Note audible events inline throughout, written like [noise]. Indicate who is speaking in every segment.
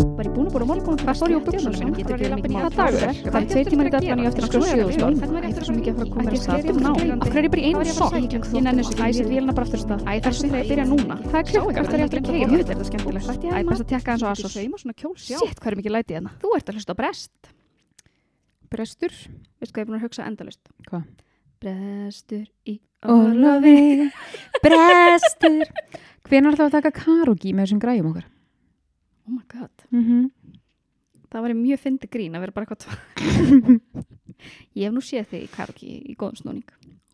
Speaker 1: Var ég búin að búin að morgun og fara í úr buksunum mínum? Getur ekki mikið mál. Það
Speaker 2: dagur?
Speaker 1: er tveir tímar í deadline og ég á eftir að skjóða sjöðustól. Það er svo mikið að fara að koma mér af stað aftur ná. Af hverju er ég bara í einu sokk? Ég nenni þessu ekki. Æ, setjum vélina bara aftur af stað. Æ, þessu þegar ég byrja núna. Hvað er klukkan? Það er eftir að keyra. Jú, þetta er skemmtilegt. Æ, best að tekka eins og aðsó. Shit, hvað er mikið læti hérna? Þú ert að hlusta á brest.
Speaker 2: Brestur
Speaker 1: Veistu hvað ég er búin að hugsa endalaust?
Speaker 2: Hvað?
Speaker 1: Brestur í
Speaker 2: Ólafi [laughs] Brestur Hvenær ætlum við að taka karugi með þessum græjum okkar?
Speaker 1: Oh my god.
Speaker 2: Mm
Speaker 1: Það var mjög fyndi grín að vera bara eitthvað tvað. ég hef nú séð þig í karaoke í góðum snúning.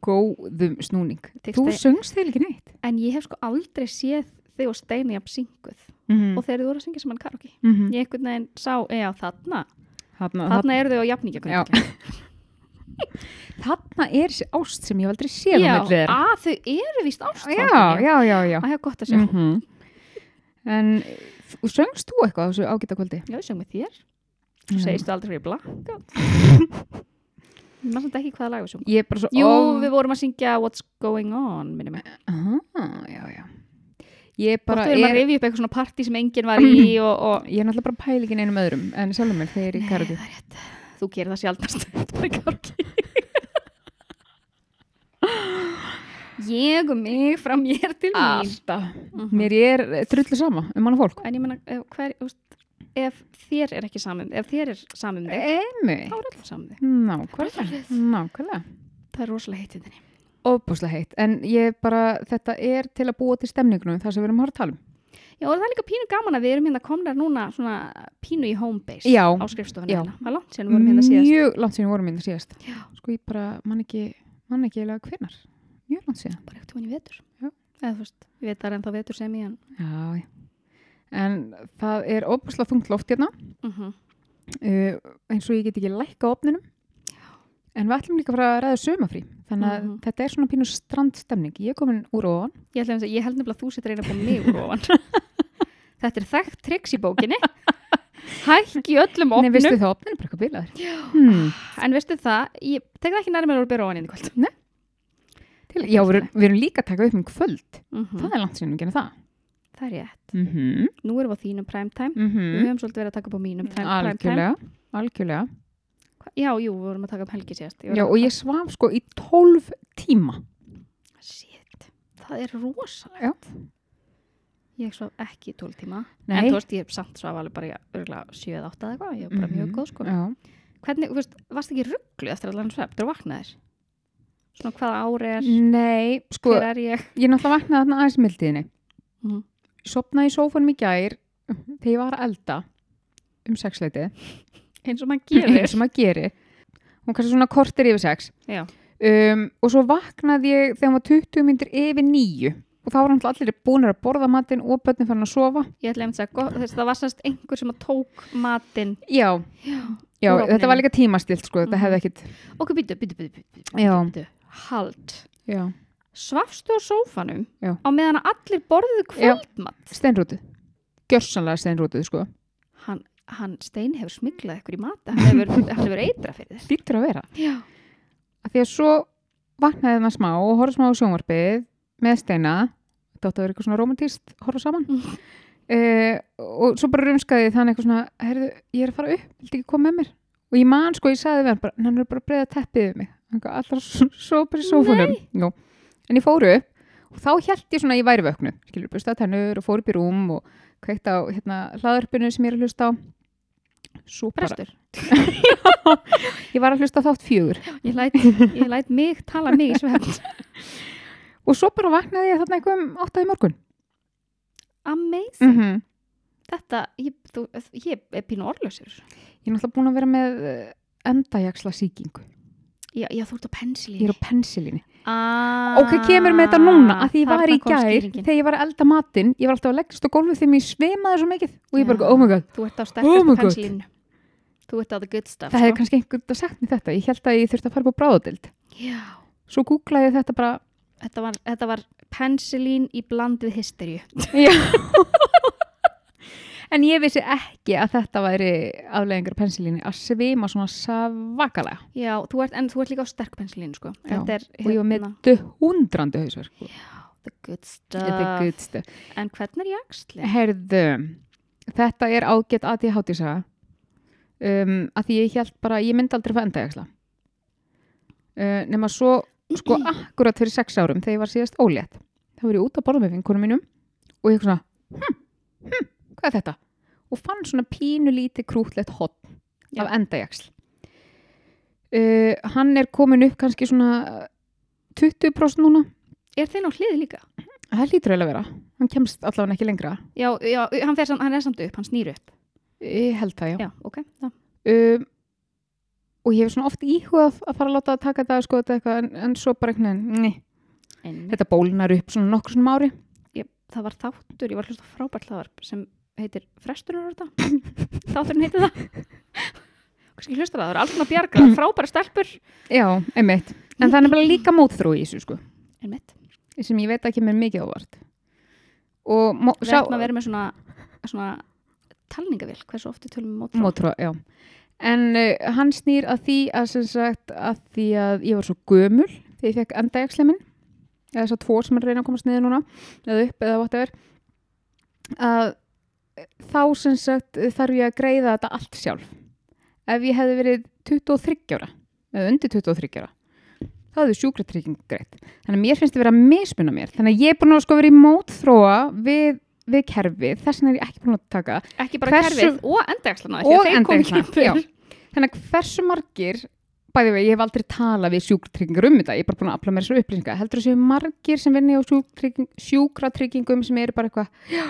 Speaker 2: Góðum snúning
Speaker 1: Þykist
Speaker 2: Þú
Speaker 1: þið-
Speaker 2: söngst þeir ekki neitt
Speaker 1: En ég hef sko aldrei séð þig og Steini jafn synguð.
Speaker 2: mm
Speaker 1: Og þegar þið voru að syngja saman karaoke.
Speaker 2: -hmm.
Speaker 1: Ég einhvern veginn sá, já þarna,
Speaker 2: Þarna,
Speaker 1: Mhm.
Speaker 2: þarna,
Speaker 1: þarna eru þau á
Speaker 2: [laughs]
Speaker 1: jafningjagrundvelli.
Speaker 2: þarna er þessi ást sem ég hef aldrei séð á milli þeirra.
Speaker 1: að þau eru víst
Speaker 2: Já,
Speaker 1: ástfangin.
Speaker 2: já, já, já.
Speaker 1: Það er gott að sjá.
Speaker 2: Mm En f- söngst þú eitthvað á þessu ágæta kvöldi?
Speaker 1: Já, þau sögum við þér.
Speaker 2: Mhm.
Speaker 1: Þú segist þú aldrei fyrir
Speaker 2: [laughs]
Speaker 1: blakka. Mér samt ekki hvaða lag við sögum.
Speaker 2: Ég er bara svo
Speaker 1: Jú,
Speaker 2: of-
Speaker 1: við vorum að syngja What's Going On, minni mig.
Speaker 2: Ah, já, já. Ég er bara
Speaker 1: Bara, við erum
Speaker 2: er- Mhm.
Speaker 1: að rifja upp eitthvað svona partí sem enginn var í og, og
Speaker 2: Ég er náttúrulega bara pælingin einum öðrum en sjálfur mér þegar ég er í karate.
Speaker 1: Nei, það er rétt. Þú gerir það sjaldnast. [laughs] Þetta er karaoke. ég og mig fram ég er til
Speaker 2: Ah.
Speaker 1: mín. Mhm.
Speaker 2: Mér er drullu sama um mann og fólk.
Speaker 1: En ég menna, ef, hver, úst, ef þér er ekki samum, ef þér er samum þig,
Speaker 2: Emi.
Speaker 1: þá er allir samum þig.
Speaker 2: Nákvæmlega. Nákvæmlega.
Speaker 1: Það er rosalega heitt hérna.
Speaker 2: Óbúslega heitt. En ég bara, þetta er til að búa til stemningunum þar sem við erum að fara að tala um.
Speaker 1: Já, og það er líka pínu gaman að við erum hérna komnar núna svona pínu í home base
Speaker 2: Já.
Speaker 1: á skrifstofunni
Speaker 2: Já.
Speaker 1: hérna. Það er langt sem við vorum hérna síðast.
Speaker 2: Mjög langt síðan við vorum hérna síðast.
Speaker 1: Já.
Speaker 2: Sko ég bara, mann ekki, mann ekki eiginlega hvenar. Mjög langt síðan.
Speaker 1: Bara eftir hún í vetur.
Speaker 2: Já.
Speaker 1: Eða þú veist, ég veit það er ennþá vetur sem ég en.
Speaker 2: Já, já. En það er óbúslega þungt loft hérna.
Speaker 1: Uh -huh.
Speaker 2: uh, eins og ég get ekki lækka á opninum en við ætlum líka að fara að ræða sumafrí þannig að
Speaker 1: Mhm.
Speaker 2: þetta er svona pínu strandstemning ég er komin úr ofan
Speaker 1: Ég, ætla að segja- ég held nefnilega að þú setur eina på mig úr ofan. [laughs] Þetta er þekkt triks í bókinni. Hækki öllum
Speaker 2: Nei,
Speaker 1: opnum.
Speaker 2: veistu það, opnin er bara eitthvað bilaður hmm.
Speaker 1: En veistu það, ég tek það ekki nærmar úr byrja ofan inn í kvöld.
Speaker 2: Til, Já, við, erum- við erum líka að taka upp um kvöld
Speaker 1: Mm
Speaker 2: það er langt sinni að gera það
Speaker 1: Það er rétt.
Speaker 2: mm -hmm.
Speaker 1: Nú erum við á þínum primetime.
Speaker 2: Mm
Speaker 1: Við höfum svolítið verið að taka upp á mínum prime- primetime.
Speaker 2: Algjörlega, algjörlega.
Speaker 1: Hva- Já, jú, við vorum að taka upp helgi sérst.
Speaker 2: Já, og ég svaf sko í 12 tíma
Speaker 1: Shit, það er rosalegt.
Speaker 2: Já.
Speaker 1: Ég svaf ekki í 12 tíma. En
Speaker 2: Nei,
Speaker 1: þú veist, ég samt svaf alveg bara örgulega 7-8 eða eitthvað. Ég var bara mjög
Speaker 2: Mhm.
Speaker 1: góð sko.
Speaker 2: já.
Speaker 1: Hvernig, þú veist, varst ekki rugglu eftir allan svefn? Þú vaknaðir? Svona hvaða ári er?
Speaker 2: Nei, sko
Speaker 1: hver er ég
Speaker 2: ég náttúrulega vaknaði þarna aðeins í mildiðinni
Speaker 1: Mhm.
Speaker 2: sopnaði í sófanum í gær þegar ég var að elda um sexleitið
Speaker 1: eins og maður
Speaker 2: eins og maður gerir hún kannski svona kortir yfir sex
Speaker 1: Já.
Speaker 2: um, og svo vaknaði ég þegar hún var 20 myndir yfir nýju og þá var hann allir búinir að borða matinn og börnin fann að sofa
Speaker 1: ég ætla einmitt að segja, þess að það var semst einhver sem að tók matinn
Speaker 2: já,
Speaker 1: Já.
Speaker 2: já
Speaker 1: Úr ofninum.
Speaker 2: þetta var líka tímastilt sko, þetta
Speaker 1: Mhm.
Speaker 2: hefði ekkit
Speaker 1: ok, býtu, býtu, býtu, býtu,
Speaker 2: já,
Speaker 1: býtu. hald,
Speaker 2: já,
Speaker 1: svafstu á sófanum
Speaker 2: Já.
Speaker 1: á meðan að allir borðuðu
Speaker 2: Já.
Speaker 1: kvöldmatt
Speaker 2: steinrútuð gjörsanlega steinrútuð sko
Speaker 1: hann, hann Stein hefur smiglað ykkur í mata hann hefur, hann
Speaker 2: [laughs]
Speaker 1: hefur eitra fyrir þér
Speaker 2: lítur að vera
Speaker 1: já,
Speaker 2: að því að svo vaknaði maður smá og horfði smá á sjónvarpið með steina þetta átti að vera eitthvað svona romantíst horfa saman
Speaker 1: Mhm.
Speaker 2: [laughs] eh, og svo bara rumskaði þannig eitthvað svona heyrðu, ég er að fara upp, viltu ekki koma með mér og ég man sko, ég sagði við hann bara hann er bara að breyða teppið við mig hann gaf allar sópar í sófunum Jú. en ég fóru upp og þá held ég svona að ég væri vöknu skilur busta tennur og fór upp í rúm og kveikt á hérna hlaðarpinu sem ég er að hlusta á svo bara,
Speaker 1: brestur
Speaker 2: ég var að hlusta á þátt fjögur
Speaker 1: ég læt,
Speaker 2: [laughs]
Speaker 1: ég læt mig tala mig í svefn
Speaker 2: Mhm. Og svo bara vaknaði ég þarna eitthvað um 8 í morgun.
Speaker 1: amazing,
Speaker 2: Mm -hmm.
Speaker 1: þetta ég, þú, ég er pínu orðlösur
Speaker 2: Ég er náttúrulega búin að vera með eh, endajaksla sýkingu.
Speaker 1: já, já, þú ert á pensilín
Speaker 2: Ég er á pensilinni.
Speaker 1: ah,
Speaker 2: Ok, kemur með þetta núna að því ég var í
Speaker 1: þarna kom
Speaker 2: gær,
Speaker 1: skýringin.
Speaker 2: þegar ég var að elda matinn, ég var alltaf að leggast á gólfið þegar mér sveimaði svo mikið og ég bara,
Speaker 1: Já.
Speaker 2: oh my god,
Speaker 1: Þú ert á
Speaker 2: Oh
Speaker 1: sterkastu
Speaker 2: my
Speaker 1: oh
Speaker 2: God.
Speaker 1: pensilínu. Þú ert á the good stuff.
Speaker 2: það hefði
Speaker 1: sko.
Speaker 2: kannski einhvern að sagt mér þetta. Ég held að ég þurfti að fara upp á bráðadild.
Speaker 1: Já,
Speaker 2: Svo googlaði ég þetta bara,
Speaker 1: þetta var, þetta var pensilín í bland við hysteríu.
Speaker 2: já. en ég vissi ekki að þetta væri afleðingar pensilinni að sveima svona svakalega
Speaker 1: Já, þú ert, en þú ert líka á sterk pensilínu, sko.
Speaker 2: Já,
Speaker 1: Þetta er hérna
Speaker 2: og ég var með hundrandi hausverk. sko.
Speaker 1: the good
Speaker 2: Þetta er
Speaker 1: stuff.
Speaker 2: gutt stöf.
Speaker 1: En hvernig er jaksli?
Speaker 2: Herðu, þetta er ágætt að ég háti saga um, að því ég held bara, ég myndi aldrei fá endajaksla uh, nema svo sko akkurat fyrir sex árum þegar ég var síðast ólétt þá var ég út að borða með vinkunum mínum og ég svona, hm, hm, hvað er þetta? og fann svona pínu lítið krútlegt hotn
Speaker 1: Já.
Speaker 2: af endajaksl uh, hann er komin upp kannski svona 20% núna
Speaker 1: Er þeir á hliði líka?
Speaker 2: það lítur eiginlega að vera, hann kemst allavega ekki lengra
Speaker 1: Já, já hann, fer, samt- hann er samt upp, hann snýr upp.
Speaker 2: ég held það já,
Speaker 1: Já, ok. Já.
Speaker 2: um, og ég hef svona oft íhugað að fara að láta að taka þetta sko, eitthvað, en, en svo bara einhvern veginn nei,
Speaker 1: En
Speaker 2: þetta bólnar upp svona nokkur svona ári
Speaker 1: ég, það var þáttur, ég var hlusta frábært þávarp sem heitir Fresturinn er þetta.
Speaker 2: [laughs]
Speaker 1: Þátturinn heitir það. Kanski hlusta það, það er alls svona bjarga, frábæra stelpur.
Speaker 2: já, einmitt, en það er bara líka mótþró í þessu sko,
Speaker 1: En mitt.
Speaker 2: sem ég veit að kemur mikið ávart og mó,
Speaker 1: Við ætlum að vera með svona, svona talningavél, hversu ofti tölum við mótfrá.
Speaker 2: mótrá, já en uh, hann snýr að því að sem sagt að því að ég var svo gömul þegar ég fekk endajaksli minn eða þess að tvo sem er að reyna að komast niður núna eða upp eða whatever að uh, þá sem sagt þarf ég að greiða þetta allt sjálf ef ég hefði verið 23 ára eða undir 23 ára þá hefði sjúkratrygging greitt þannig að mér finnst þetta vera að mismuna mér þannig að ég er búin að sko vera í mótþróa við, við kerfið, þess vegna er ég ekki búin að taka
Speaker 1: Ekki bara
Speaker 2: Hversu-
Speaker 1: kerfið og endajakslana.
Speaker 2: Og endajaxlana,
Speaker 1: endajakslana,
Speaker 2: já. Þannig að hversu margir, bæði við, ég hef aldrei talað við sjúkratryggingar um þetta, ég er bara búin að afla mér þessu upplýsinga, heldur þessu margir sem vinni á sjúkratrygging, sjúkratryggingum sem eru bara eitthvað, já,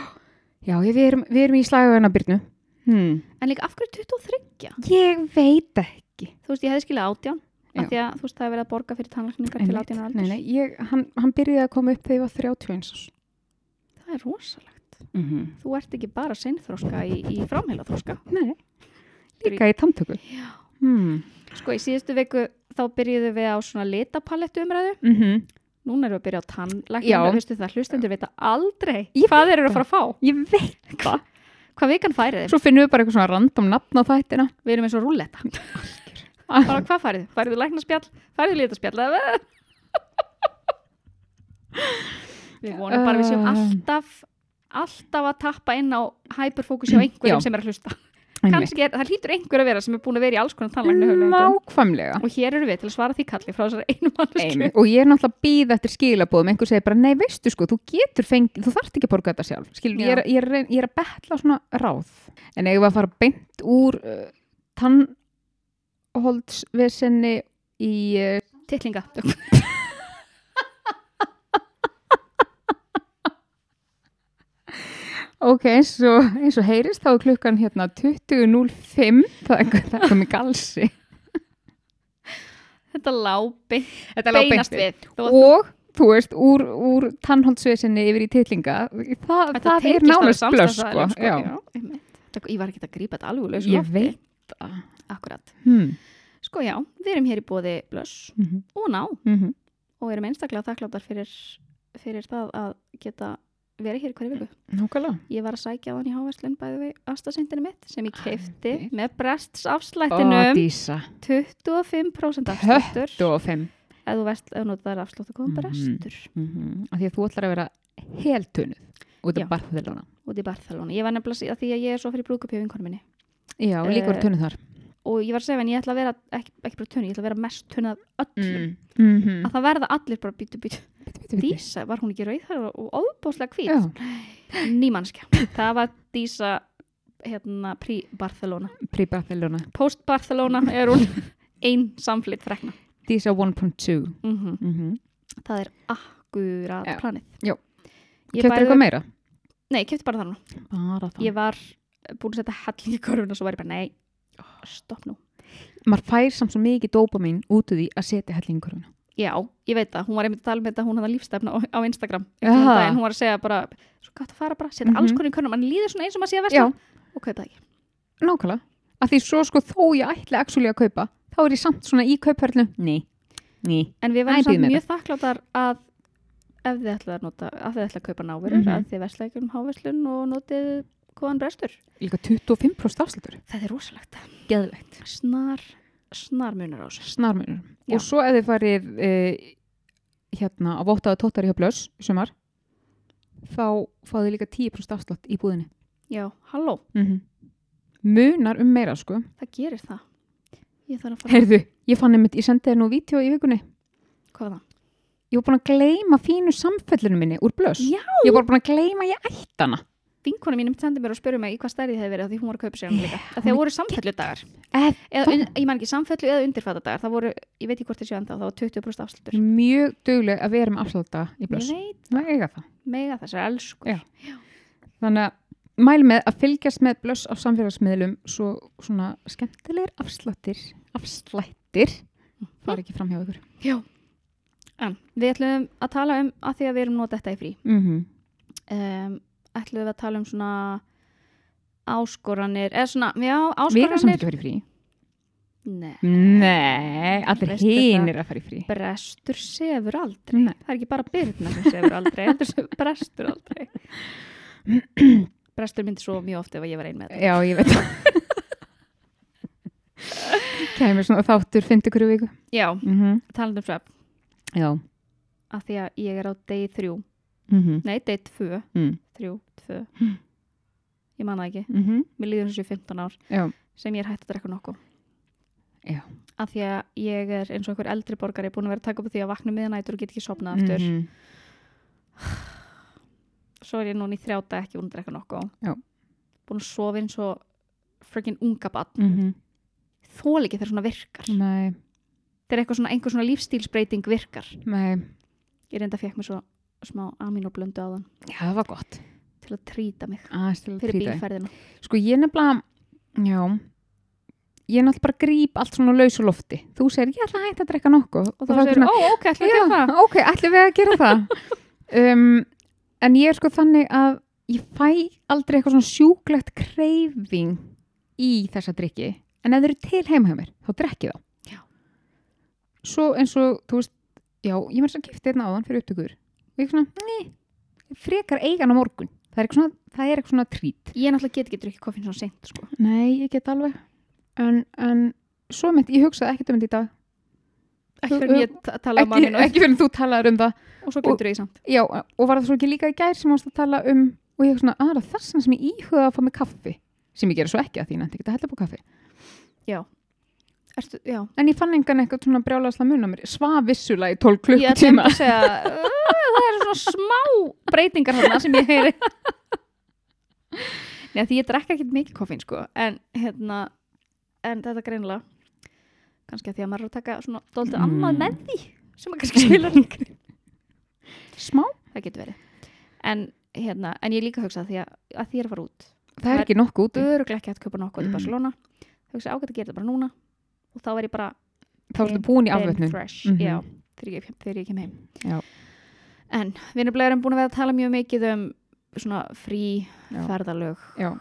Speaker 2: já við, erum, við erum í slagavennabyrnu. Hmm.
Speaker 1: En líka af hverju 23?
Speaker 2: Ég veit ekki.
Speaker 1: Þú veist, ég hefði skilið 18. Af
Speaker 2: Já.
Speaker 1: því að þú veist, það er verið að borga fyrir tannlækningar til 18 ára
Speaker 2: nei,
Speaker 1: aldurs.
Speaker 2: nei, ég, hann, hann byrjaði að koma upp þegar ég var 31 árs.
Speaker 1: Það er rosalegt.
Speaker 2: Mm -hmm.
Speaker 1: Þú ert ekki bara sinnþróska í, í framheilaþróska.
Speaker 2: Nei, líka í tamtöku. Hmm.
Speaker 1: Sko, í síðustu viku þá byrjuðu við á svona litapalettu umræðu.
Speaker 2: Mm
Speaker 1: Núna erum við að byrja á tannlækningar.
Speaker 2: Já.
Speaker 1: Já. Veistu það, hlustendur vita aldrei
Speaker 2: Ég
Speaker 1: hvað þeir eru að fara að fá.
Speaker 2: Ég veit.
Speaker 1: Hva? Hvað vikan færið þeim?
Speaker 2: Svo finnum við bara eitthvað svona random nafn á þættina.
Speaker 1: Við erum eins og rúlletta. bara hvað færið? þið? Færið þið læknaspjall? Færið þið litaspjall? Eða- við vonum bara að við séum
Speaker 2: Uh.
Speaker 1: alltaf, alltaf að tappa inn á hyperfókus hjá einhverjum
Speaker 2: Mm, Já.
Speaker 1: sem er að hlusta.
Speaker 2: Einmitt.
Speaker 1: Kannski er, það hlýtur einhver að vera sem er búin að vera í alls konar
Speaker 2: um
Speaker 1: tannlæknahugleikum.
Speaker 2: Nákvæmlega.
Speaker 1: Og hér eru við til að svara því kalli frá þessari einu mannesku.
Speaker 2: Einmitt. og ég er náttúrulega býð eftir skilabóðum einhver segir bara, nei veistu sko, þú getur fengið þú þarft ekki að borga þetta sjálf, skilur, ég er, ég, er, að reyna- ég er að betla svona ráð en eigum við að fara beint úr uh, tannholdsvesenni í uh,
Speaker 1: Tittlinga.
Speaker 2: ok, eins og, eins og heyrist þá er klukkan hérna 20.05 það er það er komið galsi
Speaker 1: Þetta lábi
Speaker 2: þetta
Speaker 1: beinast við. Þú,
Speaker 2: og þú veist, úr, úr tannholdsvesenni yfir í titlinga það,
Speaker 1: þetta
Speaker 2: það er
Speaker 1: tengist
Speaker 2: nánast
Speaker 1: alveg
Speaker 2: blöss sko,
Speaker 1: samstarfsaðilum,
Speaker 2: já,
Speaker 1: já, einmitt. Þetta- Ég var ekki að grípa þetta alveg laus.
Speaker 2: ég veit það
Speaker 1: Akkurat.
Speaker 2: hmm.
Speaker 1: Sko já, við erum hér í bóði blöss
Speaker 2: mm -hmm.
Speaker 1: og ná og erum einstaklega þakkláttar fyrir, fyrir það að geta verið hér í hverju viku.
Speaker 2: Nákvæmlega.
Speaker 1: Ég var að sækja á hann í háverslun bæði við astasendinu mitt sem ég keifti
Speaker 2: Æði.
Speaker 1: með
Speaker 2: Ó,
Speaker 1: brestsafslættinum
Speaker 2: Dísa.
Speaker 1: 25% afsláttur.
Speaker 2: 25.
Speaker 1: ef þú verst, ef þú notar afslátt að koma bara
Speaker 2: Mhm.
Speaker 1: restur
Speaker 2: Mm Af því að þú ætlar að vera heltunuð út
Speaker 1: Já.
Speaker 2: af barðilóna.
Speaker 1: út í Barcelona. Ég var nefnilega sí- að því að ég er svo fyrir brúkupjöf vinkonu minni
Speaker 2: Já,
Speaker 1: líka
Speaker 2: líka
Speaker 1: voru
Speaker 2: voru tunuð þar.
Speaker 1: og ég var að segja henni, ég ætla að vera ekki, ekki bara tunni, ég ætla að vera mest tunni af öllum
Speaker 2: Mm -hmm.
Speaker 1: að það verða allir bara býtu býtu Dísa, var hún ekki rauðhæra og óbúslega hvít
Speaker 2: Já,
Speaker 1: nýmannskja, það var Dísa hérna pre-Barcelona
Speaker 2: prí barðilóna.
Speaker 1: post-Barcelona er
Speaker 2: [laughs]
Speaker 1: hún ein samflitt frekna
Speaker 2: Dísa 1.2.
Speaker 1: mm
Speaker 2: Mm -hmm.
Speaker 1: það er akkurat
Speaker 2: Já.
Speaker 1: planið
Speaker 2: Jó.
Speaker 1: Ég
Speaker 2: Kjöftur
Speaker 1: bæði-
Speaker 2: eitthvað meira?
Speaker 1: Nei, ég kefti bara þarna
Speaker 2: Bara það.
Speaker 1: ég var búin að setja helling í korfuna og svo var ég bara, nei,
Speaker 2: Oh.
Speaker 1: stopp nú
Speaker 2: Maður fær samt svo mikið dópamín út úr því að setja hellinguruna.
Speaker 1: Já, ég veit það, hún var einmitt að tala með þetta, hún hafði lífstefna á, á Instagram
Speaker 2: Já.
Speaker 1: eftir daginn, hún var að segja bara, svo gott að fara bara, setja
Speaker 2: Mhm.
Speaker 1: alls konar í körnum, mann líður svona eins og maður sé að
Speaker 2: Já,
Speaker 1: versla og kaupa það ekki.
Speaker 2: nákvæmlega. Af því svo sko þó ég ætli actually að kaupa, þá er ég samt svona í kaupverðinu. Nei, nei.
Speaker 1: En við
Speaker 2: Æ,
Speaker 1: verðum
Speaker 2: bíðum
Speaker 1: samt
Speaker 2: við
Speaker 1: mjög þakkláttar að ef þið ætlaði að nota, að þið ætlaði að kaupa náverur,
Speaker 2: Mhm.
Speaker 1: að þið versla ekki um háverslun og notið góðan brestur.
Speaker 2: Líka 25% afslutur.
Speaker 1: Það er rosalegt.
Speaker 2: Geðveikt.
Speaker 1: Snar, snar munar á þessu.
Speaker 2: snarmunur.
Speaker 1: Já.
Speaker 2: Og svo ef þið farið e, hérna á vottaða tóttari hjá Blöss í sumar þá fáðu líka 10% afslátt í búðinni.
Speaker 1: Já, halló,
Speaker 2: -hmm. munar um meira sko
Speaker 1: það gerir það. Ég þarf að fara
Speaker 2: heyrðu, ég fann einmitt, ég sendi þér nú vídeo í vikunni,
Speaker 1: Hvað var það?
Speaker 2: ég var búin að gleyma fínu samfellinu minni úr blöss
Speaker 1: Já.
Speaker 2: ég var búin að gleyma ég ætti hana
Speaker 1: Vinkonu mín sendi mér og spurði mig í hvað stærði þið hefði verið af því hún var að kaupa sér hann líka. Af Því
Speaker 2: Hún
Speaker 1: það voru samfellu dagar.
Speaker 2: Eh,
Speaker 1: Eða, un, ég man ekki samfellu eða undirfæta dagar. Það voru, ég veit ekki hvort þið séu enda, það var 20% afslutur.
Speaker 2: mjög dugleg að vera með afsláta í
Speaker 1: Ég
Speaker 2: blöss
Speaker 1: veit
Speaker 2: það eiga það
Speaker 1: mega þessar elsku.
Speaker 2: Já. þannig að mæl með að fylgjast með blöss á samfélagsmiðlum svo svona skemmtilegir afslættir afslættir fara ekki fram hjá ykkur
Speaker 1: En við ætlum að tala um, að því að við erum notað þetta í frí,
Speaker 2: mm
Speaker 1: um, ætlum við að tala um svona áskoranir, eða svona, já,
Speaker 2: við erum
Speaker 1: áskoranir.
Speaker 2: samt ekki að fara í frí
Speaker 1: Nei,
Speaker 2: nei, allir
Speaker 1: Veistu það?
Speaker 2: hinn er að fara í frí
Speaker 1: brestur sefur aldrei.
Speaker 2: nei.
Speaker 1: Það er ekki bara byrna sem sefur aldrei, heldur
Speaker 2: [laughs]
Speaker 1: sem brestur aldrei. brestur myndi svo mjög oft ef ég var ein með þetta.
Speaker 2: já, ég veit [laughs] það kemur svona þáttur fyndu hverju viku
Speaker 1: Já,
Speaker 2: mm -hmm.
Speaker 1: talandi um svefn,
Speaker 2: já
Speaker 1: að því að ég er á degi þrjú,
Speaker 2: mm -hmm.
Speaker 1: nei, degi tvö,
Speaker 2: Mm
Speaker 1: þrjú, tvö,
Speaker 2: Hm.
Speaker 1: ég man það ekki,
Speaker 2: Mhm.
Speaker 1: mér líður þessu 15 ár.
Speaker 2: já
Speaker 1: sem ég er hægt að drekka nokku
Speaker 2: Já.
Speaker 1: af því að ég er eins og einhver eldri borgari búin að vera að taka upp á því að vakna miðanætur og get ekki sopnað aftur
Speaker 2: Mhm.
Speaker 1: svo er ég núna í þrjáta ekki búin að drekka nokku
Speaker 2: Já.
Speaker 1: búin að sofa eins og freaking unga bann
Speaker 2: Mhm.
Speaker 1: þól ekki þegar svona virkar
Speaker 2: nei,
Speaker 1: þegar eitthvað svona, einhver svona lífstílsbreyting virkar
Speaker 2: nei
Speaker 1: ég reynda fekk mér svo smá aminoblöndu á þann
Speaker 2: já, það var gott
Speaker 1: til að trýta mig
Speaker 2: aðeins til að
Speaker 1: fyrir
Speaker 2: trýta þig.
Speaker 1: bílferðina
Speaker 2: Sko ég nefnilega, já, ég náttúrulega bara gríp allt svona á lausu lofti. Þú segir, ég ætla að hætta að drekka nokkuð.
Speaker 1: og þá segir, ó ok, ætlum við að gera það
Speaker 2: já, ok, ætlum við að gera
Speaker 1: [laughs]
Speaker 2: það. um, en ég er sko þannig að ég fæ aldrei eitthvað svona sjúklegt kreyfing í þessa drikki. En ef þau eru til heima hjá mér, þá drekki þá.
Speaker 1: Já.
Speaker 2: Svo eins og, þú veist, já, ég mér sem gifti einn áðan fyrir upptökur. Og ég svona, nei, frekar eigan á morgun. Það er eitthvað svona, það er eitthvað svona trít.
Speaker 1: ég náttúrulega get ekki drukkið koffín svona seint sko.
Speaker 2: Nei, ég get alveg en, en svo mynd, ég hugsaði ekkert um þetta í dag
Speaker 1: ekki fyrir ég t- tala um
Speaker 2: ekki,
Speaker 1: amino
Speaker 2: ekki fyrir þú talaður um það
Speaker 1: og svo glemtur ég samt
Speaker 2: já, og var það svo ekki líka í gær sem varst að tala um og ég svona, aðra þess vegna sem ég íhuga að fá mig kaffi sem ég gera svo ekki að því, nefndi ekki að hella upp á kaffi
Speaker 1: Ertu, já,
Speaker 2: en ég fann engan eitthvað svona brjálaðsla mun á mér svafissulega í 12
Speaker 1: Ég hérna ætla einmitt
Speaker 2: klukkutíma
Speaker 1: að segja, "Uh, það eru svona smá breytingar þarna hérna sem ég heyri. Nei, því ég drekka ekkert mikið koffín, sko, en hérna, en þetta greinilega, kannski að því að maður er að taka svona dóltið
Speaker 2: Mm.
Speaker 1: annað með því, sem að kannski spila líka.
Speaker 2: [laughs] smá,
Speaker 1: Það getur verið. En hérna, en ég líka hugsa að því að, að því ég er að fara út,
Speaker 2: það er ekki nokkuð út
Speaker 1: öruglega ekki hægt að köpa nokkuð í
Speaker 2: Mm.
Speaker 1: Barcelona, hugsa ágætt að gera þetta bara núna og þá er ég bara
Speaker 2: þá ertu búin í
Speaker 1: Ben
Speaker 2: afvötnun
Speaker 1: Fresh,
Speaker 2: Mhm.
Speaker 1: já, þegar ég, þegar ég kem heim
Speaker 2: Já.
Speaker 1: en við erum blæðurum búin að vera að tala mjög mikið um svona frí
Speaker 2: Já.
Speaker 1: ferðalög
Speaker 2: Já.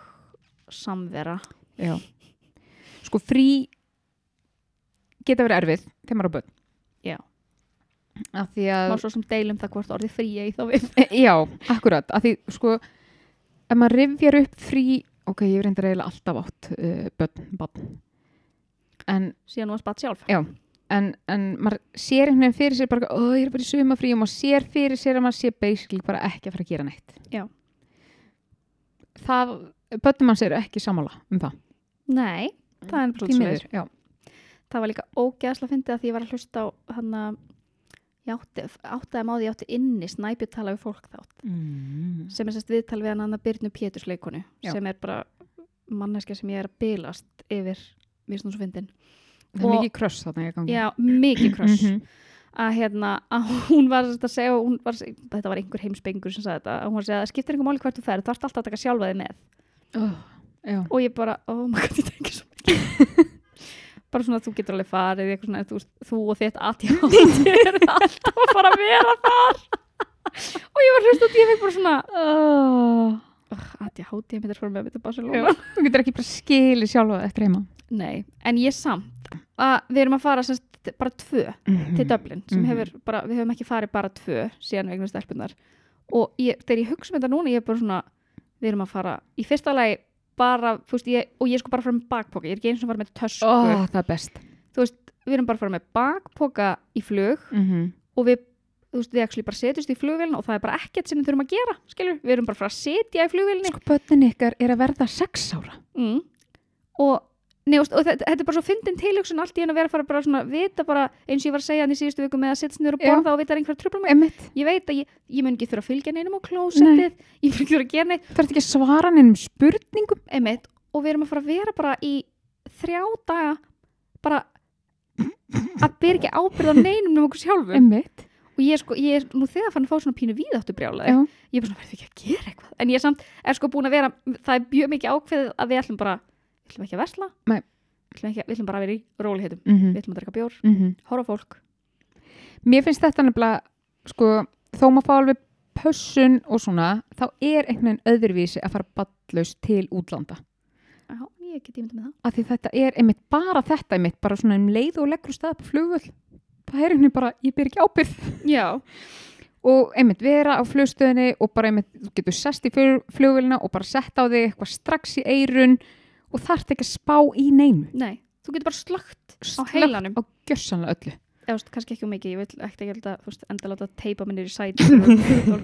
Speaker 1: samvera
Speaker 2: já. sko frí geta verið erfið þegar maður á börn
Speaker 1: Já.
Speaker 2: af því að
Speaker 1: má svo sem deilum það hvort orðið frí eigi þá við [laughs]
Speaker 2: E, [laughs] Já, akkurat, af því sko ef maður rifjar upp frí ok, ég reyndar eiginlega alltaf átt uh, börn, barn en,
Speaker 1: síðan var spatt sjálf
Speaker 2: Já. en, en maður sér einhvern veginn fyrir sér bara, ó, ég er bara í sumafrí og maður sér fyrir sér að maður sé basically bara ekki að fara að gera neitt
Speaker 1: Já.
Speaker 2: Það, börnum manns eru ekki sammála um það
Speaker 1: nei, það er bara
Speaker 2: Mm, Því
Speaker 1: svolítið
Speaker 2: miður, já,
Speaker 1: það var líka ógeðslega fyndið að því ég var að hlusta á hann að ég átti, átti að máði ég átti inni snæbjörn tala við fólk þátt
Speaker 2: mm.
Speaker 1: sem er sérst viðtal við hann annar Byrnu Péturs leikonu
Speaker 2: Já.
Speaker 1: sem er bara manneska sem ég er að bilast yfir mér svona svo fyndin
Speaker 2: það er
Speaker 1: Og-
Speaker 2: mikið kröss þarna í gangi
Speaker 1: já, mikið kross
Speaker 2: Mhm.
Speaker 1: að hérna, að hún var sérst að segja hún var, þetta var einhver heimspengur sem sagði þetta að hún var að segja að það skiptir einhver máli hvert þú ferð þú ert alltaf að taka sjálfa þig með
Speaker 2: Ó, Já,
Speaker 1: og ég bara, oh my god, þetta er ekki svo
Speaker 2: [laughs]
Speaker 1: mikið bara svona þú getur alveg farið eitthvað svona, þú, veist, þú og þitt
Speaker 2: [laughs]
Speaker 1: aðjátt er alltaf að fara að vera þar og ég var hlust og ég fekk bara svona
Speaker 2: oh.
Speaker 1: aðjátt, ég myndir fór með þetta Barcelona
Speaker 2: já. [laughs] Þú getur ekki bara skilið sjálfa eftir heima
Speaker 1: Nei, en ég samt að við erum að fara semst, bara tvö til Dublin sem
Speaker 2: Mhm.
Speaker 1: hefur bara, við höfum ekki farið bara tvö síðan vegna stelpunar og ég, þegar ég hugsa með þetta núna, ég er bara svona við erum að fara, í fyrsta lagi bara, þú veist, ég, og ég er sko bara að fara með bakpoka ég er ekki eins og að fara með tösku
Speaker 2: oh, Það er best
Speaker 1: þú veist, við erum bara að fara með bakpoka í flug
Speaker 2: mm -hmm.
Speaker 1: og við þú veist, við actually bara setjumst í flugvélina og það er bara ekkert sem við þurfum að gera, skilur, við erum bara frá að setja í flugvélinni
Speaker 2: Sko börnin ykkar er að verða sex ára.
Speaker 1: mm. og, nei, veist, og þetta, þetta er bara svo fyndin tilhugsun allt í hennu að vera að fara bara svona vita bara eins og ég var að segja hann í síðustu viku með að setja niður og
Speaker 2: Já.
Speaker 1: borða og vita er einhver tröflum
Speaker 2: Emmitt,
Speaker 1: ég veit að ég, ég mun ekki þurfa að fylgja neinum á klósettið ég mun ekki þurfa að gera neitt
Speaker 2: það er ekki að svara nefnum spurningum.
Speaker 1: einmitt, og við erum að fara að vera bara í þrjá daga bara að byrja ekki ábyrð á neinum um okkur sjálfum
Speaker 2: Emmitt.
Speaker 1: og ég er sko, ég er nú þegar fann að fá svona pínu víðáttu brjálaði
Speaker 2: Já.
Speaker 1: ég er bara svona, verður ekki að gera eitthvað en ég er samt, er sko búin að vera, það er mjög mikið ákveðið að við ætlum bara, við ætlum ekki að versla
Speaker 2: Nei.
Speaker 1: við ætlum, ekki, við ætlum bara að vera í rólihitum
Speaker 2: Mm
Speaker 1: við ætlum að drekka bjór, horfa á fólk
Speaker 2: Mhm. Mér finnst þetta nefnilega, sko, þó maður fá alveg pössun og svona, þá er einhvern veginn öðruvísi að fara ballaust til útlanda.
Speaker 1: já, ég get ímynda með það
Speaker 2: Af því þetta er einmitt bara þetta, einmitt bara svona um leið og leggur af stað på flugvöld. Það er einhvern veginn bara, ég byr ekki ábyrð.
Speaker 1: já,
Speaker 2: Og einmitt vera á flugstöðinni og bara einmitt, þú getur sest í flugvöldina og bara sett á þig eitthvað strax í eirun og þarft ekki að spá í neinu.
Speaker 1: nei, þú getur bara slögt á
Speaker 2: Slökkt
Speaker 1: heilanum
Speaker 2: Á gjössanlega öllu.
Speaker 1: eða þú veist, kannski ekki um mikið, ég vil ekkert ekki að þú veist, enda láta teipa minnir í sæti
Speaker 2: [laughs]
Speaker 1: það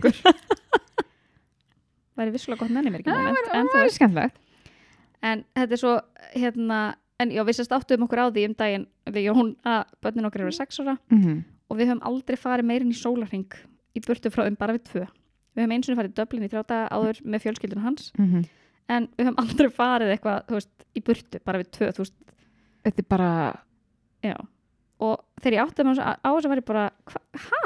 Speaker 1: væri vissulega gott nenni mér ekki
Speaker 2: Já,
Speaker 1: moment, en þú
Speaker 2: Það er skemmtilegt.
Speaker 1: en þetta er svo hérna, en já, við sérst áttuðum okkur á því um daginn við Jón að börnin okkar eru sex ára
Speaker 2: Mm
Speaker 1: og við höfum aldrei farið meirinn í sólarring í burtu frá þeim bara við tvö við höfum eins og farið í Dublin í þrjá daga áður með fjölskyldun hans
Speaker 2: mhm.
Speaker 1: en við höfum aldrei farið eitthvað, þú veist, í burtu bara við tvö, þú veist,
Speaker 2: Þetta er bara,
Speaker 1: já og þegar ég átti á á þessu var ég bara hva- ha?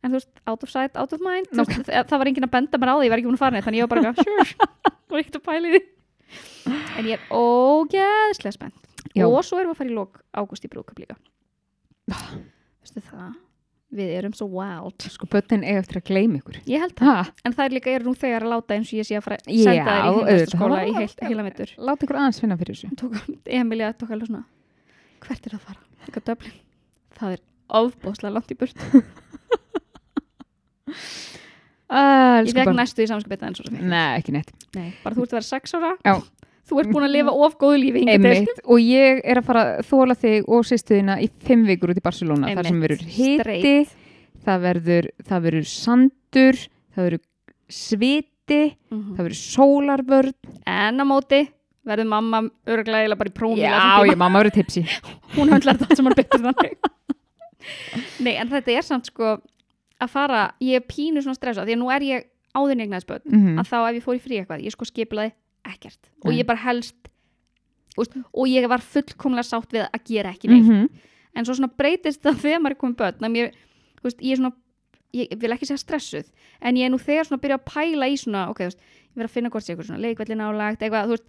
Speaker 1: en þú veist, out of sight, out of mind þú veist, það það var enginn að benda mér á því, ég var ekki búin að fara neitt þannig ég var bara, eitthvað,
Speaker 2: [laughs]
Speaker 1: sure, þú var ekkert að pæli því en ég er ógeðslega spennt
Speaker 2: Já.
Speaker 1: og svo erum við að fara í lok ágúst í brúkup líka
Speaker 2: Ah.
Speaker 1: veistu það við erum svo wild
Speaker 2: sko, börnin eiga eftir að gleyma ykkur.
Speaker 1: ég held það,
Speaker 2: Ha,
Speaker 1: en það er líka, ég er nú þegar að láta eins og ég sé að fara að senda
Speaker 2: Já,
Speaker 1: þær í heimlæstu
Speaker 2: auðvitað.
Speaker 1: skóla í heil, heila mittur
Speaker 2: láta ykkur aðeins finna fyrir þessu.
Speaker 1: tók, Emilia tók alveg svona hvert er það að fara? Eitthvað döflin það er ofbóðslega langt í
Speaker 2: [laughs]
Speaker 1: burt
Speaker 2: Uh,
Speaker 1: ég fekk næstu í samskipið en svo sem ég
Speaker 2: Mm, Nei, ekki neitt.
Speaker 1: Nei, bara þú ert að vera sex ára
Speaker 2: Já.
Speaker 1: þú ert búin að lifa of góðu lífi hingað til.
Speaker 2: Einmitt. Og ég er að fara að þóla þig og sýstuðina í fimm vikur út í Barcelona. Þar sem
Speaker 1: Einmitt.
Speaker 2: verður hiti,
Speaker 1: Straight.
Speaker 2: það verður, það verður sandur, það verður sviti,
Speaker 1: Mhm.
Speaker 2: það verður sólarvörn.
Speaker 1: en á móti verður mamma örglega eiginlega bara í prófum í
Speaker 2: Já,
Speaker 1: allan
Speaker 2: ég mamma verður tipsi.
Speaker 1: tíma. hún höndlar það sem hann betur
Speaker 2: [laughs]
Speaker 1: þannig Nei, en þetta er samt sko að fara, ég er pínu svona stressa því að nú er ég áður negnaðisböld
Speaker 2: Mm
Speaker 1: að þá ef ég fór í frí eitthvað, ég sko skiplaði ekkert og
Speaker 2: Nei.
Speaker 1: ég bara helst úst, og ég var fullkomlega sátt við að gera ekki neitt
Speaker 2: -hmm.
Speaker 1: en svo svona breytist það [laughs] þegar maður er komið börn að mér, þú veist, ég er svona ég vil ekki segja stressuð, en ég er nú þegar svona að byrja að pæla í svona, ok, þú veist ég verð að finna hvort sé eitthvað svona leikvelli nálagt eitthvað, þú veist,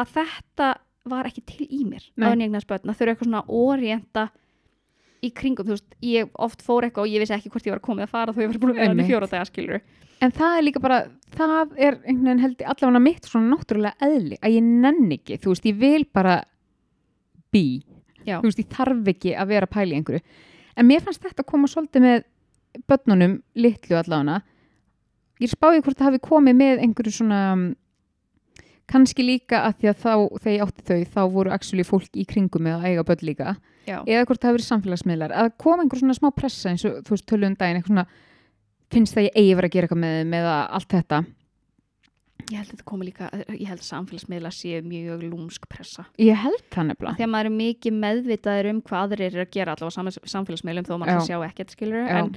Speaker 1: að þetta var ekki til í mér,
Speaker 2: Nei.
Speaker 1: áður en ég eignast börn að þau eru eitthvað svona að orienta í kringum, þú veist, ég oft fór eitthvað og ég vissi ekki hvort ég var komið að fara þó ég var búin að vera þarna í
Speaker 2: Einmitt.
Speaker 1: fjóra daga skilur
Speaker 2: En það er líka bara, það er einhvern veginn held ég allavega mitt svona náttúrulega eðli að ég nenni ekki, þú veist, ég vil bara bí,
Speaker 1: Já.
Speaker 2: þú veist, ég þarf ekki að vera að pæla í einhverju. En mér fannst þetta að koma svolítið með börnunum, litlu allavega, ég spáði hvort það hafi komið með einhverju svona, mm, kannski líka að því að þá, þegar ég átti þau, þá voru actually fólk í kringum með að eiga börn líka
Speaker 1: Já.
Speaker 2: eða hvort það hafi verið samfélagsmiðlar að kom einhver svona smá pressa eins og þú veist tölum um daginn eitthvað svona finnst það ég eigi verið að gera eitthvað með þeim eða allt þetta
Speaker 1: ég held að þetta komi líka, eh, ég held að samfélagsmiðla séu mjög lúmsk pressa
Speaker 2: ég held það nefnilega
Speaker 1: þegar maður er mikið meðvitaður um hvað aðrir eru að gera allavega á sam- samfélagsmiðlum þó maður
Speaker 2: Já.
Speaker 1: já. sjá ekkert skilur
Speaker 2: Já.
Speaker 1: en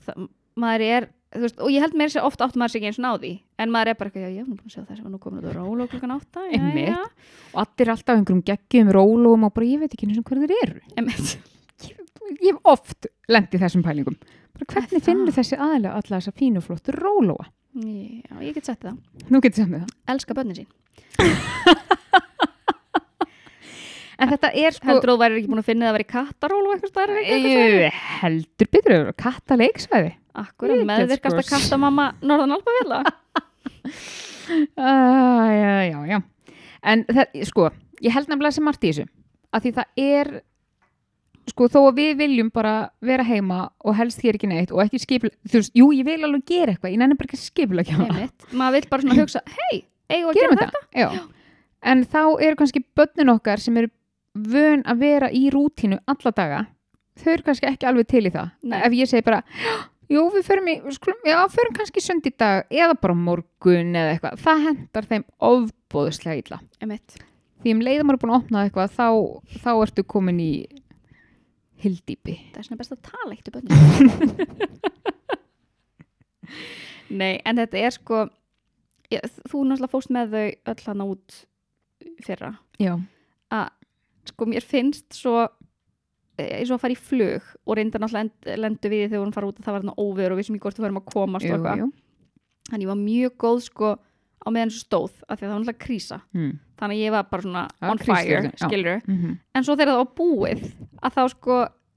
Speaker 1: það, maður er þú veist, og ég held meira sér ofta átt maður sér ekki eins og náði en maður er bara eitthvað, já ég er nú búin að sjá það sem var nú komin út á róla klukkan átta já,
Speaker 2: Einmitt.
Speaker 1: já.
Speaker 2: og allir er alltaf á einhverjum geggjum rólum og bara ég veit ekki eins og hver þeir eru
Speaker 1: Einmitt.
Speaker 2: ég, ég hef oft lent í þessum pælingum
Speaker 1: Það
Speaker 2: bara
Speaker 1: er
Speaker 2: hvernig
Speaker 1: það.
Speaker 2: finnur þessi aðlega alla þessa fínu og flottu rólóa
Speaker 1: já, ég get sett það,
Speaker 2: nú getur sem við það
Speaker 1: elska börnin sín
Speaker 2: en þetta er sko
Speaker 1: heldur þú væri ekki búin að finna það að vera í kattaról og eitthvað stærri
Speaker 2: Ég- heldur betur yfir katta leiksvæði
Speaker 1: akkur að
Speaker 2: Ég get
Speaker 1: meðvirkast að
Speaker 2: sko-
Speaker 1: kattamamma norðan alba vilja
Speaker 2: [laughs] Uh, já, já, já. En það, sko, ég held nefnilega sem margt í þessu. Að því það er, sko, þó að við viljum bara vera heima og helst þér ekki neitt og ekki skipla, þú veist, jú, ég vil alveg gera eitthvað, ég nenni bara ekki að skipla ekki hana.
Speaker 1: maður vil bara svona hugsa, hei, eigum við að
Speaker 2: Gerum
Speaker 1: gera
Speaker 2: þetta, já. En þá eru kannski börnin okkar sem eru vön að vera í rútínu alla daga þau eru kannski ekki alveg til í það
Speaker 1: Nei.
Speaker 2: ef ég segi bara jú við förum, í, við skulum, já, förum kannski í sund í dag eða bara á morgun eða eitthvað það hendar þeim ofbóðslega illa
Speaker 1: Emitt.
Speaker 2: því um leiðum maður er búin að opna eitthvað þá, þá ertu komin í hildýpi
Speaker 1: Það er svona best að tala eitt um bönnum. [laughs] Nei, en þetta er sko, ég, þú náttúrulega fóst með þau öll hann út fyrra.
Speaker 2: já,
Speaker 1: Sko, mér finnst svo, e, eins og að fara í flug og reynda náttúrulega lendu við þegar við vorum að fara út að það var hann óveður og við sem ég hvort við varum að komast og
Speaker 2: jú,
Speaker 1: eitthvað.
Speaker 2: jú.
Speaker 1: Þannig ég var mjög góð sko á meðan þessu stóð, af því að það var náttúrulega krísa.
Speaker 2: Mm.
Speaker 1: Þannig að ég var bara svona
Speaker 2: Ja,
Speaker 1: on fire,
Speaker 2: krísstjórnin, já.
Speaker 1: skilur.
Speaker 2: Mm -hmm.
Speaker 1: en svo þegar það var búið að þá sko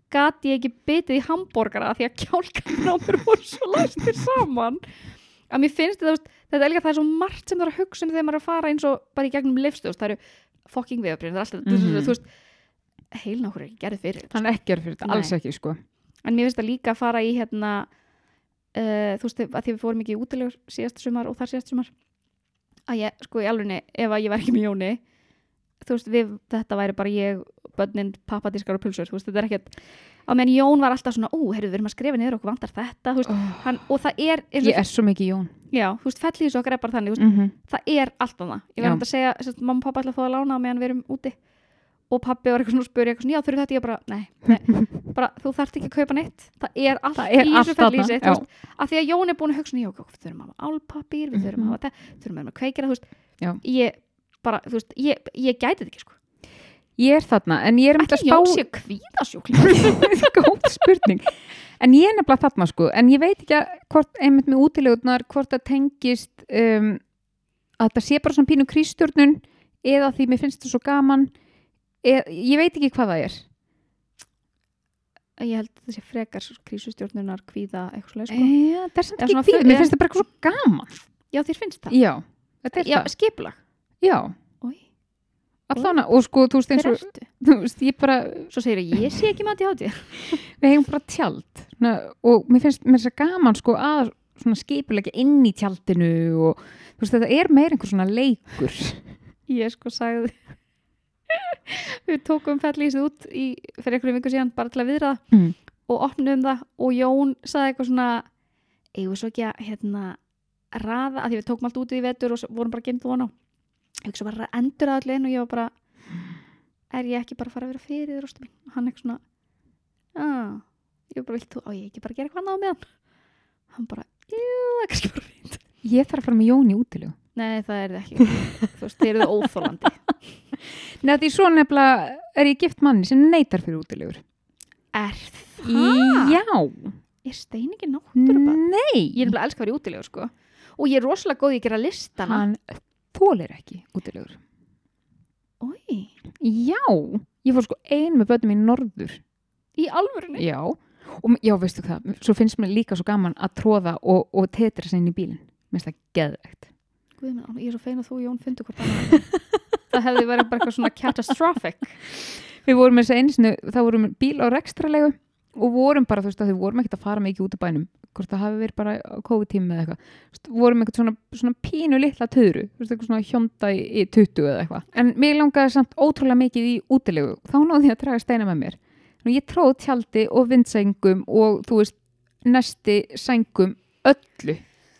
Speaker 1: gat ég ekki bitið í hambúrgara því að kjálkarnir á mér voru svo læstir saman að mér finnst þetta, þú veist, þetta er líka það er svo margt sem það er að hugsa um þegar maður er að fara eins og bara í gegnum lifstjóðs, það eru fucking veðabrýn, það er alltaf,
Speaker 2: Mhm.
Speaker 1: þú veist heilin okkur er ekki gerðið fyrir þetta,
Speaker 2: hann er ekki er fyrir þetta,
Speaker 1: Nei.
Speaker 2: alls ekki sko
Speaker 1: en mér finnst það líka að fara í hérna uh, þú veist, að því við fórum ekki í útilegur síðast sumar og þar síðast sumar að ég, sko, í alveg, ef að ég var ekki með Jóni þú veist, við, þetta væri bara ég börnin, pappadískar og pulsur þú veist, þetta er ekkert á meðan Jón var alltaf svona, ú, heyrðu, við erum að skrifa niður okkur vantar þetta, þú veist,
Speaker 2: oh,
Speaker 1: hann, og það er eins og,
Speaker 2: ég er svo mikið Jón
Speaker 1: já, þú veist, fellíðis okkar er bara þannig, þú veist,
Speaker 2: mm -hmm.
Speaker 1: það er allt annað ég
Speaker 2: Já.
Speaker 1: var hægt að segja, sérst, mamma og pappa ætla að fá að lána á meðan við erum úti og pappi var eitthvað svona að spyrja eitthvað svona, já þurfið þetta ég bara, nei,
Speaker 2: [laughs]
Speaker 1: nei bara þú þarft ekki að kaupa neitt það er allt
Speaker 2: Það er
Speaker 1: í
Speaker 2: allt
Speaker 1: þessu fæll í
Speaker 2: þarna,
Speaker 1: sig
Speaker 2: já.
Speaker 1: að því að Jón er búin að hugsa svona, já, ok, við þurfum að hafa álpapír við þurfum að
Speaker 2: Mhm.
Speaker 1: hafa þetta, þurfum að hafa kveikira þú veist,
Speaker 2: Já.
Speaker 1: ég bara, þú veist, ég, ég gæti þetta ekki sko,
Speaker 2: ég er þarna, en ég er myndið að
Speaker 1: ekki
Speaker 2: spá
Speaker 1: Jón sé kvíðasjúkling
Speaker 2: [laughs] góð spurning en ég er nefnilega þarna sko en ég veit ekki að hvort einmitt með útilegurnar hvort það tengist um, að það sé bara svona pínu krístjórnun eða því mér finnst það svo gaman eð, ég veit ekki hvað það er sko.
Speaker 1: ég held þessi frekar svo krísustjórnunar kvíða eitthvað svoleiðis, sko.
Speaker 2: Eða, það er samt
Speaker 1: Eða
Speaker 2: ekki
Speaker 1: svona
Speaker 2: kvíð,
Speaker 1: fyrir-
Speaker 2: mér finnst það bara eitthvað svo gaman
Speaker 1: já þér finnst það,
Speaker 2: já, þetta er
Speaker 1: já,
Speaker 2: það
Speaker 1: skipulag
Speaker 2: já,
Speaker 1: Oj,
Speaker 2: allan að, og sko, þú veist eins
Speaker 1: hver
Speaker 2: og
Speaker 1: ertu?
Speaker 2: þú veist, ég bara,
Speaker 1: Svo segir ég, ég sé ekki mati á því
Speaker 2: við hefum bara tjald svona, og mér finnst mér þess að gaman sko að svona skipulegja inn í tjaldinu og þú veist, þetta er meir einhver svona leikur
Speaker 1: Ég sko sagði Við tókum fellísið út í, fyrir einhverju vingu síðan bara til að viðra það
Speaker 2: Mm.
Speaker 1: og opnuðum það og Jón sagði eitthvað svona eigum við svo ekki að hérna raða, að því við tókum allt út í vetur og s- vorum bara genið von á ég ekki svo bara að endur að allir inn og ég var bara er ég ekki bara að fara að vera fyrir þér ástin mín?" og hann eitthvað svona aaa, ég var bara vilt þú, á ég ekki bara að gera hvað á meðan hann bara, jú, það er kannski bara fínt
Speaker 2: Ég þarf að fara með Jón í útilegu.
Speaker 1: nei, það er það ekki, [laughs] þú veist, þeir eru óþólandi
Speaker 2: Nei, því svo nefnilega er ég gift manni sem neytar fyrir útilegur.
Speaker 1: er
Speaker 2: Já.
Speaker 1: Ég er stein ekki náttúrubann. Ég er
Speaker 2: Nei.
Speaker 1: nefnilega elska að vera í útilegu sko. Og ég er rosalega góð í að gera listana.
Speaker 2: Hann þólir ekki útilegur.
Speaker 1: Í,
Speaker 2: Já. Ég fór sko ein með börnum í norður.
Speaker 1: í alvörinu.
Speaker 2: Já. Og, m- já, veistu það, svo finnst mér líka svo gaman að tróða og, og tetra sér inn í bílinn. Mér finnst það geðvegt.
Speaker 1: Guð minn, Anna, ég er svo fein að þú og Jón fundu hvort annað. [laughs] það hefði verið bara eitthvað svona catastrophic.
Speaker 2: Við vorum eins og einsinu, þá vorum við bíl á rekstralegu og vorum bara, þú veist, að við vorum ekkert að fara mikið út af bænum, hvort það hafi verið bara COVID-tími eða eitthvað, Þú veist, vorum eitthvað svona, svona pínu litla töðru, þú veist, eitthvað svona hjónda í, í 20 eða eitthvað. En mér langaði samt ótrúlega mikið í útilegu, þá náði ég að draga steina með mér. Nú, ég tróð tjaldi og vindsengum og, þú veist, næsti sængum öllu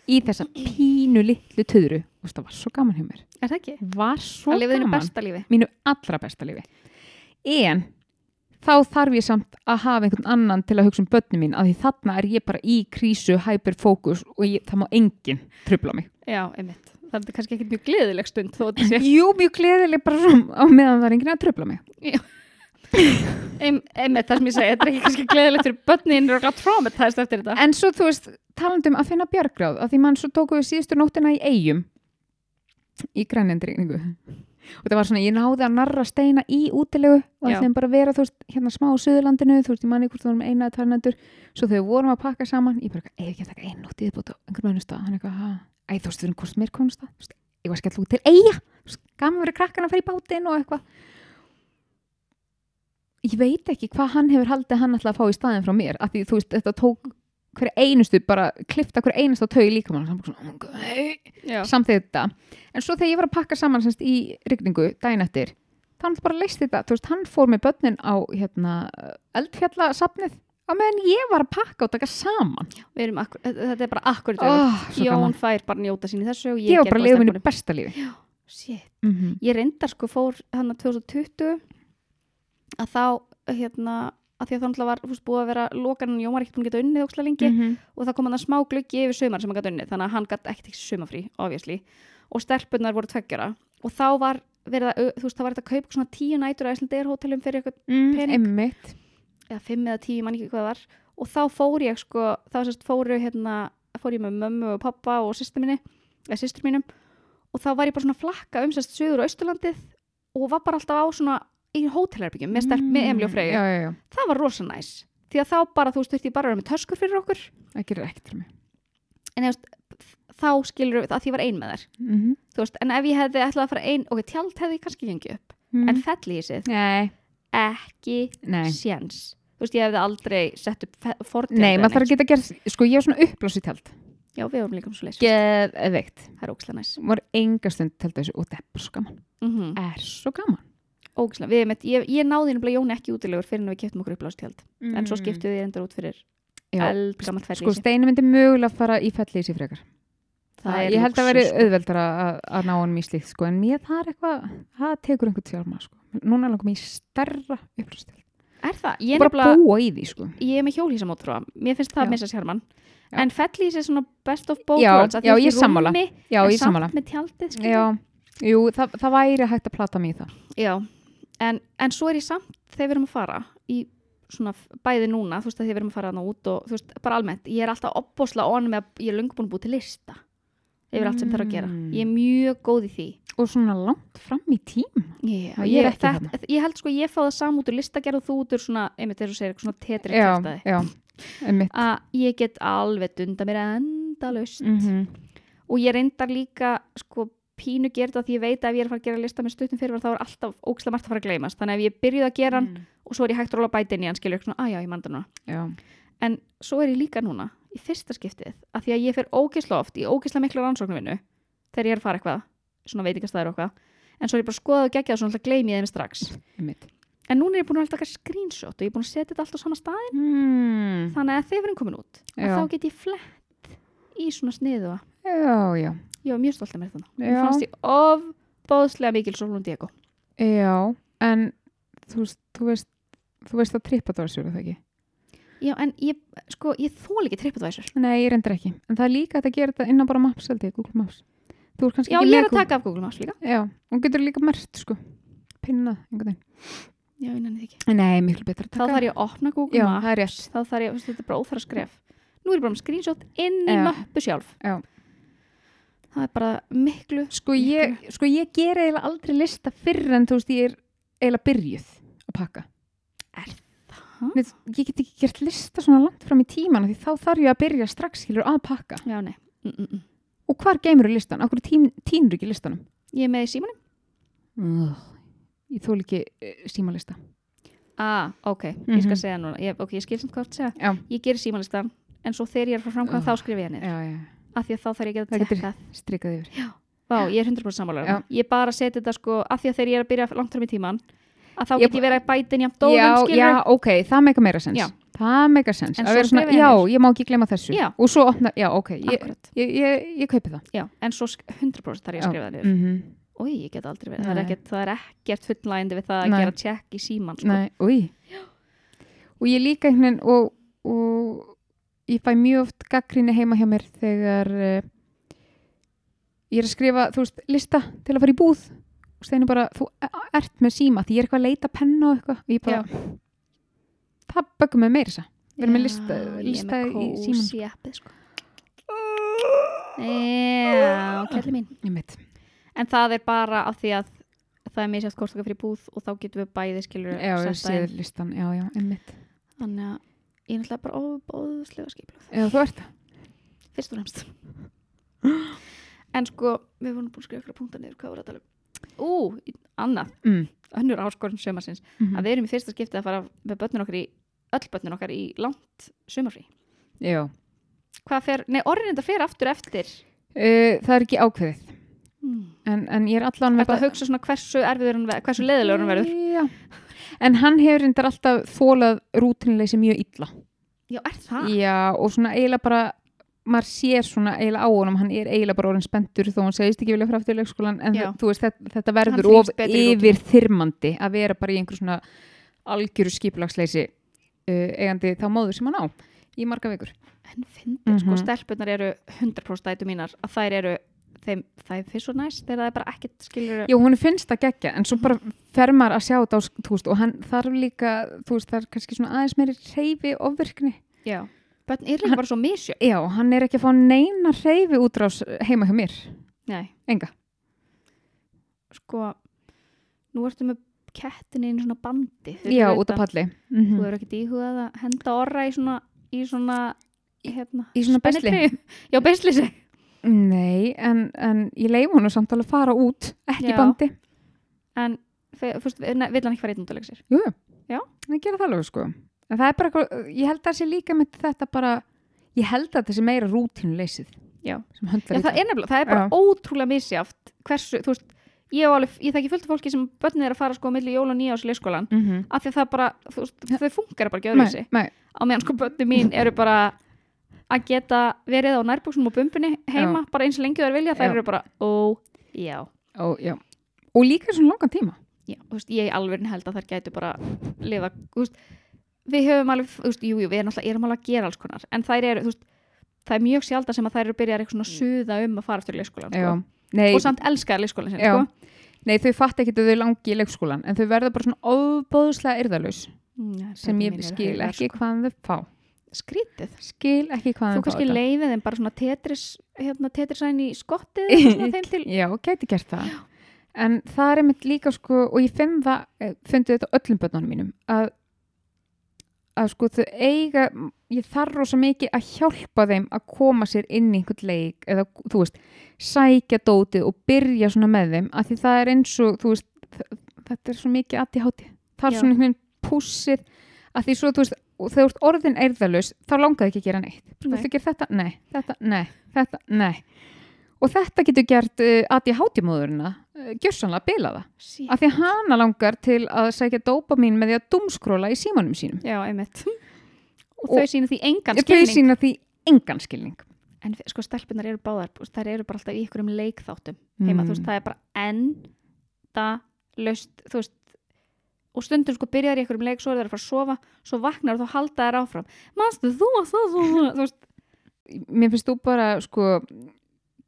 Speaker 2: í þessa pínu litlu töðru. Þú veist, það var svo gaman hjá mér.
Speaker 1: Er það ekki?
Speaker 2: Var svo
Speaker 1: Að lifa þínu
Speaker 2: gaman
Speaker 1: besta lífi.
Speaker 2: mínu allra besta lífi en þá þarf ég samt að hafa einhvern annan til að hugsa um börnum mín að því þarna er ég bara í krísu, hyperfókus og ég, það má enginn trubla mig
Speaker 1: Já, einmitt. Það er kannski ekkert mjög gleðileg stund þó að það sé.
Speaker 2: Jú, mjög gleðileg bara svona á meðan það er enginn að trubla mig
Speaker 1: Ein, einmitt, það sem ég segi, þetta er ekki kannski gleðilegt fyrir börnin og glátt traumatæst eftir þetta.
Speaker 2: En svo, þú veist, talandum um að finna bjargráð að því mann svo tóku við síðustu nóttina í eigum í grænendringu og það var svona, ég náði að narra steina í útilegu og
Speaker 1: Já.
Speaker 2: þeim bara vera, þú veist, hérna smá á Suðurlandinu, þú veist, ég manni hvort þú vorum eina eða tvær nætur, svo þegar við vorum að pakka saman ég bara, eitthvað, eigum ekki að taka einn nótt í viðbót á einhvern veginn stað, hann eitthvað, ha, æ, þú veist, við erum hvort mér komum stað, þú veist, ég var skell út til eiga, þú veist, gaman verið krakkan að fara í bátinn og eitthvað ég veit ekki hvað hann hefur haldið að hann ætla að fá í staðin frá mér, af því, þú veist, þetta tók hver einustu, bara klifta hver einustu á taug líka mann, hann bara svona, oh my god,
Speaker 1: Já.
Speaker 2: samþýtt þetta en svo þegar ég var að pakka saman semst, í rigningu dæin eftir hann bara leist þetta, þú veist, hann fór með börnin á hérna, eldfjallasafnið á meðan ég var að pakka og taka saman
Speaker 1: Við erum akkur, þetta er bara akkurat öfugt.
Speaker 2: oh, svo
Speaker 1: Jón
Speaker 2: gaman,
Speaker 1: fær bara njóta sín í þessu og Ah, ég,
Speaker 2: ég var
Speaker 1: get
Speaker 2: bara að lifa minni
Speaker 1: stelpunum.
Speaker 2: besta lífi
Speaker 1: Shit.
Speaker 2: mm
Speaker 1: Ég reyndar sko fór hann að 2020 að þá hérna að því að það náttúrulega var fúst, búið að vera lokanin Jón var ekkert búin að geta unnið ókslega lengi
Speaker 2: Mm. Mhm.
Speaker 1: og það kom hann að smá glöggi yfir sömar sem hann gæti unnið þannig að hann gæti ekkert ekki sömafrí, obviously og stelpunar voru tveggjara og þá var verið að, þú veist, þá var þetta að kaupa svona tíu nætur á Æslandeir hótelum fyrir eitthvað,
Speaker 2: mm,
Speaker 1: Pening.
Speaker 2: einmitt
Speaker 1: eða fimm eða tíu, ég man ekki hvað það var og þá fór ég sko, þá sérst fóru hérna, fór ég með mömmu og pappa og sýstur minni, eða sýstur mínum og þá var ég bara svona að flakka um sérst söður og austurlandið og var bara alltaf á svona í hótelherbyggjum með, stelp, með Emil og Freyju,
Speaker 2: Mm. já, já, já,
Speaker 1: það var rosa næs því að þá bara, þú veist, þurfti ég bara að vera með töskur fyrir okkur
Speaker 2: það gerir ekkert fyrir mig
Speaker 1: en eða, þá skilur við að því ég var ein með þær
Speaker 2: mm -hmm.
Speaker 1: þú veist, en ef ég hefði ætlað að fara ein ok, tjald hefði ég kannski gengið upp en fellísið,
Speaker 2: Mhm. nei,
Speaker 1: ekki
Speaker 2: Mm. nei
Speaker 1: séns þú veist, ég hefði aldrei sett upp fordjönd
Speaker 2: Nei, maður þarf að geta gert, sko ég var svona uppblásið tjald
Speaker 1: já, við vorum líka um svo leys,
Speaker 2: Geðveikt
Speaker 1: það er ógislega næs
Speaker 2: Var enga stund tjald þessu og það er bara svo gaman
Speaker 1: mm
Speaker 2: Er svo gaman
Speaker 1: ógislega, við, með, ég, ég náði nefnilega Jóni ekki útilegur fyrir en við keftum okkur upplástjald
Speaker 2: mm.
Speaker 1: en svo skiptum við endur út fyrir
Speaker 2: Já.
Speaker 1: eldgamalt
Speaker 2: Sko
Speaker 1: fellísi
Speaker 2: steinu myndi mögulega að fara í fellísi frekar
Speaker 1: Það er
Speaker 2: Ég held að
Speaker 1: lúxus,
Speaker 2: veri
Speaker 1: sko.
Speaker 2: auðveldar að að ná honum í slíkt sko En mér það er eitthvað, það tekur einhver tjálma sko Núna langum ég í stærra uppblásið tjald
Speaker 1: er það, ég er
Speaker 2: Bara
Speaker 1: nefnilega
Speaker 2: búa í því sko
Speaker 1: ég er með hjólhísamótrúa, mér finnst það
Speaker 2: Já.
Speaker 1: með þess herman
Speaker 2: Já.
Speaker 1: en fellísi er svona best of both
Speaker 2: Já,
Speaker 1: worlds að því
Speaker 2: já,
Speaker 1: þú
Speaker 2: ég
Speaker 1: ert í
Speaker 2: sammála.
Speaker 1: rúmi,
Speaker 2: Já,
Speaker 1: en
Speaker 2: ég
Speaker 1: samt
Speaker 2: sammála
Speaker 1: með tjaldið, skilur.
Speaker 2: Já, jú, það, það væri hægt að plata mig í það
Speaker 1: Já, en, en svo er ég samt þegar við erum að fara í svona f- bæði núna, þú veist að þegar við erum að fara þarna út og þú veist, bara almennt, ég er alltaf opbóslega on með að ég er löngu búin að búið til lista yfir allt sem þarf að gera.
Speaker 2: Mm.
Speaker 1: Ég er mjög góð í því.
Speaker 2: Og svona langt fram í tíma
Speaker 1: Já,
Speaker 2: Já,
Speaker 1: ég,
Speaker 2: ég er
Speaker 1: ég,
Speaker 2: ekki
Speaker 1: þett, ég held sko ég fá það saman út úr listagerð og þú út úr svona, einmitt þegar þú segir eitthvað svona tetri
Speaker 2: Já,
Speaker 1: kæftæði,
Speaker 2: já, einmitt
Speaker 1: að ég get alveg dunda mér endalaust
Speaker 2: mm
Speaker 1: og ég reyndar líka sko pínu gerða því ég veit að ef ég er að fara að gera lista með stuttum fyrir þá er alltaf ókslega margt að fara að gleymast þannig að ef ég byrjuð að gera hann og svo er ég hægt að róla bæti inn í hann skilur svona, að já, ég man það núna
Speaker 2: Já,
Speaker 1: en svo er ég líka núna, í fyrsta skiptið að því að ég fer ógisla oft í ógisla miklu rannsóknarvinnu þegar ég er að fara eitthvað svona veitingastæður og eitthvað en svo er ég bara skoðað og geggjað og svona alltaf gleymi ég þeim strax
Speaker 2: einmitt
Speaker 1: en núna er ég búin að taka screenshot og ég er búin að setja þetta allt á sama stað
Speaker 2: mm.
Speaker 1: þannig að þegar við erum komin út að
Speaker 2: Já.
Speaker 1: þá get ég flett í svona sniðu
Speaker 2: Já, já,
Speaker 1: ég var mjög stolt af mér þannig
Speaker 2: Já.
Speaker 1: mér fannst ég of mikil Solon Diego
Speaker 2: já En þú veist, þú veist Þú veist að trippa það sér það ekki
Speaker 1: já, en ég, sko, ég þól ekki trippadvæsur
Speaker 2: Nei, ég reyndar ekki En það er líka hægt að gera þetta inn á bara Maps held ég, Google Maps Þú er kannski
Speaker 1: já,
Speaker 2: ekki
Speaker 1: ég er
Speaker 2: með
Speaker 1: að taka af Google Maps líka
Speaker 2: Google- Já, hún getur líka mert sko Pinnað, einhvern
Speaker 1: já, ég nenni því ekki.
Speaker 2: veginn Nei, miklu betra að
Speaker 1: þá
Speaker 2: taka
Speaker 1: þarf ég að opna Google
Speaker 2: Já,
Speaker 1: Maps
Speaker 2: það er rétt
Speaker 1: þá þarf ég, þú veist, þetta er bara óþara skref nú er ég bara með screenshot inn í
Speaker 2: Já.
Speaker 1: möppu sjálf
Speaker 2: Já.
Speaker 1: það er bara miklu
Speaker 2: Sko ég, sko ég gera eiginlega aldrei lista fyrr en þú veist ég er eiginlega byrjuð að pakka.
Speaker 1: Er
Speaker 2: það? Við, ég get ekki gert lista svona langt fram í tíman því þá þarf ég að byrja strax skilur að pakka.
Speaker 1: já, nei, mm -mm. mm.
Speaker 2: Og hvar geymur listan? Akkur tím, tínur ekki listanum?
Speaker 1: ég er með í símanum
Speaker 2: Ugh. Ég þól ekki uh, símalista.
Speaker 1: ah, ok, ég
Speaker 2: Mhm.
Speaker 1: skal segja núna ég, ok, ég skil samt hvort segja
Speaker 2: Já.
Speaker 1: ég gerir símanlistan, en svo þegar ég er frá framkvæm þá skrif ég henni,
Speaker 2: Ah, Já, já,
Speaker 1: af því að þá þarf ég ekki að
Speaker 2: Það getur-
Speaker 1: tekka
Speaker 2: strikað yfir.
Speaker 1: Vá, ég er 100% sammála þarna. ég bara seti þetta sko, af því að þegar ég er að byrja langt fram í tíman að þá
Speaker 2: Ég
Speaker 1: get ég verið að bæta inn jafn
Speaker 2: já,
Speaker 1: dóðum skilur
Speaker 2: já, ok, það meika meira sens.
Speaker 1: Já.
Speaker 2: Það meika sens.
Speaker 1: En
Speaker 2: Að
Speaker 1: svo
Speaker 2: vera svona,
Speaker 1: skrifa ég
Speaker 2: já,
Speaker 1: niður.
Speaker 2: ég má ekki glema þessu.
Speaker 1: Já.
Speaker 2: Og svo opna, já, ok, ég,
Speaker 1: Akkurat,
Speaker 2: ég, ég, ég kaupi það.
Speaker 1: já, en svo sk- 100% þarf ég að
Speaker 2: Já.
Speaker 1: skrifa það niður
Speaker 2: Mm
Speaker 1: Úi, ég get aldrei verið, það er
Speaker 2: Nei.
Speaker 1: ekkert, það er ekkert fullnægindi við það að
Speaker 2: Nei.
Speaker 1: gera tjekk í síman sko.
Speaker 2: Nei, úi. Og ég líka einhvern veginn og, og ég fæ mjög oft gaggrinni heima hjá mér þegar uh, ég er að skrifa, þú veist, lista til að fara í búð og steinu bara, þú e- ert með síma því ég er eitthvað að leita að penna og eitthvað og ég bara, það böggum með meira þess að vera með lista, lista
Speaker 1: Ég er
Speaker 2: í síman
Speaker 1: með kósi appið sko. Já, kelli mín
Speaker 2: Ég mitt,
Speaker 1: En það er bara af því að það er misjátt hvort okkar fyrir búð og þá getum við bæði skilur
Speaker 2: já, ég séð listan, já, já, ég mitt
Speaker 1: Þannig að ég er náttúrulega bara óbóðslega skipluð
Speaker 2: Já, þú ert það
Speaker 1: Fyrst og fremst
Speaker 2: [gasps]
Speaker 1: En sko, við vorum búin að skrifa ykkur punktar niður hvað voru að tala um Ú, í- annað,
Speaker 2: mm.
Speaker 1: önnur áskorun sömarsins
Speaker 2: mhm.
Speaker 1: að við erum í fyrsta skipti að fara með börnin okkar í öll börnin okkar í langt sumarfrí
Speaker 2: Já,
Speaker 1: hvað fer, nei orðin þetta fer aftur eftir
Speaker 2: uh, það er Eh, ekki ákveðið
Speaker 1: Mm.
Speaker 2: en, en ég er allan
Speaker 1: Þetta að hugsa um svona hversu erfiður hann verður, hversu leiðilegur hann verður.
Speaker 2: já. en hann hefur reyndar alltaf þólað rútinleysi mjög illa
Speaker 1: Já, er það?
Speaker 2: já og svona eiginlega bara maður sér svona eiginlega á honum hann er eiginlega bara orðin spendur þó hann segist ekki vilja frá aftur í leikskólan en
Speaker 1: Já.
Speaker 2: þ- þú veist þetta, þetta verður
Speaker 1: þrífst
Speaker 2: of
Speaker 1: betur í rútínu.
Speaker 2: yfir þyrmandi að vera bara í einhver svona algjöru skipulagsleysi uh, eigandi þá móður sem hann á í marga vikur
Speaker 1: En fyndir, sko,
Speaker 2: Mhm.
Speaker 1: stelpunar eru 100% dætu mínar að þær eru, þeim, það er fyrst svo næst þegar það er bara ekkert skilur.
Speaker 2: Jú, hún finnst það geggja, en svo bara fer maður að sjá þetta á, sk- þú veist, og hann þarf líka, þú veist, það er kannski svona aðeins meiri reyfi ofvirkni.
Speaker 1: Já. Bönn er líka bara svo misjöfn.
Speaker 2: Já, hann er ekki að fá neina reyfi útrás heima hjá mér,
Speaker 1: Nei,
Speaker 2: enga.
Speaker 1: sko, nú ertu með kettinni inn í svona bandi. Þau
Speaker 2: Já,
Speaker 1: eru
Speaker 2: út af
Speaker 1: auðvitað-
Speaker 2: palli.
Speaker 1: Þú
Speaker 2: Mhm.
Speaker 1: eru ekkert íhugað að henda orra í svona, í svona, hérna.
Speaker 2: Í svona
Speaker 1: spennitreyju.
Speaker 2: besli.
Speaker 1: Já, besli sig.
Speaker 2: Nei, en, en ég leif hún og samtala að fara út, ekki
Speaker 1: Já.
Speaker 2: í bandi.
Speaker 1: En, fe- fyrst, ne, vill hann ekki fara einn útalegsir?
Speaker 2: Jú, jú.
Speaker 1: Já.
Speaker 2: Það gera það alveg, sko. En það er bara, eitthvað- ég held að það sé líka með þetta bara, ég held að það sé meira rútinuleysið.
Speaker 1: Já.
Speaker 2: Sem höndlar
Speaker 1: Já, það
Speaker 2: illa.
Speaker 1: er nefnilega, það er bara
Speaker 2: Já.
Speaker 1: ótrúlega misjáft hversu, þú veist, ég, á alveg, ég þekki fullt af fólki sem börnir er að fara sko á milli jól og nýjárs í leikskólan,
Speaker 2: Mhm.
Speaker 1: af því að það bara, þú veist, þau funkar bara ekki öðru
Speaker 2: Nei, nei.
Speaker 1: á meðan sko börnir mín eru bara að geta verið á nærbúksum og bumbunni heima, bara eins og lengi þau vilja,
Speaker 2: Já.
Speaker 1: þær eru bara, ó, já
Speaker 2: Ó, já. Og líka svona langan tíma.
Speaker 1: Já, þú veist, ég í alveg held að þær gætu bara lifa, þú veist við höfum alveg, þú veist, jú, jú, við erum alltaf, erum alveg að gera alls konar, en þær eru, þú veist það er mjög sjálda sem að þær eru byrjar eitthvað svona að suða um að fara aftur í leikskólan sko.
Speaker 2: Já. Nei,
Speaker 1: og samt elskaðar leikskólan sinni,
Speaker 2: Já.
Speaker 1: sko
Speaker 2: Nei, þau fatt ekki að þau langi í leikskólan en þau verða bara svona óbóðslega yrðalus
Speaker 1: Já,
Speaker 2: Mm, sem
Speaker 1: börnin
Speaker 2: ég
Speaker 1: mín eru
Speaker 2: skil
Speaker 1: haugar,
Speaker 2: ekki
Speaker 1: sko.
Speaker 2: hvaðan þau fá
Speaker 1: skrítið,
Speaker 2: skil ekki
Speaker 1: þú
Speaker 2: hvaðan þau fá
Speaker 1: kannski
Speaker 2: þetta.
Speaker 1: leifið þeim bara svona tetris hérna tetrisaðin í
Speaker 2: [laughs]
Speaker 1: skottið eða svona þeim til
Speaker 2: Já, gæti gert það en það er einmitt líka sko og ég finn það, eh, fundi þetta á öllum börnunum mínum að, að sko þau eiga ég þarf rosa mikið að hjálpa þeim að koma sér inn í einhvern leik eða þú veist, sækja dótið og byrja svona með þeim af því það er eins og þú veist, þ- þetta er svo mikið aðti háti, það er
Speaker 1: Já.
Speaker 2: svona einhvern veginn pússið að því svo þú veist og þegar þú ert orðin eirðalus, þá langaði ekki að gera neitt þú
Speaker 1: Nei.
Speaker 2: veist að gera þetta, nei, þetta, nei þetta, nei og þetta getur gert uh, aðti hátimóðurina uh, gjörsanlega að bila það
Speaker 1: Sí.
Speaker 2: af því að hana langar til að sækja dópamin með því að dumskróla í símanum sínum
Speaker 1: já, einmitt og
Speaker 2: Og-
Speaker 1: þau sína því engan
Speaker 2: þau
Speaker 1: skilning
Speaker 2: sína því engan skilning
Speaker 1: en f- sko stelpunar eru báðar þú veist, þær eru bara alltaf í ykkurum leikþáttum heima,
Speaker 2: Mm.
Speaker 1: þú veist, það er bara enda löst, þú veist og stundum sko byrjar í einhverjum leik svo er það að fara að sofa, svo vaknar og þá halda þær áfram manstu þú að það, þú, þú, þú veist
Speaker 2: mér finnst þú bara sko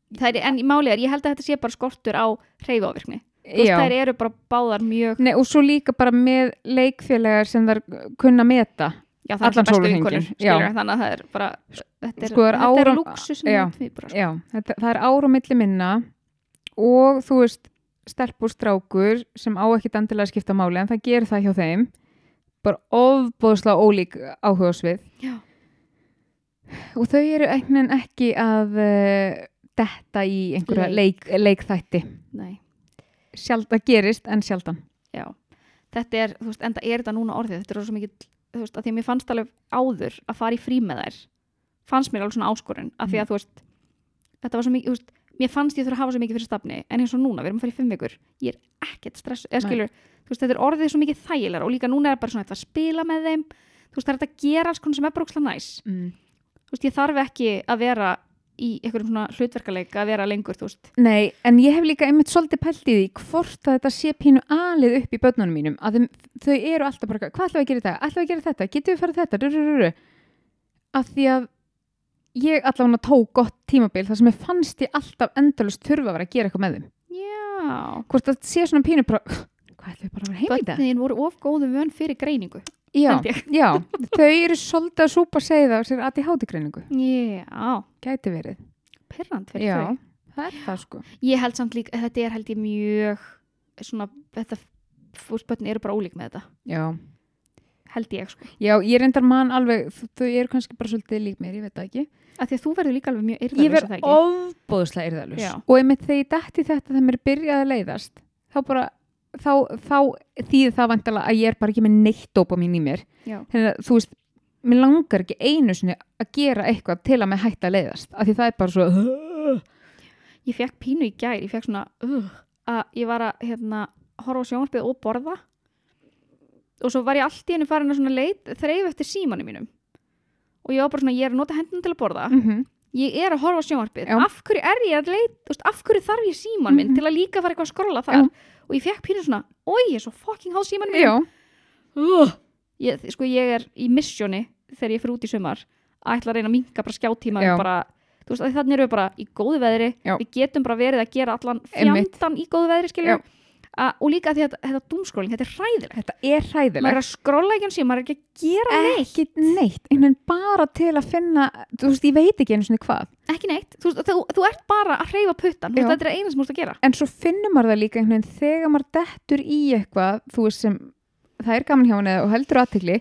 Speaker 1: Það er, en málið er, ég held að þetta sé bara skortur á hreyfávirkni. Þú veist,
Speaker 2: já.
Speaker 1: þær eru bara báðar mjög,
Speaker 2: Nei, og svo líka bara með leikfélagar sem þar kunna meta
Speaker 1: já það er
Speaker 2: Allan
Speaker 1: alltaf bestu
Speaker 2: sólarhringinn,
Speaker 1: vinkonur,
Speaker 2: já.
Speaker 1: skilur þannig að það er bara, þetta er,
Speaker 2: Sko, er
Speaker 1: þetta er
Speaker 2: ára-
Speaker 1: lúksu sem
Speaker 2: já.
Speaker 1: það tvíbura.
Speaker 2: Já, þetta, það er ára á milli minna og þú veist stelpur strákur sem á ekkit endilega að skipta máli en það gerir það hjá þeim bara ofbóðslega ólík áhuga svið
Speaker 1: Já.
Speaker 2: og þau eru eignin ekki að uh, detta í einhverja leik. leikþætti
Speaker 1: Nei,
Speaker 2: Sjald, það gerist en sjaldan
Speaker 1: já. Þetta er, þú veist, enda er þetta núna orðið, þetta er svo mikið, þú veist, að því að mér fannst alveg áður að fara í frí með þær, fannst mér alveg svona áskorun, af
Speaker 2: Mm.
Speaker 1: því að, þú veist, þetta var svo mikið, þú veist, mér fannst ég þurfa að hafa svo mikið fyrir stafni, en eins og núna, við erum að fara í fimm vikur, ég er ekkert stress, eða
Speaker 2: Nei.
Speaker 1: skilur, þú veist, þetta er orðið svo mikið þægilega og líka núna er bara svona þetta að spila með þeim, þú veist, það er þetta að gera alls konar sem er bara ókslega næs.
Speaker 2: mm.
Speaker 1: þú veist, ég þarf ekki að vera í einhverjum svona hlutverkaleik að vera lengur, þú veist.
Speaker 2: Nei, en ég hef líka einmitt svolítið pælt í því hvort að þetta sé pínu alið upp í börnunum mínum að þeim, þau eru alltaf bara, hvað ætlum við að gera í dag? Ætlum við að gera þetta? Getum við farið þetta? Rurururu. Af því að ég allavega tók gott tímabil þar sem ég fannst ég alltaf endalust þurfa að vera að gera eitthvað með þeim.
Speaker 1: Já.
Speaker 2: Hvort að sé svona pínu bara, hvað ætlum við bara að vera heim í dag?
Speaker 1: Bönniðin voru of góðu vön fyrir greiningu.
Speaker 2: Já,
Speaker 1: held ég.
Speaker 2: já, þau eru svolítið að súpa segja það sér að í hátigreiningu.
Speaker 1: Já,
Speaker 2: Gæti verið.
Speaker 1: perrand fyrir
Speaker 2: Já, það er það sko.
Speaker 1: þau. Ég held samt líka, þetta er held ég mjög svona, þetta, fúrspötnin eru bara ólík með þetta.
Speaker 2: Já.
Speaker 1: Held ég, sko.
Speaker 2: Já, ég reyndar mann alveg, þau- þau eru kannski bara svolítið lík mér, ég veit það ekki.
Speaker 1: Af því að þú verður líka alveg mjög
Speaker 2: ég
Speaker 1: yrðarlega
Speaker 2: verð ofbóðslega yrðalus
Speaker 1: Já.
Speaker 2: og einmitt þegar ég dætti þetta þegar mér er byrjað að leiðast þá bara þá, þá þýði það vantilega að ég er bara ekki með neitt dópa mín í mér
Speaker 1: Já.
Speaker 2: þannig að þú veist, mér langar ekki einu sinni að gera eitthvað til að mér hætta að leiðast af því það er bara svo
Speaker 1: ég fekk pínu í gær, ég fekk svona uh, að ég var að hérna, horfa á sjónvarpið og borða og svo var ég allt í henni farin að svona leit þreif eftir símanum mínum og ég var bara svona, ég er að nota hendun til að borða
Speaker 2: mm -hmm.
Speaker 1: ég er að horfa á sjónvarpið,
Speaker 2: Já.
Speaker 1: af hverju er ég að leit þú veist, af hverju þarf ég síman minn
Speaker 2: Mhm.
Speaker 1: til að líka fara eitthvað að skrolla þar
Speaker 2: Já.
Speaker 1: og ég fekk pínu svona, oi, ég er svo fucking háð símanum mínum
Speaker 2: já,
Speaker 1: uh, ég, sko ég er í missjóni þegar ég fyrir út í sumar að ætla að reyna að minka bara skjátíma
Speaker 2: Já.
Speaker 1: bara, þú veist, þannig erum við bara í góðu veðri
Speaker 2: Já.
Speaker 1: við getum bara verið að gera allan
Speaker 2: Einmitt.
Speaker 1: fjandan í góðu veðri skiljum A, og líka því að þetta, þetta doomscrolling, þetta er hræðilegt
Speaker 2: þetta er
Speaker 1: maður
Speaker 2: hræðilegt
Speaker 1: er að skrolla ekki um síðan, maður er ekki að gera neitt
Speaker 2: ekki neitt, en bara til að finna þú veist, ég veit ekki einu svona hvað
Speaker 1: ekki neitt, þú, veist, þú, þú ert bara að hreyfa puttan þú veist,
Speaker 2: Já.
Speaker 1: þetta er eina sem þú ert að gera
Speaker 2: en svo finnur maður það líka einhvern veginn þegar maður dettur í eitthvað þú veist sem það er gaman hjá henni og heldur aðtegli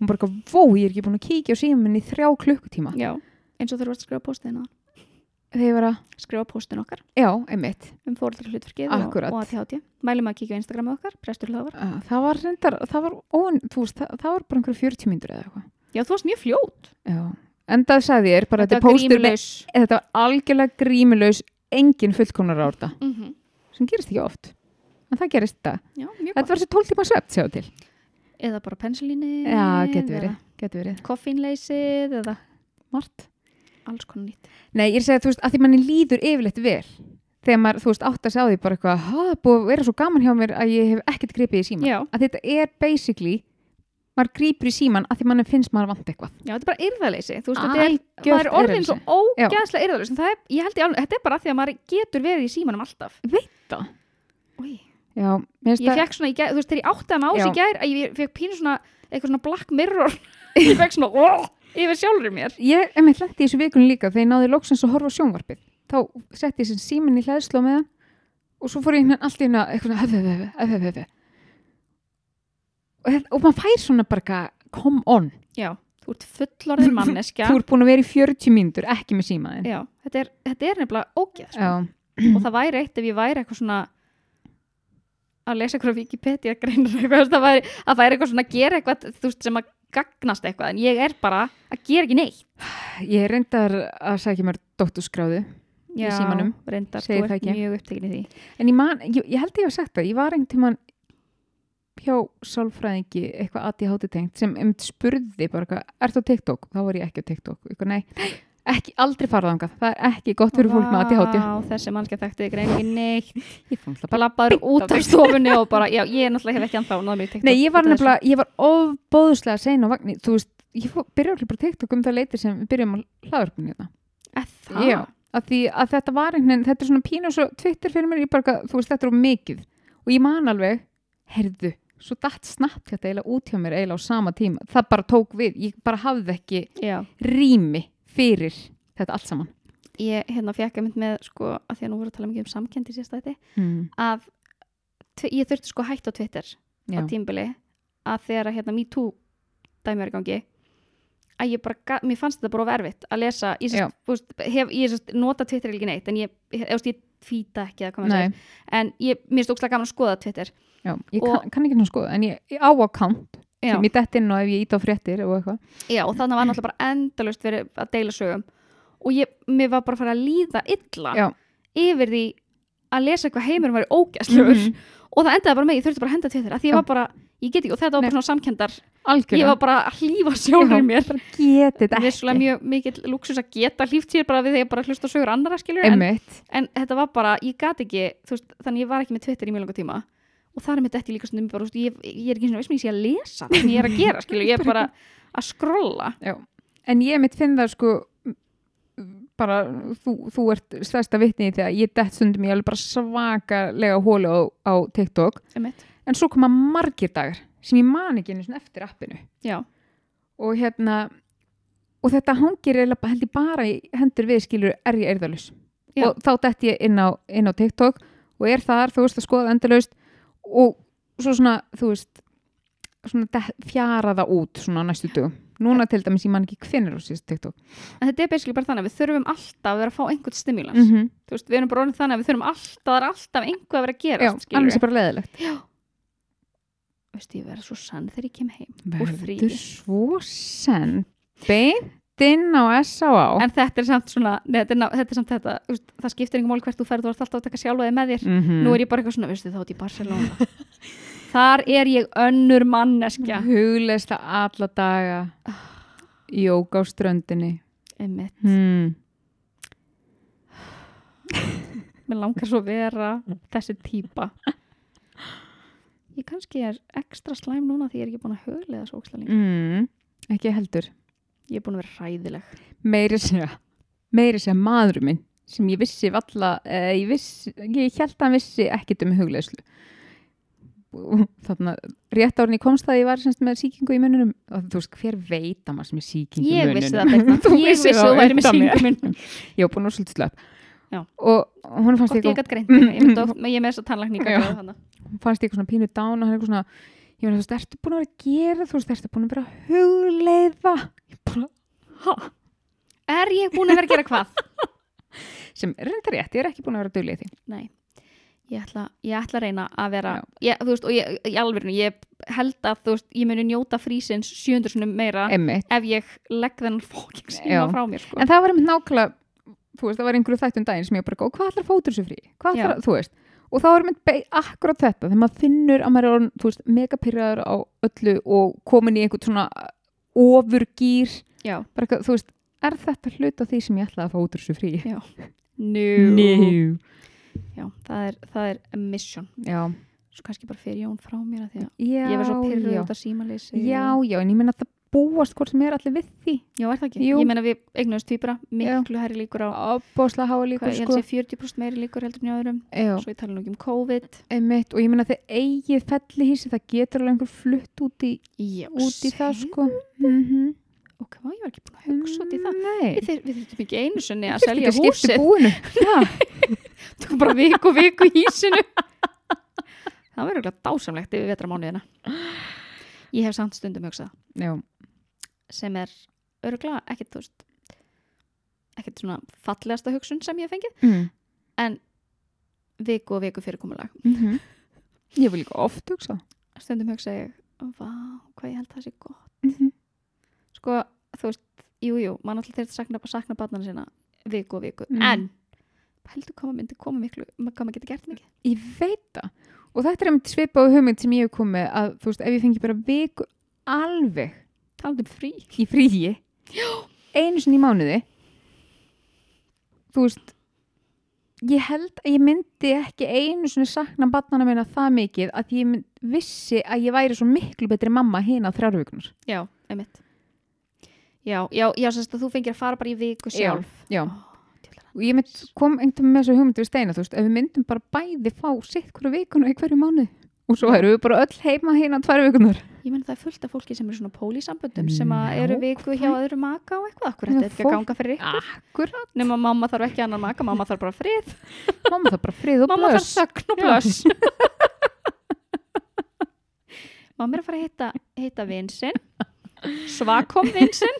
Speaker 2: og bara eitthvað, vó, ég er ekki búin að kíkja á síminn í þrjá klukkutíma
Speaker 1: Já. eins og þurfum að skrifa póstinu
Speaker 2: þegar ég var að,
Speaker 1: skrifa póstinu okkar
Speaker 2: já, einmitt
Speaker 1: um fóreldra hlutverkið og,
Speaker 2: Akkúrat.
Speaker 1: og að þjátti mælum að kíkja á Instagramu okkar, prestur hlöfar
Speaker 2: Uh, það var reyndar, það var ón, þú veist, það, það var bara einhverju 40 mínútur eða eitthvað
Speaker 1: Já, þú varst mjög fljót
Speaker 2: já, en það sagði ég er bara þetta
Speaker 1: var
Speaker 2: póstur með,
Speaker 1: grímulaus.
Speaker 2: þetta var algjörlega grímulaus engin fullkomnar árta
Speaker 1: -hmm.
Speaker 2: sem gerist ekki oft en það gerist þetta,
Speaker 1: Já, mjög
Speaker 2: þetta var þessi 12 tíma svept sjáðu til,
Speaker 1: gott Eða bara pensilíni
Speaker 2: já, getur verið getur verið,
Speaker 1: Koffínleysið eða
Speaker 2: margt
Speaker 1: alls konar nýtt
Speaker 2: Nei, ég er að segja, þú veist, að því manni líður yfirleitt vel þegar maður, þú veist, átt að segja á því bara eitthvað, ha, það er búið að vera svo gaman hjá mér að ég hef ekkert gripið í síman.
Speaker 1: Já,
Speaker 2: Að þetta er basically, maður gripur í síman að því manni finnst maður vant eitthvað.
Speaker 1: já þetta er bara yrðaleysi Þú veist, þetta er,
Speaker 2: Algjört
Speaker 1: maður er orðin svo
Speaker 2: eyrðaleysi.
Speaker 1: ógæðslega yrðaleysi Það er, ég held ég alveg, þetta er bara af því að maður getur verið í símanum alltaf
Speaker 2: Veit það.
Speaker 1: Új,
Speaker 2: Já, mér finnst
Speaker 1: Ég
Speaker 2: það,
Speaker 1: fekk svona í gær, þú veist, þegar ég áttaði mig á sig
Speaker 2: Já.
Speaker 1: í gær að ég fekk pínu svona, eitthvað svona black mirror [laughs] Ég fekk svona, ó, yfir sjálfur mér
Speaker 2: ég, ef mér hlætti í þessu vikunni líka þegar ég náði loksins að horfa á sjónvarpið. Þá setti ég sem síman í hlæðslu með hann og svo fór ég hérna allt í hérna eitthvað, svona, hef, hef, hef, hef, hef, hef. Og, þetta- og maður fær svona bara, eitthvað, come on,
Speaker 1: Já, þú ert fullorðin manneskja
Speaker 2: þú ert búin að vera í 40 mínútur, ekki með símaðin.
Speaker 1: Já, þetta er, þetta er nefnilega ógæð sko.
Speaker 2: Já,
Speaker 1: og það væri eitt ef ég væri eitthvað svona að lesa eitthvað Wikipedia greinur eitthvað, það væri, að væri eitthvað svona að gera eitthvað þú veist, sem að gagnast eitthvað en ég er bara að gera ekki neitt
Speaker 2: ég er reyndar að sækja mér dótturskráðu
Speaker 1: Já,
Speaker 2: símanum,
Speaker 1: reyndar, þú
Speaker 2: segir
Speaker 1: ert
Speaker 2: það ekki.
Speaker 1: mjög upptekin í því
Speaker 2: en ég man, ég, ég held að ég hef sagt það ég var einhvern tímann hjá sálfræðingi eitthvað ADHD tengt sem um spurði bara eitthvað, ert á TikTok? Þá var ég ekki á TikTok eitthvað, nei, ekki, aldrei farað þangað það er ekki gott fyrir fólk með ADHD
Speaker 1: Vá, þessi mannskja þekkti grein ekki neitt
Speaker 2: ég fann það bara
Speaker 1: labbaður út
Speaker 2: á
Speaker 1: af
Speaker 2: þig.
Speaker 1: stofunni og bara, já, ég er náttúrulega hef ekki anþá náðu mér í TikTok
Speaker 2: Nei, ég
Speaker 1: út
Speaker 2: var
Speaker 1: af
Speaker 2: nefnilega, ég var ofbóðslega sein á vagnir, þú veist, ég fó- byrja allir bara á TikTok um það leiti sem við byrjum á hérna. hlaðarpunni þetta.
Speaker 1: þessu. Eh, það?
Speaker 2: Já, að því að þetta var einhvern veginn, þetta er svona pínu og svo Twitter fyrir mér, ég bara, eitthvað, þú veist, þetta er of mikið og ég man alveg, herðu svo datt snabbt þetta eiginlega út hjá mér eiginlega á sama tíma, það bara tók við ég bara hafði ekki
Speaker 1: já,
Speaker 2: rými fyrir þetta allt saman
Speaker 1: ég hérna fekk að mynd með sko, að því að nú voru að tala mikið um samkendi sérstæti
Speaker 2: mm,
Speaker 1: að tv- ég þurfti sko að hætta á Twitter á
Speaker 2: já,
Speaker 1: tímbili að þegar að hérna MeToo dæmi er í gangi að ég bara, ga- mér fannst þetta bara of erfitt að lesa, ég
Speaker 2: Já.
Speaker 1: sérst, fúst, hef, ég sérst nota Twitter ekki neitt, en ég, ég, ég, ég fýta ekki að koma að
Speaker 2: nei,
Speaker 1: segja, en ég, mér stókslega gaman að skoða Twitter
Speaker 2: já, ég
Speaker 1: Og-
Speaker 2: kann, kann ekki ná skoða en ég, ég á account
Speaker 1: já,
Speaker 2: sem ég dett inn og ef ég ít á fréttir og eitthvað
Speaker 1: já, og þannig var náttúrulega bara endalaust verið að deila sögum og ég, mér var bara að fara að líða illa
Speaker 2: Já.
Speaker 1: yfir því að lesa eitthvað heimurum væri ógæslegur
Speaker 2: Mhm.
Speaker 1: og það endaði bara með, ég þurfti bara að henda Twitter að því ég
Speaker 2: Já.
Speaker 1: var bara, ég get ekki, og þetta var bara svona samkendar ég
Speaker 2: algjörlega,
Speaker 1: var bara að hlýfa sjálfur
Speaker 2: Já.
Speaker 1: mér
Speaker 2: geti þetta
Speaker 1: vissulega
Speaker 2: ekki
Speaker 1: mjög mikill luxus að geta hlýft sér bara við þegar bara hlusta á sögur annara skilur en,
Speaker 2: einmitt,
Speaker 1: en þetta var bara, ég gat ekki þú veist, þannig ég var ekki með Twitter í mjög langa tíma og það er mitt eftir líka stundum bara, þú veist, ég, ég er ekki eins og veist mér ég sé að lesa það sem ég er að gera skilur, ég er bara að skrolla
Speaker 2: já, en ég mitt finn það sko bara, þú, þú ert stærsta vitni í því að ég dett stundum ég alveg bara svakalega hólu á, á TikTok, en svo koma margir dagar sem ég man ekki einu sinni eftir appinu
Speaker 1: já,
Speaker 2: og hérna og þetta hangir eiginlega bara- held ég bara í hendur við skilur er ég erðalus
Speaker 1: Já.
Speaker 2: og þá dett ég inn á, inn á TikTok og er þar, þú veist, að skoða endalaust og svo svona, þú veist svona dett- fjara það út svona á næstu dögum núna til dæmis ég man ekki hvinir á síðast TikTok
Speaker 1: en þetta er basically bara þannig að við þurfum alltaf að vera að fá einhvern stimulans
Speaker 2: mm -hmm.
Speaker 1: þú veist, við erum bara orðin þannig að við þurfum alltaf það er alltaf einhver að vera að
Speaker 2: Já,
Speaker 1: gera
Speaker 2: annars er
Speaker 1: skilur,
Speaker 2: bara leðilegt
Speaker 1: veist, ég verða svo sann þegar ég kem heim úr fríi.
Speaker 2: svo senn beint komst inn á S.A.A.
Speaker 1: En þetta er samt svona, nei, þetta, er, ná- þetta er samt þetta, þú veist, það skiptir engum mál hvert þú ferð, þú ert alltaf að taka sjálfaði með þér.
Speaker 2: mm -hmm.
Speaker 1: Nú er ég bara eitthvað svona, veistu, þá er ég í Barcelona. [laughs] Þar er ég önnur manneskja.
Speaker 2: Hugleista alla daga
Speaker 1: Ah.
Speaker 2: Jóka á ströndinni
Speaker 1: Einmitt.
Speaker 2: hmm.
Speaker 1: Mér langar svo að vera þessi típa. Ég kannski er ekstra slæm núna því ég er ekki búin að huglega svo ókslega lengi.
Speaker 2: Mm. Ekki heldur
Speaker 1: Ég er búin að vera hræðileg.
Speaker 2: Meiri segja Meiri segja maður minn sem ég vissi valla eh, ég, vissi, ég held að hann vissi ekkit um hugleislu þannig að rétt árun ég komst að ég var semst með sýkingu í mununum og þú veist hver veit að maður sem er sýkingu í
Speaker 1: Ég
Speaker 2: mununum
Speaker 1: vissi það,
Speaker 2: [laughs]
Speaker 1: Birna.
Speaker 2: Þú
Speaker 1: Ég
Speaker 2: vissir
Speaker 1: vissi
Speaker 2: það
Speaker 1: að þú væri með
Speaker 2: undan mér.
Speaker 1: syngu minn.
Speaker 2: ég var búin að vera svolítið slöpp
Speaker 1: Já.
Speaker 2: og hún fannst
Speaker 1: Gott
Speaker 2: ég
Speaker 1: ég gætt greint. þig. Ég myndi oft- ég er með þess að tannlækninga.
Speaker 2: Já. hún fannst ég eitthvað svona pínu dán og hann er eitthvað svona ég meina þú veist, ertu búin að vera að gera þú veist, ertu búin að vera að hugleiða Ég bara, ha?
Speaker 1: Er ég búin að vera að gera hvað?
Speaker 2: sem er reyndar rétt, ég er ekki búin að vera að duglega í því
Speaker 1: Nei, ég ætla, ég ætla að reyna að vera, ég, þú veist, og ég, í alvegurinu, ég held að, þú veist, ég muni njóta frísins 700 sinum meira
Speaker 2: Einmitt.
Speaker 1: ef ég legg þennan fóking
Speaker 2: Já.
Speaker 1: síma frá mér, sko.
Speaker 2: en það var einmitt nákvæmlega þú veist, það var einhverju þættum daginn sem ég bara góð, hvað ætlar fótur þessu frí, hvað
Speaker 1: Já.
Speaker 2: ætlar, þú veist og þá er einmitt be- akkurat þetta þegar maður finnur að maður er orðin, þú veist, megapyrraður á öllu og komin í einhvern svona ofurgýr
Speaker 1: Já,
Speaker 2: bara eitthvað, þú veist, er þetta hlut á því sem ég ætla að fá út úr þessu frí?
Speaker 1: njú.
Speaker 2: Njú.
Speaker 1: Já, það er, það er a mission.
Speaker 2: Já.
Speaker 1: Svo kannski bara fyrir Jón frá mér að því að
Speaker 2: Já,
Speaker 1: ég var svo pyrruð
Speaker 2: já.
Speaker 1: út af símalýsi.
Speaker 2: Já, já, en ég meina að það búast hvort sem er allir við því.
Speaker 1: Já, er það ekki?
Speaker 2: Jú.
Speaker 1: Ég meina við eignuðast týpra, miklu herri líkur á,
Speaker 2: Ábúslega háa líka,
Speaker 1: hvað, ég
Speaker 2: sko.
Speaker 1: held sé 40% meiri líkur heldur en í öðrum.
Speaker 2: Já,
Speaker 1: Svo ég tala nú ekki um COVID.
Speaker 2: einmitt, og ég meina að þið eigið fellihísi, það getur alveg einhver flutt út í,
Speaker 1: Já,
Speaker 2: út í það,
Speaker 1: segðu.
Speaker 2: sko. Mm -hmm.
Speaker 1: Ok, vá, ég var ekki búin að hugsa út í það.
Speaker 2: Nei.
Speaker 1: Við, þyr, við þurftum ekki einu sinni að
Speaker 2: Þyrfti
Speaker 1: selja
Speaker 2: ekki að skipta um
Speaker 1: húsið.
Speaker 2: búinu. [laughs] Já,
Speaker 1: Tökum bara viku, viku í hísinu. það verður eitthvað dásamlegt yfir vetramánuðina. Ég hef samt stundum hugsað
Speaker 2: já.
Speaker 1: sem er örgulega ekkert, þú veist, ekkert svona fallegasta hugsun sem ég hef fengið.
Speaker 2: Mm.
Speaker 1: Viku og viku fyrirkomulag.
Speaker 2: Mm Ég vil líka oft hugsa.
Speaker 1: Stundum hugsað ég, vá, hvað ég held það sé gott.
Speaker 2: Mm -hmm.
Speaker 1: Sko, þú veist, jú, jú, mann alltaf þeirra sakna, sakna barnana sína viku og viku.
Speaker 2: Mm.
Speaker 1: En, heldur hvað maður myndi koma miklu, hvað maður getur gert mikið.
Speaker 2: Ég veit það. Og þetta er einmitt svipað hugmynd sem ég hef komið að, þú veist, ef ég fengi bara viku alveg
Speaker 1: Talandi um frí.
Speaker 2: í [gasps] fríi einu sinni í mánuði þú veist ég held að ég myndi ekki einu sinni sakna barnana minna það mikið að ég mynd, vissi að ég væri svo miklu betri mamma hérna á þrjárvíkunar
Speaker 1: Já, einmitt. Já, já, já, sérst að þú fengir að fara bara í viku sjálf.
Speaker 2: já.
Speaker 1: Ó, djöfull er hann.
Speaker 2: og ég mynd, kom einhvern með þessu hugmyndu við steina þú veist, ef við myndum bara bæði fá sitt hverju vikuna í hverju mánuði og svo erum við bara öll heima hérna tvær vikunar
Speaker 1: Ég menn það er fullt af fólki sem eru svona pólísamböndum sem að eru viku hjá öðru maka og eitthvað. Akkur þetta er
Speaker 2: Mm, Já,
Speaker 1: ekki að
Speaker 2: fólk-
Speaker 1: ganga fyrir ykkur.
Speaker 2: akkurat,
Speaker 1: Nefnum að mamma þarf ekki annar maka, mamma þarf bara frið.
Speaker 2: [laughs] mamma það bara frið og
Speaker 1: Mamma þarf
Speaker 2: blöss
Speaker 1: sögn og
Speaker 2: Já. [laughs]
Speaker 1: blöss. mamma er að fara að hitta, hitta vinsinn. Svakom
Speaker 2: [laughs]
Speaker 1: vinsinn.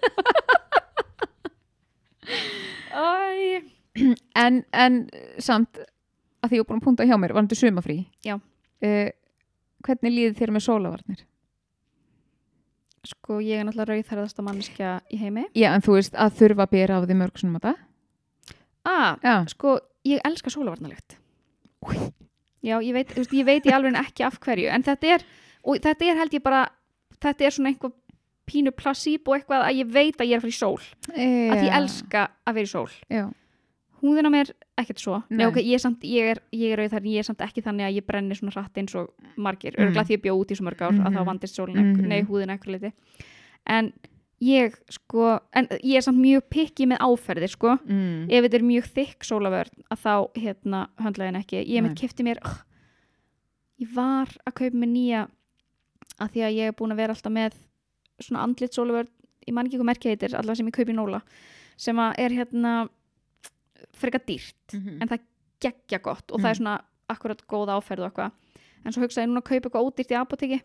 Speaker 1: Æ,
Speaker 2: en, en samt að því ég var búin að punta hjá mér var þetta sumafrí
Speaker 1: Já.
Speaker 2: Eh, hvernig líði þér með sólavarnir?
Speaker 1: sko, ég er náttúrulega rauðherðasta mannskja í heimi.
Speaker 2: já en þú veist að þurfa að bera af því mörg svona matta
Speaker 1: Ah,
Speaker 2: já,
Speaker 1: sko, ég elska sólavarnalegt já, ég veit, þú veist, ég veit í alveg ekki af hverju, en þetta er og þetta er held ég bara, þetta er svona einhver pínu placebo eitthvað að ég veit að ég er að fara í sól,
Speaker 2: e
Speaker 1: að ég elska að vera í sól
Speaker 2: já.
Speaker 1: húðin á mér, ekkert svo Nei,
Speaker 2: Nei.
Speaker 1: ok, ég, er samt, ég, er, ég er auðvitað, ég er samt ekki þannig að ég brenni svona hratt eins og margir,
Speaker 2: Mhm.
Speaker 1: mm. örgla því ég bjó út í svo mörg ár að
Speaker 2: Mhm.
Speaker 1: þá vandist sólin, mm
Speaker 2: Mhm.
Speaker 1: nei, húðin ekkur liti en ég, sko en ég er samt mjög pikki með áferðir, sko
Speaker 2: Mm.
Speaker 1: ef þetta er mjög þykk sólavörn að þá hérna höndla ég henni ekki ég mitt
Speaker 2: Nei.
Speaker 1: kefti mér oh, ég var að kaupa mér nýja að því að ég er búin að vera alltaf með svona andlit sólavörn ég man ekki hvað merkja heitir, allavega sem ég kaupi í Nóla sem að er hérna frekar dýrt,
Speaker 2: Mhm.
Speaker 1: en það geggja gott og
Speaker 2: Mm.
Speaker 1: það er svona akkurat góð áferð og eitthvað en svo hugsaði ég núna að kaupa eitthvað ódýrt í apoteki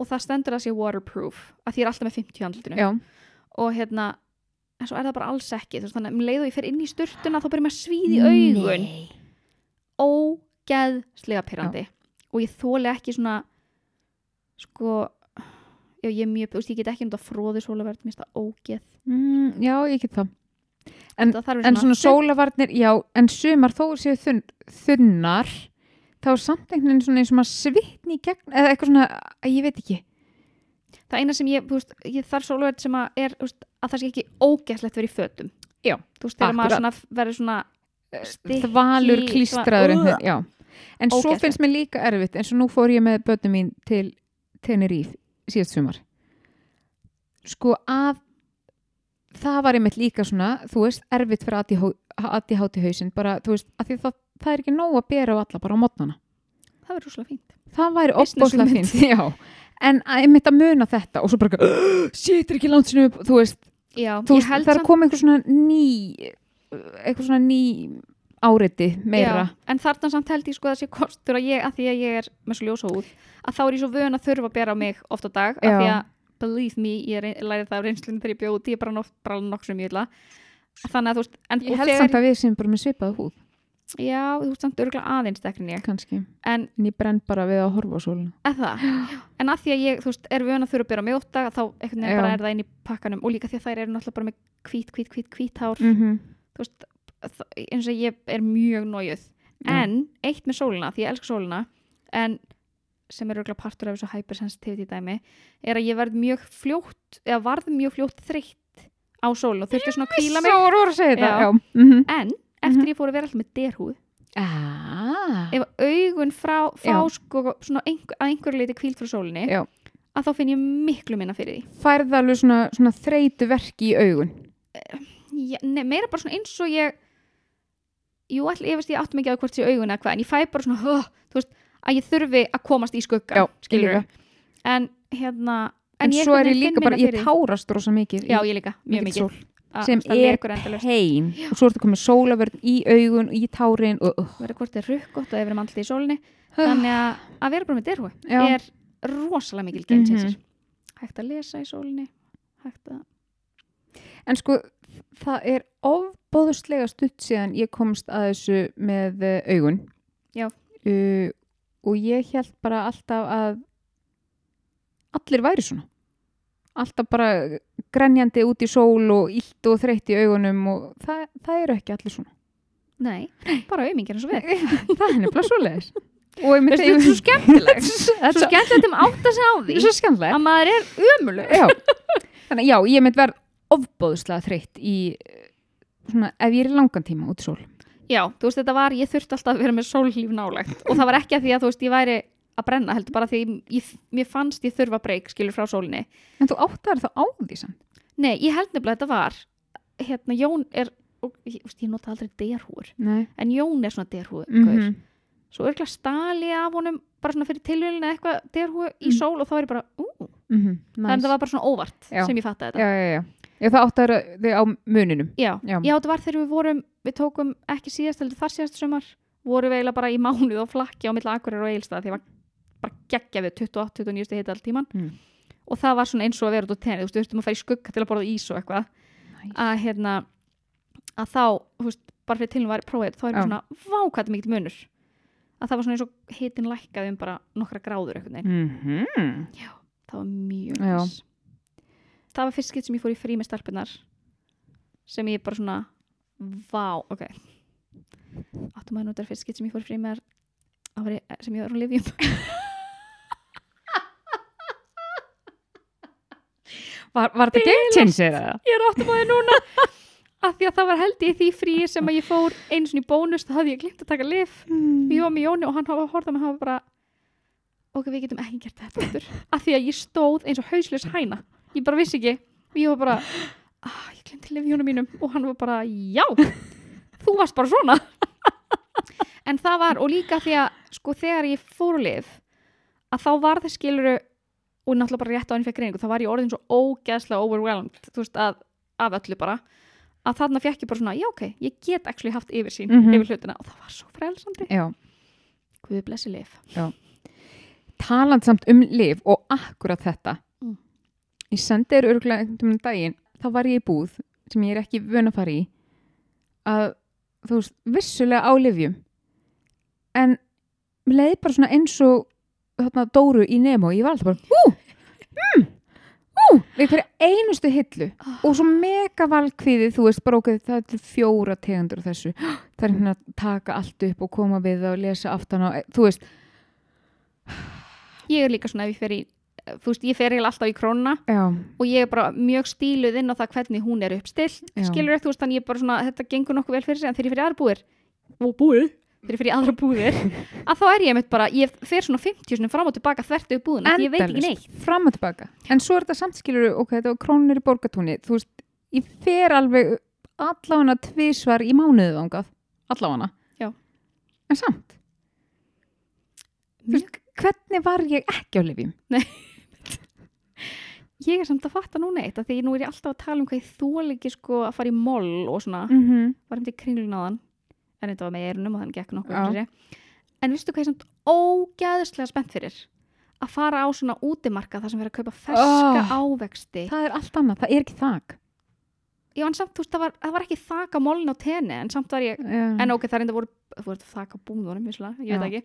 Speaker 1: og það stendur að sé waterproof að því ég er alltaf með 50 í andlitinu
Speaker 2: já,
Speaker 1: og hérna en svo er það bara alls ekki þú veist, þannig að um leið og ég fer inn í sturtuna þá byrjum ég að svíði
Speaker 2: Nei.
Speaker 1: augun ógeðslega pyrrandi og ég þóli ekki svona sko já, ég er mjög, þú veist, ég get ekki um þetta fróði sólaverð, mér finnst það ógeð
Speaker 2: mm, já, ég get það En-
Speaker 1: Það þarf
Speaker 2: en svona sólavarnir, já, en sumar þó séu þunn, þunnar þá er samt einhvern veginn svona eins og maður svitni í gegn, eða eitthvað svona að ég veit ekki,
Speaker 1: það eina sem ég, þú veist, ég þarf sóluverð sem að er, þú veist, að það sé ekki ógæslegt verið í fötum.
Speaker 2: Já,
Speaker 1: Þú veist, þegar maður
Speaker 2: akkurat. Eh,
Speaker 1: svona verður svona, Stykki,
Speaker 2: þvalur klístraður
Speaker 1: svona,
Speaker 2: einhvern, já, en svo
Speaker 1: Ógeðslegt.
Speaker 2: finnst mér líka erfitt, eins og nú fór ég með börnum mín til Tenerife síðast sumar sko að það var einmitt líka svona, þú veist, erfitt fyrir aðti háti hausinn, bara, þú veist að því það, það er ekki nóg að bera á alla bara á mótnana
Speaker 1: það verður rúslega fínt.
Speaker 2: það væri
Speaker 1: Business
Speaker 2: opbóðslega
Speaker 1: hugmynd.
Speaker 2: fínt já. en að einmitt að muna þetta og svo bara [gasps] eitthvað, shit, er ekki langt sinni upp þú veist,
Speaker 1: Já,
Speaker 2: þú
Speaker 1: ég
Speaker 2: veist
Speaker 1: held
Speaker 2: það er að koma einhver svona ný eitthvað svona ný áriti meira
Speaker 1: Já, en þarna samt held ég sko að það sé kostur að ég, að því að ég er með svo ljósa húð, að þá er ég svo vön að þurfa að bera á mig oft á dag, að
Speaker 2: Já.
Speaker 1: því að believe me, ég er- lærið það af reynslunni þegar ég bjóð út, ég er bara nótt, bara nokkur sem ég illa. Þannig að þú veist, en
Speaker 2: ég
Speaker 1: og
Speaker 2: held samt að við sem bara með svipað húð
Speaker 1: já, þú veist samt örgulega aðeins dekkin ég,
Speaker 2: kannski,
Speaker 1: en
Speaker 2: en ég brenn bara við að horfa á sóluna
Speaker 1: að það, en að því að ég, þú veist, er vön að þurfa að bera á mig oft dag, þá einhvern veginn
Speaker 2: Já.
Speaker 1: bara er það inn í pakkanum og líka því að þær eru náttúrulega bara með hvít, hvít, hvít, hvít hár,
Speaker 2: mm -hmm.
Speaker 1: þú veist, þ- eins og ég er mjög nójuð
Speaker 2: Já.
Speaker 1: en eitt með sólina, því ég elska sólina en sem er auðvitað partur af þessu hypersensitivity dæmi er að ég verð mjög fljótt eða varð mjög fljótt þreytt á sólinu og þurfti svona að kvíla mig
Speaker 2: svo voru að segja þetta
Speaker 1: Já.
Speaker 2: já. Mm -hmm.
Speaker 1: en eftir ég fór að vera alltaf með derhúð
Speaker 2: ah.
Speaker 1: ef augun frá, fá
Speaker 2: Já.
Speaker 1: sko, svona einhver, að einhverju leiti kvíld frá sólinni
Speaker 2: Já.
Speaker 1: að þá finn ég miklu minna fyrir því
Speaker 2: færð alveg svona, svona þreytu verki í augun
Speaker 1: ég, nei, meira bara svona eins og ég jú, all, ég veist ég átt mikið á því hvort sé augun eða hvað, en ég fæ bara svona "Huh," þú veist, að ég þurfi að komast í skugga
Speaker 2: skilur
Speaker 1: skilurðu. en hérna
Speaker 2: en,
Speaker 1: ég
Speaker 2: svo er
Speaker 1: einhvern
Speaker 2: ég
Speaker 1: veginn
Speaker 2: líka
Speaker 1: finn
Speaker 2: bara,
Speaker 1: minna
Speaker 2: ég
Speaker 1: fyrir því.
Speaker 2: tárast rosa mikið í
Speaker 1: já, ég líka, mjög
Speaker 2: mikilli
Speaker 1: mikið
Speaker 2: sól.
Speaker 1: að
Speaker 2: sem
Speaker 1: standa
Speaker 2: er
Speaker 1: leikur Ah, endalaust.
Speaker 2: pein og svo ertu komið sólavörn í augun í tárin og uh,
Speaker 1: verður hvort er rukk gott að við erum alltaf í sólinni þannig að að vera bara með derhú
Speaker 2: Ah. já,
Speaker 1: er rosalega mikil gain
Speaker 2: Mhm.
Speaker 1: changer hægt að lesa í sólinni hægt að
Speaker 2: en sko það er ofbóðuslega stutt síðan ég komst að þessu með eh, augun
Speaker 1: Já.
Speaker 2: uh, og ég held bara alltaf að allir væri svona alltaf bara grenjandi út í sól og illt og þreytt í augunum og það, það eru ekki allir svona
Speaker 1: nei, bara auðmingir eins og við
Speaker 2: það er nefnilega svo leiðis og ég
Speaker 1: Veistu, þetta er svo skemmtilegt svo
Speaker 2: skemmtilegt
Speaker 1: skemmtilegt um átta sig á [laughs] því
Speaker 2: svo skemmtilegt
Speaker 1: að maður er ömuleg
Speaker 2: já. þannig að já, ég mynd verð ofbóðslega þreytt í eh, svona, ef ég er í langan tíma út í sól
Speaker 1: já, þú veist þetta var, ég þurfti alltaf að vera með sóllíf nálægt og það var ekki að því að þú veist ég væri að brenna heldur bara því ég, mér fannst ég þurfa breyk skilur frá sólinni
Speaker 2: en þú áttar þá á því samt
Speaker 1: nei, ég held nefnilega að þetta var hérna, Jón er og, ég, þú veist, ég nota aldrei derhúr
Speaker 2: Nei.
Speaker 1: en Jón er svona derhúr
Speaker 2: Mm
Speaker 1: gaur. svo örgulega stali af honum bara svona fyrir tilvölinu eitthvað derhúr í
Speaker 2: Mm.
Speaker 1: sól og þá er ég bara, ú, en það
Speaker 2: Mhm, nice.
Speaker 1: var bara svona óvart
Speaker 2: Já.
Speaker 1: sem ég fattaði þetta
Speaker 2: já, já, já. já, það áttar þig á muninum
Speaker 1: Já.
Speaker 2: Já.
Speaker 1: Já. þetta var þegar við vorum, við tókum ekki síðast heldur þar síðast sumar, vorum við eiginlega bara í mánuð og flakki á milla akkurir og eigilstað því var bara geggja við 28-29 hita all tíman
Speaker 2: Mm.
Speaker 1: og það var svona eins og að vera út á tenni, þú veist, við þurftum að fara í skugga til að borða ís og eitthvað að hérna, að þá, þú veist, bara fyrir tilum var prófið, þá
Speaker 2: Já.
Speaker 1: erum svona vákvæði mikill munur að það var svona eins og hitin lækkaði um bara nokkra gráður eitthvað, mm.
Speaker 2: mm
Speaker 1: það var mjög
Speaker 2: Já.
Speaker 1: næs. það var fyrst skipt sem ég fór í frí með stelpunar sem ég bara svona vá, ok áttum að nota fyrst skipt sem ég fór í frí með það var ég- sem ég var á lifjum
Speaker 2: var, var þetta game changer eða?
Speaker 1: [laughs] ég er áttum að þið núna af því að það var held ég í því fríi sem að ég fór einu sinni í bónus, það hafði ég glimt að taka lif
Speaker 2: Mm.
Speaker 1: ég var með Jóni og hann hafa horfða með hafa bara ok, við getum ekki gert þetta aftur af því að ég stóð eins og hauslis hæna ég bara vissi ekki og ég var bara, ah, ég glemti lifi Jónu mínum og hann var bara, já þú varst bara svona en það var, og líka því að sko þegar ég fór á lif að þá var það skiluru og náttúrulega bara rétt á henni fekk greiningu, þá var ég orðin svo ógeðslega overwhelmed, þú veist, að af öllu bara, að þarna fekk ég bara svona já ok, ég get actually haft yfirsýn
Speaker 2: Mhm.
Speaker 1: yfir hlutina og það var svo frelsandi
Speaker 2: já,
Speaker 1: Guð blessi lif.
Speaker 2: taland samt um liv og akkurat þetta
Speaker 1: Mm.
Speaker 2: ég sendi þér örgulega einhvern veginn daginn þá var ég í búð sem ég er ekki vön að fara í að þú veist, vissulega á livjum en mér leiði bara svona eins og þarna Dóru í Nemo, ég var alltaf bara hú, mm, hú við hverja einustu hillu og svo mega valkvíðið, þú veist, bara okkur það er til fjóra tegundur af þessu [gasps] það er hérna að taka allt upp og koma við það og lesa aftan á, þú veist
Speaker 1: Ég er líka svona ef ég fer í þú veist, ég fer eiginlega alltaf í krónuna
Speaker 2: já,
Speaker 1: og ég er bara mjög stíluð inn á það hvernig hún er uppstill
Speaker 2: Já.
Speaker 1: skilur þú veist, þannig ég er bara svona, þetta gengur nokkuð vel fyrir sig en þegar ég fyrir aðra búðir og búið, þegar ég fyrir aðra [laughs] búðir að þá er ég mitt bara, ég fer svona 50 sinni fram og tilbaka þvert upp búðina, því ég veit ekki neitt
Speaker 2: fram og tilbaka, en svo er þetta samskilur ok, þetta var krónir í borgatúni þú veist, ég fer alveg allána tvísvar í mánuðið ángað allána
Speaker 1: Já.
Speaker 2: en samt Þú veist, hvernig var ég ekki á lifjum?
Speaker 1: ég er samt að fatta núna eitt, af því nú er ég alltaf að tala um hvað ég þól ekki sko að fara í moll og svona,
Speaker 2: Mm -hmm.
Speaker 1: varum til kringlun á þann en þetta var með erunum og þann gekk nokkuð
Speaker 2: Já.
Speaker 1: fyrir sig. en veistu hvað ég er samt ógæðislega spennt fyrir að fara á svona útimarka þar sem verður að kaupa ferska
Speaker 2: Ah.
Speaker 1: ávexti
Speaker 2: Það er allt annað, það er ekki þak
Speaker 1: Já, en samt, þú veist, það var, það var ekki þaka mólin á tenni, en samt var ég, en ok, það er enda voru, þú veist, þaka búðunum, vissulega, ég veit
Speaker 2: Mm. Já.
Speaker 1: ekki,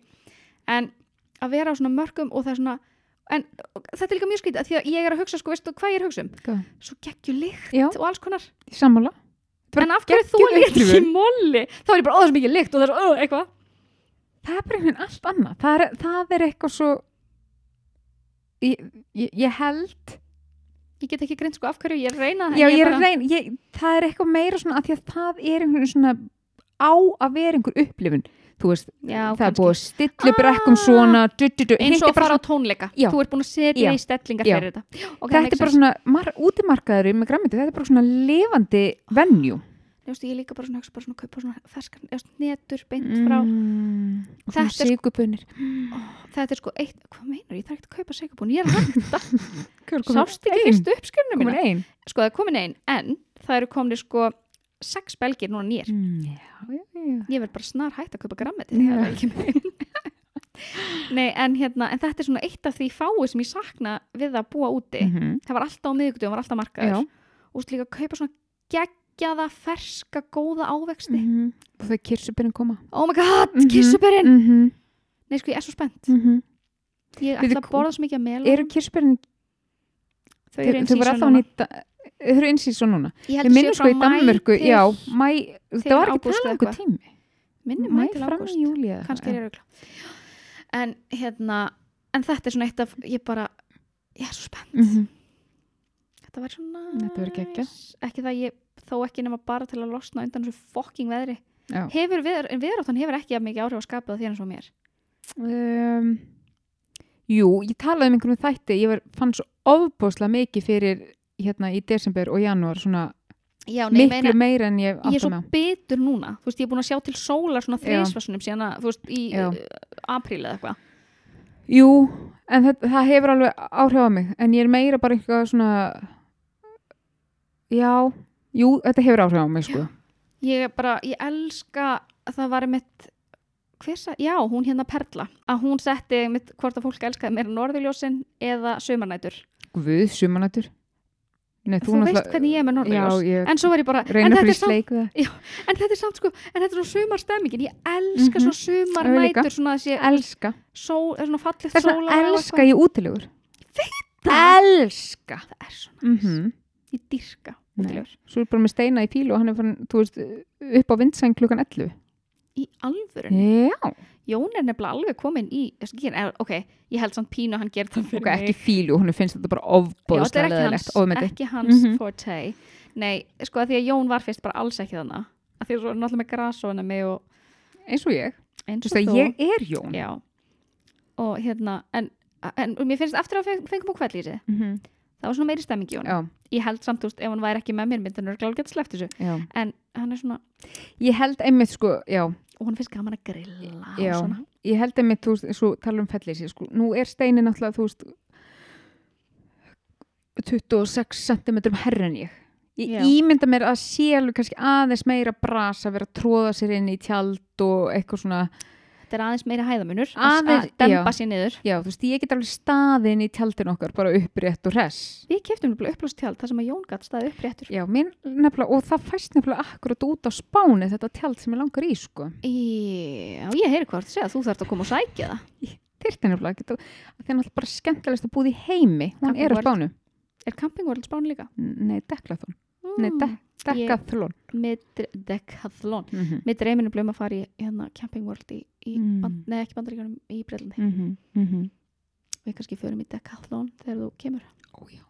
Speaker 1: en að vera á svona mörgum og það er svona, en þetta er líka mjög skrítið, af því að ég er að hugsa, sko, veistu, hvað ég er að hugsa um?
Speaker 2: Hvað?
Speaker 1: Svo geggju lykt
Speaker 2: Já.
Speaker 1: og alls konar,
Speaker 2: Í sko. sammála Bara
Speaker 1: en af hverju þú
Speaker 2: geggjuð
Speaker 1: er ekki
Speaker 2: upplifun.
Speaker 1: móli? Þá er ég bara, ó, það er mikið lykt og það er, ó, eitthvað.
Speaker 2: Það er bara einhvern veginn allt annað Það er, það er eitthvað svo ég, ég, ég held
Speaker 1: Ég get ekki greint, sko, af hverju, ég reyna það,
Speaker 2: Já, ég er
Speaker 1: bara,
Speaker 2: að reyn ég, Það er eitthvað meira svona að því að það er einhvern veginn svona á að vera einhver upplifun Þú veist,
Speaker 1: já,
Speaker 2: það er búið
Speaker 1: kannski.
Speaker 2: að stillu brekkum
Speaker 1: Ah.
Speaker 2: svona du, du, du,
Speaker 1: Eins
Speaker 2: hitt
Speaker 1: og
Speaker 2: er
Speaker 1: að fara
Speaker 2: bara
Speaker 1: á tónleika,
Speaker 2: Já.
Speaker 1: þú ert búin að setja
Speaker 2: Já.
Speaker 1: í stellingar
Speaker 2: Já.
Speaker 1: fyrir þetta. Ok, það
Speaker 2: Þetta
Speaker 1: makes
Speaker 2: er
Speaker 1: sense.
Speaker 2: bara svona, mar, útimarkaður með græmiti, þetta er bara svona lifandi venjú.
Speaker 1: Þú veist, ég er líka bara svona, hugsa bara svona, kaupa svona ferskan, eða svona netur beint frá
Speaker 2: mm,
Speaker 1: Þetta er
Speaker 2: Þetta
Speaker 1: sko-
Speaker 2: er síkubunir.
Speaker 1: Þetta er sko eitt, hvað meinar, ég þarf ekki að kaupa segabún,
Speaker 2: [laughs]
Speaker 1: ég er að hætta, sást ekki
Speaker 2: einn?
Speaker 1: fyrstu uppskjörnum
Speaker 2: Komin
Speaker 1: mína.
Speaker 2: einn?
Speaker 1: Sko það er komin einn, en það eru komin sko sex belgir núna nýr.
Speaker 2: Mm, já, já, já.
Speaker 1: Ég verð bara snar hætt að kaupa grammeti,
Speaker 2: Já.
Speaker 1: það er ekki megin. [laughs] Nei, en hérna, en þetta er svona eitt af því fáið sem ég sakna við að búa úti.
Speaker 2: -hmm.
Speaker 1: Það var alltaf á miðugdöfum, var alltaf markaður. Og svo líka að kaupa svona geggjaða, ferska, góða ávexti.
Speaker 2: -hmm. og þau kirsubirin koma
Speaker 1: Oh my god, mm
Speaker 2: Mhm. -hmm.
Speaker 1: Nei, sko, ég er svo spennt.
Speaker 2: Mm -hmm.
Speaker 1: Ég
Speaker 2: Bíddu,
Speaker 1: ætla að borða svo mikið að mela.
Speaker 2: eru kirsubirin
Speaker 1: Þau
Speaker 2: þau
Speaker 1: eru eins
Speaker 2: þau
Speaker 1: í
Speaker 2: voru alltaf
Speaker 1: sönnuna.
Speaker 2: nýta þau eru eins í svo núna
Speaker 1: Ég held
Speaker 2: ég
Speaker 1: að
Speaker 2: minnum
Speaker 1: séu
Speaker 2: sko
Speaker 1: frá
Speaker 2: í
Speaker 1: maí
Speaker 2: Danmörku
Speaker 1: til-
Speaker 2: já, mæ, það
Speaker 1: til
Speaker 2: var ekki
Speaker 1: ágúst
Speaker 2: talað
Speaker 1: eða
Speaker 2: einhver
Speaker 1: eitthvað.
Speaker 2: tími
Speaker 1: minni
Speaker 2: mæ
Speaker 1: mæ til
Speaker 2: fram í
Speaker 1: ágúst
Speaker 2: júli eða
Speaker 1: kannski er
Speaker 2: eitthvað,
Speaker 1: ég rögla en hérna en þetta er svona eitt af ég bara ég er svo spennt
Speaker 2: já. Mhm.
Speaker 1: þetta verður svona
Speaker 2: Þetta verður geggjað.
Speaker 1: næs. ekki það ég þó ekki nema bara til að losna undan þessu fokking veðri
Speaker 2: Já.
Speaker 1: hefur veður en veðuráttan hefur ekki að mikið áhrif að skapa það þérna svo mér
Speaker 2: um, jú, ég talaði um einhverjum þætti ég var, fann svo ofbóðslega mikið fyrir hérna í desember og janúar svona
Speaker 1: já nei
Speaker 2: miklu
Speaker 1: meina
Speaker 2: meira en
Speaker 1: ég
Speaker 2: ég
Speaker 1: er
Speaker 2: átta
Speaker 1: svo
Speaker 2: mig á
Speaker 1: bitur núna þú veist ég er búin að sjá til sólar svona
Speaker 2: Já.
Speaker 1: þrísvarsunum síðan að þú veist í
Speaker 2: Já.
Speaker 1: uh, apríl eða eitthvað
Speaker 2: Jú, en það, það hefur alveg áhrif á mig, en ég er meira bara eitthvað svona Já, jú, þetta hefur áhrif á mig sko.
Speaker 1: ég er bara, ég elska að það var mitt hversa, já, hún hérna Perla að hún setti mitt hvort að fólk elskaði meira norðurljósin eða sömarnætur
Speaker 2: Guð, sumanættur Nei,
Speaker 1: þú, veist hvernig ég er með norðurljós
Speaker 2: Já, ég
Speaker 1: en svo var ég bara, en
Speaker 2: reyna
Speaker 1: þetta,
Speaker 2: fyrir
Speaker 1: er samt,
Speaker 2: sleik við það
Speaker 1: en þetta er samt sko en þetta er svona sumarstemmingin, ég elska
Speaker 2: Mhm.
Speaker 1: svona sumarnætur, svona þessi
Speaker 2: Elska,
Speaker 1: sól, svona fallegt
Speaker 2: þess
Speaker 1: sólar
Speaker 2: vegna elska ég útilegur Elska
Speaker 1: það er svona,
Speaker 2: mm
Speaker 1: ég dyrka
Speaker 2: Nei.
Speaker 1: útilegur.
Speaker 2: Svo er bara með steina í fílu og hann er fann, þú veist, upp á vindsæng klukkan 11
Speaker 1: í alvörun,
Speaker 2: Já,
Speaker 1: Jón er nefnilega alveg komin í, ég skal gera- eh, ok, ég held samt pínu að hann gerði það fyrir
Speaker 2: ok,
Speaker 1: mig
Speaker 2: ekki fílu, hún finnst þetta bara
Speaker 1: Já, þetta
Speaker 2: ofbóðslega
Speaker 1: er ekki hans,
Speaker 2: leðilegt Ofmeti,
Speaker 1: ekki hans
Speaker 2: Mhm.
Speaker 1: forte Nei, sko að því að Jón var fyrst bara alls ekki þannig að því að svo er náttúrulega með grasónami og
Speaker 2: eins og ég
Speaker 1: eins
Speaker 2: Þú
Speaker 1: og
Speaker 2: veist
Speaker 1: þú
Speaker 2: að ég er Jón
Speaker 1: Já og hérna, en, en mér finnst eftir að við fengum á kvællísi,
Speaker 2: Mhm.
Speaker 1: það var svona meiri stemming í Jón
Speaker 2: Já,
Speaker 1: Ég held samt, þú veist, ef hann væri ekki með mér myndi hann örglega gett sleppt þessu
Speaker 2: já
Speaker 1: en hann er svona,
Speaker 2: Ég held einmitt sko, já,
Speaker 1: og hann finnst gaman að grilla
Speaker 2: Já.
Speaker 1: og svona
Speaker 2: ég held einmitt, þú veist, svo tala um fellísi, sko, nú er steini náttúrulega, þú veist, 26 cm herra en ég. Ég
Speaker 1: Já.
Speaker 2: ímynda mér að sé alveg kannski aðeins meira brasa, vera að tróða sér inn í tjald og eitthvað svona,
Speaker 1: Þetta er aðeins meiri hæðamunur
Speaker 2: Aðeins-
Speaker 1: að dempa
Speaker 2: já.
Speaker 1: sér niður
Speaker 2: já, þú veist, ég get alveg staðið inn í tjaldin okkar, bara upprétt og hress.
Speaker 1: Við keftum nefnilega upplástjald þar sem að Jón gatt staðið uppréttur
Speaker 2: Já, minn nefnilega, og það fæst nefnilega akkurat út á spáni þetta tjald sem ég langar í, sko.
Speaker 1: Já, ég heyri hvort segja, þú þarft að koma og sækja það
Speaker 2: Þyrfti nefnilega, geta, það er náttúrulega bara skemmtilegst að búði heimi, hún
Speaker 1: Kaffi
Speaker 2: er á
Speaker 1: World.
Speaker 2: spánu.
Speaker 1: Er Camping World spán líka?
Speaker 2: Nei, deklathon. Nei, de
Speaker 1: Mm,
Speaker 2: deklathon.
Speaker 1: Með Decathlon.
Speaker 2: Mhm.
Speaker 1: Mér dreyminu blöðum að fara í hérna, Camping World í, í
Speaker 2: Mm.
Speaker 1: band, nei, ekki bandaríkjunum í Breitlandi.
Speaker 2: Mhm.
Speaker 1: Við kannski förum í Decathlon þegar þú kemur.
Speaker 2: Ó, já.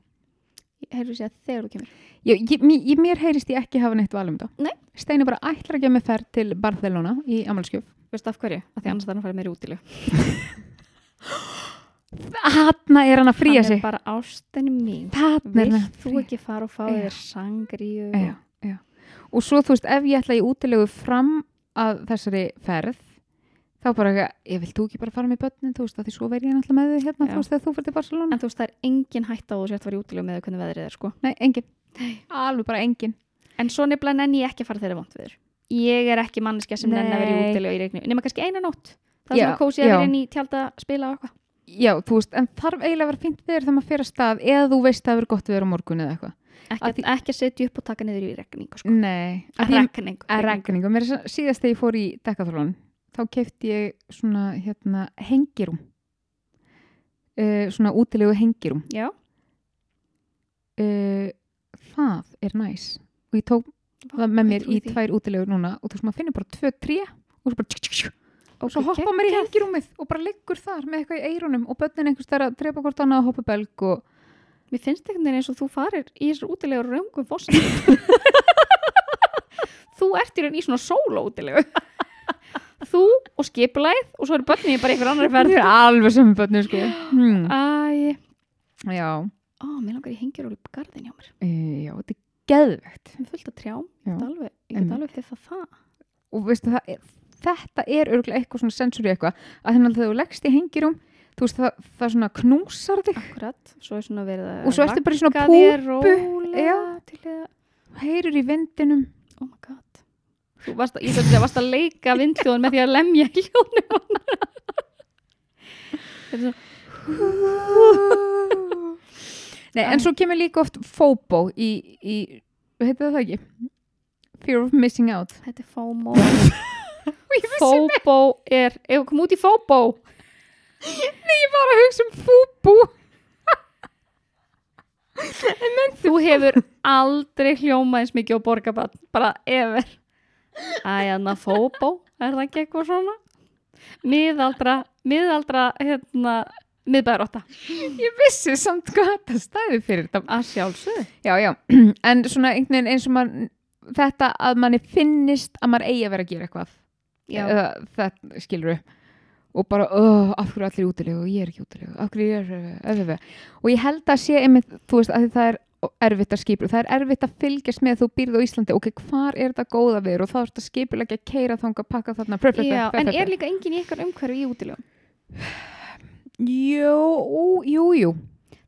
Speaker 1: Herru sér þegar þú kemur.
Speaker 2: Ég, ég, mér- ég, mér heyrist ég ekki hafa neitt val um þetta.
Speaker 1: Nei.
Speaker 2: Steini bara ætlar að gefa mig ferð til Barcelona í Amalskjöf.
Speaker 1: Veist af hverju? Af því annars þarf hann að fara meira útilu.
Speaker 2: Hanna er hann að fríja
Speaker 1: Hann
Speaker 2: sig.
Speaker 1: er bara ástin mín.
Speaker 2: Þarna er hann
Speaker 1: Vilt
Speaker 2: að
Speaker 1: þú
Speaker 2: fríja.
Speaker 1: ekki fara og fá
Speaker 2: Já.
Speaker 1: þér sangríu?
Speaker 2: Já, já. Og svo þú veist, ef ég ætla í útilegu fram að þessari ferð, þá bara eitthvað, ég vil þú ekki bara fara með börnin, þú veist, að því svo verð ég náttúrulega með þig hérna,
Speaker 1: Já.
Speaker 2: þú veist, þegar þú fyrir til Barcelona.
Speaker 1: En þú veist, það er engin hætt á að þú sért að fara í útilu með hvernig veðrið er, sko.
Speaker 2: Nei, engin. Alveg bara engin.
Speaker 1: En svo nefnilega nenni ég ekki að fara þeirra vond viður. Ég er ekki manneskja sem nenni að vera í
Speaker 2: Nei.
Speaker 1: útilu í regnu. Nefna kannski eina nótt. Það er
Speaker 2: Já,
Speaker 1: svona kósið að
Speaker 2: já.
Speaker 1: vera inn í tjálta að spila og eitthvað.
Speaker 2: Já, þú veist, en þarf eiginlega að vera fint veður þegar maður fyrir að stað eða þú veist að það verður gott veður á morgun eða eitthvað.
Speaker 1: Ekki,
Speaker 2: Að
Speaker 1: að, ekki að setja upp og taka niður í regningu, sko.
Speaker 2: Nei. Mm, Að því-
Speaker 1: Regningu.
Speaker 2: að regningu. Mér er sa- síðast þegar ég fór í dekkaþólun, þá kefti ég svona, hérna, hengirum. Uh, svona útilegu hengirum.
Speaker 1: Já,
Speaker 2: uh, það er næs og ég tók það með mér í tvær útilegur núna og þú veist maður finnur bara tvö, tré og svo bara tsk, tsk, tsk,
Speaker 1: og
Speaker 2: svo hoppa maður í hengirúmið og bara liggur þar með eitthvað í eirunum og börnin einhvers þar að drepa hvort annað og hoppa belg og
Speaker 1: Mér finnst einhvern veginn eins og þú farir í þessar útilegur röngum
Speaker 2: [laughs]
Speaker 1: fórsendum. þú ert í raun í svona sóla útilegu. þú og skipulæð og svo eru börnin í bara einhver annar
Speaker 2: [laughs]
Speaker 1: ferð.
Speaker 2: það er alveg sem börnin sko [gasps] hmm.
Speaker 1: Æ,
Speaker 2: já,
Speaker 1: ó, mér langar ég hengir úr garðin hjá mér.
Speaker 2: e, já, þetta er geðvegt
Speaker 1: Mér er fullt að trjám, ég
Speaker 2: Já,
Speaker 1: get alveg, ég get
Speaker 2: einmitt.
Speaker 1: alveg piffað það.
Speaker 2: og veistu það er, þetta er örgulega eitthvað svona sensori eitthvað að þannig að þegar þú leggst í hengirum þú veist það, það svona knúsar þig
Speaker 1: Akkurat, svo er svona verið að
Speaker 2: Og svo ertu bara í svona
Speaker 1: vagga þér
Speaker 2: púpu.
Speaker 1: rólega
Speaker 2: Já.
Speaker 1: til það,
Speaker 2: heyrir í [laughs] vindinum
Speaker 1: oh my god Þú varst að, ég þurfti að varst að leika vindljóðun með því að lemja hljónu Þetta er svona
Speaker 2: Nei, en svo kemur líka oft FOBO í, í heitir það það ekki? Fear of missing out.
Speaker 1: Þetta er FOMO FOBO er, ef við komum út í FOBO
Speaker 2: Nei, ég var að hugsa um FOBO.
Speaker 1: Þú hefur aldrei hljómað eins mikið á borgabann, bara ever Æ, anna FOBO Er það ekki eitthvað svona? Miðaldra, miðaldra hérna, miðbæðarotta
Speaker 2: Ég vissi samt hvað þetta stæði fyrir þetta.
Speaker 1: Að sjálfsögðu
Speaker 2: Já, já, [clears throat] en svona einhvern veginn eins og maður, þetta að manni finnist að maður eigi að vera að gera eitthvað. Eða, það skilur við. Og bara, oh, af hverju eru allir útilegu og ég er ekki útilegu, af hverju ég er, eh, öfðu, og ég held að sé einmitt, þú veist, að það er erfitt að skipula, það er erfitt að fylgjast með að þú býrð á Íslandi, ok, hvar er þetta góða veður og þá er þetta skipulega að keira þanga að pakka þarna, pröf,
Speaker 1: Já,
Speaker 2: pröf, pröf,
Speaker 1: en
Speaker 2: pröf,
Speaker 1: er
Speaker 2: pröf.
Speaker 1: líka engin í ykkar umhverfi í útilegum?
Speaker 2: Jú, jú, jú,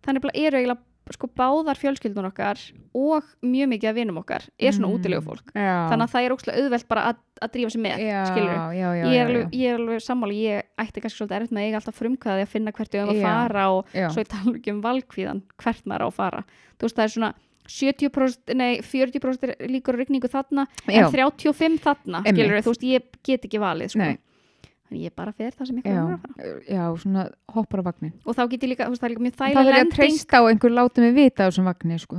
Speaker 1: Þannig að eru eiginlega sko báðar fjölskyldun okkar og mjög mikið af vinum okkar er svona mm.
Speaker 2: Mm.
Speaker 1: útilegufólk.
Speaker 2: já.
Speaker 1: Þannig að það er ókslega auðvelt bara að, að drífa sig með,
Speaker 2: já,
Speaker 1: skilur við.
Speaker 2: já, já,
Speaker 1: Ég
Speaker 2: já,
Speaker 1: er alveg, ég er alveg sammáli, ég ætti kannski svolítið erfitt með að eiga alltaf frumkvæði að finna hvert ég um að
Speaker 2: Já.
Speaker 1: fara og
Speaker 2: já,
Speaker 1: svo ég tala nú ekki um valkvíðan hvert maður á að fara. Þú veist það er svona 70%, nei 40% er líkur á rigningu þarna
Speaker 2: já,
Speaker 1: en 35% þarna,
Speaker 2: Einmitt.
Speaker 1: skilur þú veist ég get ekki valið, sko.
Speaker 2: Nei.
Speaker 1: Þannig ég bara fer það sem ég
Speaker 2: Já.
Speaker 1: kannar að fara.
Speaker 2: já, svona hoppar á vagnin.
Speaker 1: Og þá get ég líka, þú veist það er líka mjög
Speaker 2: Það
Speaker 1: þægileg
Speaker 2: verður að
Speaker 1: lending.
Speaker 2: treysta á einhver láti mig vita á þessum vagnin, sko.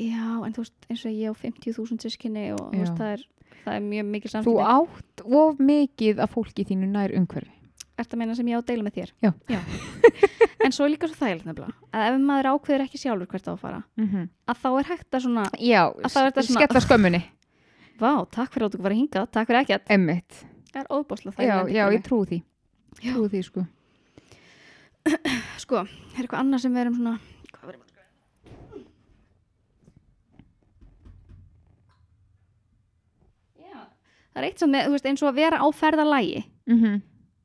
Speaker 1: Já, en þú veist, eins og ég á 50.000 sískinni og þú
Speaker 2: Já.
Speaker 1: veist, það er, það er mjög mikil
Speaker 2: Þú
Speaker 1: samskipti.
Speaker 2: átt of mikið af fólki þínu nær umhverfi.
Speaker 1: Ertu að meina sem ég á að deila með þér?
Speaker 2: Já. [laughs]
Speaker 1: en svo er líka svo þægilegt nefnilega, að ef maður ákveður ekki sjálfur hvert á að fara,
Speaker 2: Mm -hmm.
Speaker 1: að þá er hægt að svona,
Speaker 2: Já,
Speaker 1: þá er þetta
Speaker 2: s-
Speaker 1: svona-
Speaker 2: skella skömmunni,
Speaker 1: vá, takk fyrir að þú var að hinga, takk fyrir ekkert.
Speaker 2: emmitt.
Speaker 1: Það er óbáslega
Speaker 2: Já,
Speaker 1: þægilegt.
Speaker 2: já, ég trú því. Trú því, sko.
Speaker 1: Sko, er eitthvað annað sem við erum svona, hvað verðum að skrifa? Já, Það er eitt sem, með, þú veist, eins og að vera á ferðalægi.
Speaker 2: Mm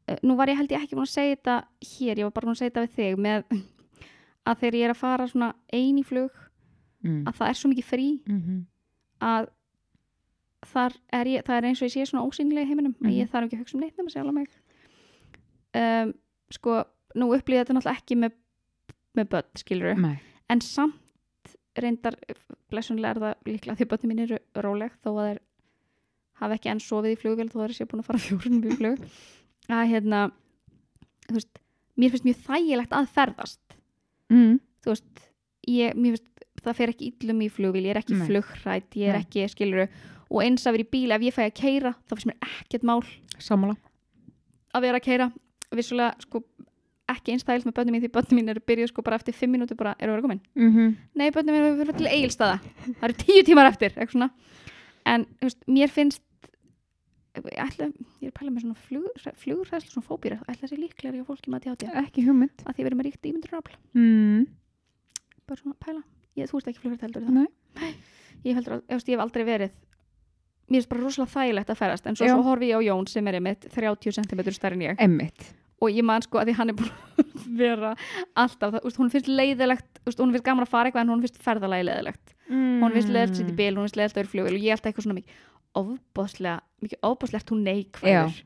Speaker 1: Eh, nú var ég held ég ekki búin að segja þetta hér, ég var bara búin að segja þetta við þig með að þegar ég er að fara svona ein í flug
Speaker 2: mm.
Speaker 1: að það er svo mikið frí
Speaker 2: mm -hmm.
Speaker 1: að þar er ég, það er eins og ég sé svona ósýnilega í heiminum að ég þarf ekki að hugsa um neitt nema sjálf að mig um, sko, nú upplýði þetta náttúrulega ekki með, með börn, skilur
Speaker 2: Nei,
Speaker 1: en samt reyndar blessunlega er það líklega því börnum mín eru róleg þó að þeir hafa ekki enn sofið í flugvél þó að þeir séu búin að fara [laughs] fjórunum í flug að hérna þú veist, mér finnst mjög þægilegt að ferðast
Speaker 2: mm.
Speaker 1: þú veist, ég, mér finnst, það fer ekki illum í flugvíl, ég er ekki
Speaker 2: Nei.
Speaker 1: flugrætt, ég er
Speaker 2: Nei.
Speaker 1: ekki, skilur og eins að vera í bíl, ef ég fæ að keira þá finnst mér ekkert mál
Speaker 2: Sammála.
Speaker 1: að vera að keira vissulega, sko, ekki einstæðilt með börnum mín því börnum mín eru byrjuð, sko, bara eftir fimm mínútur bara eru að vera komin,
Speaker 2: Mm
Speaker 1: nei, börnum mín eru að vera til eigilstaða, það eru tíu tímar eftir eitthvað svona, en, þú veist, mér finnst ég ætla, ég er að pæla með svona flug, flugræðslu svona fóbýra, ætla sér líklega hjá fólki með ADHD,
Speaker 2: Ekki hugmynd.
Speaker 1: að því verið með ríkt ímyndurafl
Speaker 2: Mm.
Speaker 1: bara svona pæla ég, þú ert ekki flugur heldur
Speaker 2: Nei.
Speaker 1: það ég, heldur, al- ég, veist, ég hef aldrei verið mér finnst bara rosalega þægilegt að ferast en svo,
Speaker 2: Já.
Speaker 1: svo horfi ég á Jón sem er einmitt 30 cm stærri en ég
Speaker 2: Emmitt.
Speaker 1: og ég man sko að því hann er búin að vera alltaf, það, úst, hún finnst leiðilegt úst, hún finnst gaman að fara eitthvað en hún finnst ferðalagi leiðilegt
Speaker 2: Mm.
Speaker 1: hún finnst leiðilegt að sitja í bil, hún finnst leiðilegt að vera flugil og ég held eitthvað svona mikið ofbáslega, mikið ofbáslega ert hún neikvæður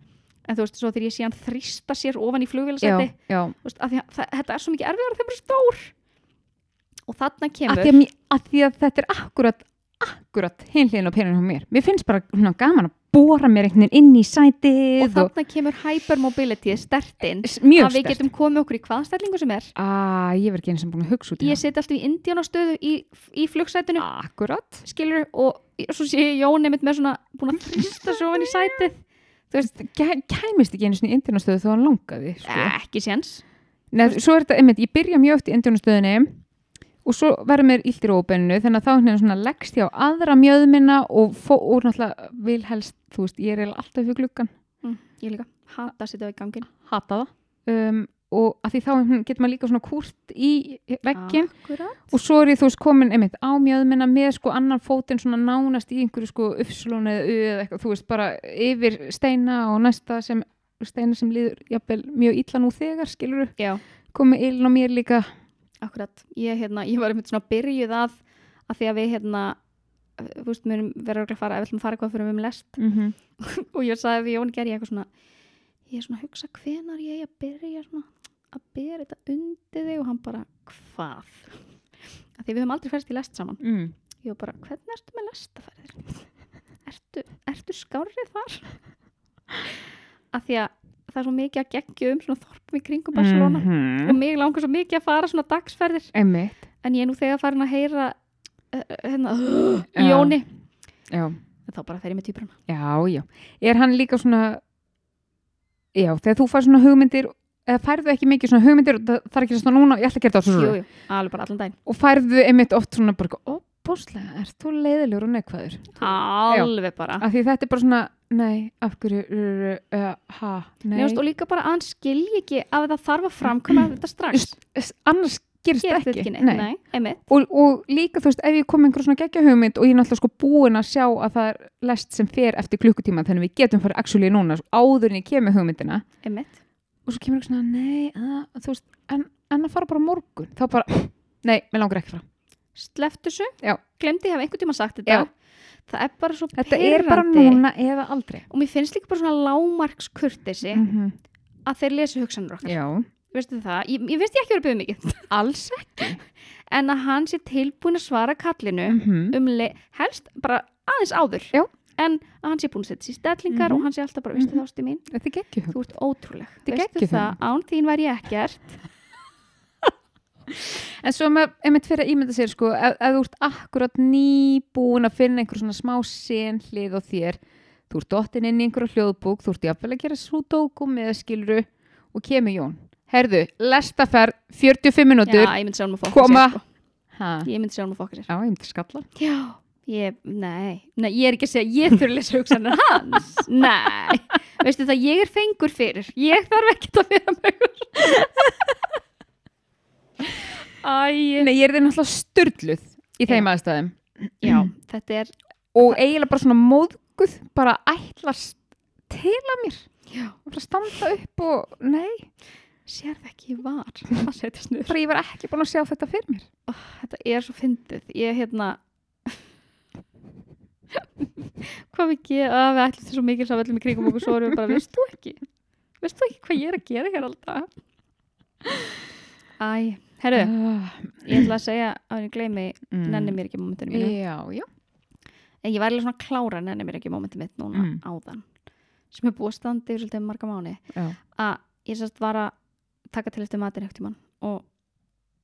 Speaker 1: en þú veist, svo þegar ég sé hann þrýsta sér ofan í
Speaker 2: Já,
Speaker 1: flugvilasæti
Speaker 2: já.
Speaker 1: þetta er svo mikið erfiðar þegar maður er stór og þarna
Speaker 2: Að
Speaker 1: kemur
Speaker 2: því að, mér, að því að þetta er akkurat, akkurat hinliðin og peninu hjá mér. Mér finnst bara svona gaman að bóra mér einhvern veginn inn í sætið
Speaker 1: og
Speaker 2: og,
Speaker 1: þarna kemur hypermobility stertinn
Speaker 2: S- mjög
Speaker 1: að við
Speaker 2: sterkt.
Speaker 1: getum komið okkur í hvaða stellingu sem er
Speaker 2: Ah, ég verð ekki eins og búin að hugsa út í
Speaker 1: ég seti alltaf í indjánastöðu í, í flugsætinu
Speaker 2: það. Akkurat.
Speaker 1: skilur og svo sé ég Jón einmitt með svona
Speaker 2: [laughs]
Speaker 1: búin að þrýsta svo ofan í sætið
Speaker 2: Gæ, kæmist ekki einu svona í indjónastöðu þó hann langaði. Sko.
Speaker 1: Eh, ekki séns
Speaker 2: Nei, svo er þetta, einmitt, ég byrja mjög oft í indjónastöðinni og svo verður mér illt í rópennu þannig að þá hérna svona leggst ég á aðra mjöðmina og, fó, og náttúrulega vil helst, þú veist, ég er eiginlega alltaf fyrir gluggan
Speaker 1: mm, ég líka hata að sitja í gangin
Speaker 2: hata það um, og að því þá einhvern- getur maður líka svona kúrt í veggin
Speaker 1: Akkúrat.
Speaker 2: og svo er ég þú veist komin einmitt á mjöðmina með sko annan fótinn svona nánast í einhverju sko uppslón eða u eða eitthvað, þú veist, bara yfir steina og næsta sem steina sem líður jafnvel mjög illa nú þegar skilur
Speaker 1: já,
Speaker 2: komið illin á mér líka
Speaker 1: akkurat ég, hérna, ég var einmitt svona byrjuð að að því að við hérna þú veist, við verðum örugglega að fara, ef við ætlum að fara eitthvað fyrir við um lest [laughs]
Speaker 2: mm
Speaker 1: og ég sagði við Jón gerði ég eitthvað svona ég er svona að hugsa hvenar ég eigi að byrja svona að byrja þetta undir þig og hann bara hvað [laughs] að því við höfum aldrei ferðist í lest saman
Speaker 2: mm.
Speaker 1: ég var bara hvernig ertu með lestaferðir [laughs] ertu, ertu skárið þar [laughs] að því að það er svo mikið að geggja um svona þorpum í
Speaker 2: Mhm.
Speaker 1: kringum Barcelona og
Speaker 2: -hmm.
Speaker 1: mig langar svo mikið að fara svona dagsferðir
Speaker 2: Einmitt,
Speaker 1: en ég er nú þegar farin að heyra uh, hérna
Speaker 2: [gasps] Já.
Speaker 1: Jóni
Speaker 2: já,
Speaker 1: þá bara fer ég með týpurna
Speaker 2: já, já. Er hann líka svona, já, þegar þú fær svona hugmyndir, eða færðu ekki mikið svona hugmyndir, og það það er ekki svona núna, ég ætla að gera það
Speaker 1: jú,
Speaker 2: svona,
Speaker 1: jú, alveg bara allan daginn
Speaker 2: og færðu einmitt oft svona bara, óbúslega, ert þú leiðilegur og neikvæður?
Speaker 1: alveg bara
Speaker 2: Af því þetta er bara svona, nei, af hverju, uh, uh, ha, nei,
Speaker 1: Nefnst, og líka bara að hann skilji ekki að það þarf að
Speaker 2: [clears throat]
Speaker 1: framkvæma þetta strax
Speaker 2: S- annars gerist
Speaker 1: Gerist
Speaker 2: það
Speaker 1: þetta
Speaker 2: ekki,
Speaker 1: ekki neitt, nei, einmitt
Speaker 2: Og, og líka þú veist, ef ég kom með einhver svona geggja hugmynd og ég er náttúrulega sko búin að sjá að það er lest sem fer eftir klukkutíma þannig við getum farið actually núna svo áður en ég kem með hugmyndina
Speaker 1: einmitt,
Speaker 2: og svo kemur eitthvað svona, nei, að, þú veist en, en að fara bara á morgun, þá bara nei, mér langar ekki frá.
Speaker 1: sleft þessu
Speaker 2: Já.
Speaker 1: glemdi ég hafa einhvern tíma sagt þetta
Speaker 2: Já.
Speaker 1: það er bara svo
Speaker 2: Þetta er bara
Speaker 1: pirrandi.
Speaker 2: núna eða aldrei.
Speaker 1: og mér finnst líka bara svona lámarkskurtesi
Speaker 2: Mm -hmm.
Speaker 1: að þeir lesi hugsanur okkar
Speaker 2: Já.
Speaker 1: veistu það, ég, ég veist ég ekki verið að byggja mikið
Speaker 2: Alls ekki.
Speaker 1: [laughs] en að hann sé tilbúin að svara kallinu
Speaker 2: Mm -hmm.
Speaker 1: um le- helst bara aðeins áður
Speaker 2: Já.
Speaker 1: en að hann sé búin að setja sér stellingar
Speaker 2: Mhm.
Speaker 1: og hann sé alltaf bara, veistu
Speaker 2: Mhm.
Speaker 1: það ástu mín
Speaker 2: Þetta er geggja hugmynd.
Speaker 1: þú ert ótrúleg,
Speaker 2: Þetta er
Speaker 1: veistu
Speaker 2: geggjuð
Speaker 1: það án þín væri ég ekkert
Speaker 2: En svo með, einmitt fyrir að ímynda sér sko, ef, ef þú ert akkurat nýbúin að finna einhver svona smá sen hlið á þér, þú ert dottin inn í einhverja hljóðbúk, þú ert jafnvel að gera súdókum eða skilru og kemur Jón. Herðu, lestaferð 45
Speaker 1: já,
Speaker 2: minútur.
Speaker 1: ég myndi sjá hann að fokka
Speaker 2: Koma.
Speaker 1: sér sko.
Speaker 2: Já,
Speaker 1: ég myndi sjá hann að fokka sér
Speaker 2: Já ég myndi skalla.
Speaker 1: Já, ég, nei, nei, ég er ekki að segja ég þurfi að lesa hugsanir hans
Speaker 2: [laughs]
Speaker 1: Nei, veistu það, ég er fengur fyrir Ég þarf ekkert að vera með Æ,
Speaker 2: Nei, ég er þið náttúrulega styrluð í þeim aðstæðum
Speaker 1: já, þetta er
Speaker 2: [clears throat] og eiginlega bara svona móðguð, bara ætlast til að mér.
Speaker 1: Já.
Speaker 2: Og bara standa upp og, nei,
Speaker 1: Sérð ekki ég var að setja snuður
Speaker 2: bara ég var ekki búin að sjá þetta fyrir mér.
Speaker 1: Þetta er svo fyndið Ég, hérna Hvað mikið að við ætlum til svo mikil sem öllum í kringum okkur svo erum við bara, veist þú ekki veist þú ekki hvað ég er að gera hér alltaf Æ, herru
Speaker 2: Ah,
Speaker 1: ég ætla að segja að ég gleymi
Speaker 2: mm.
Speaker 1: nenni mér ekki mómentinu mínu
Speaker 2: Já, já.
Speaker 1: en ég var alveg svona að klára nenni mér ekki mómentinu mitt núna
Speaker 2: Mm.
Speaker 1: áðan sem er búið að standa yfir svolítið marga mánu
Speaker 2: já.
Speaker 1: að ég sérst var að taka til eftir matinn högt í mann og,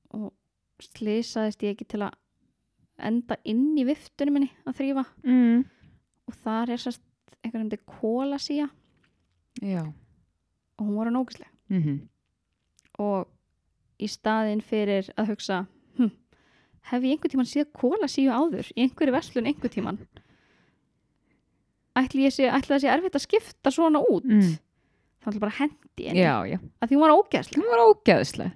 Speaker 1: og slisaðist ég ekki til að enda inn í viftunum minni að þrýfa
Speaker 2: mm.
Speaker 1: og þar er sérst eitthvað sem þetta kóla síja
Speaker 2: já
Speaker 1: og hún var að nógislega
Speaker 2: mm
Speaker 1: og í staðinn fyrir að hugsa hm, hef ég einhvern tíman síða kóla síju áður í einhverju verslun einhvern tíman ætli, ég sé, ætli það sé erfitt að skipta svona út
Speaker 2: Mm.
Speaker 1: þá ætla bara að hendi henni
Speaker 2: já, já,
Speaker 1: að því hún var ógæslega
Speaker 2: hún var ógeðslega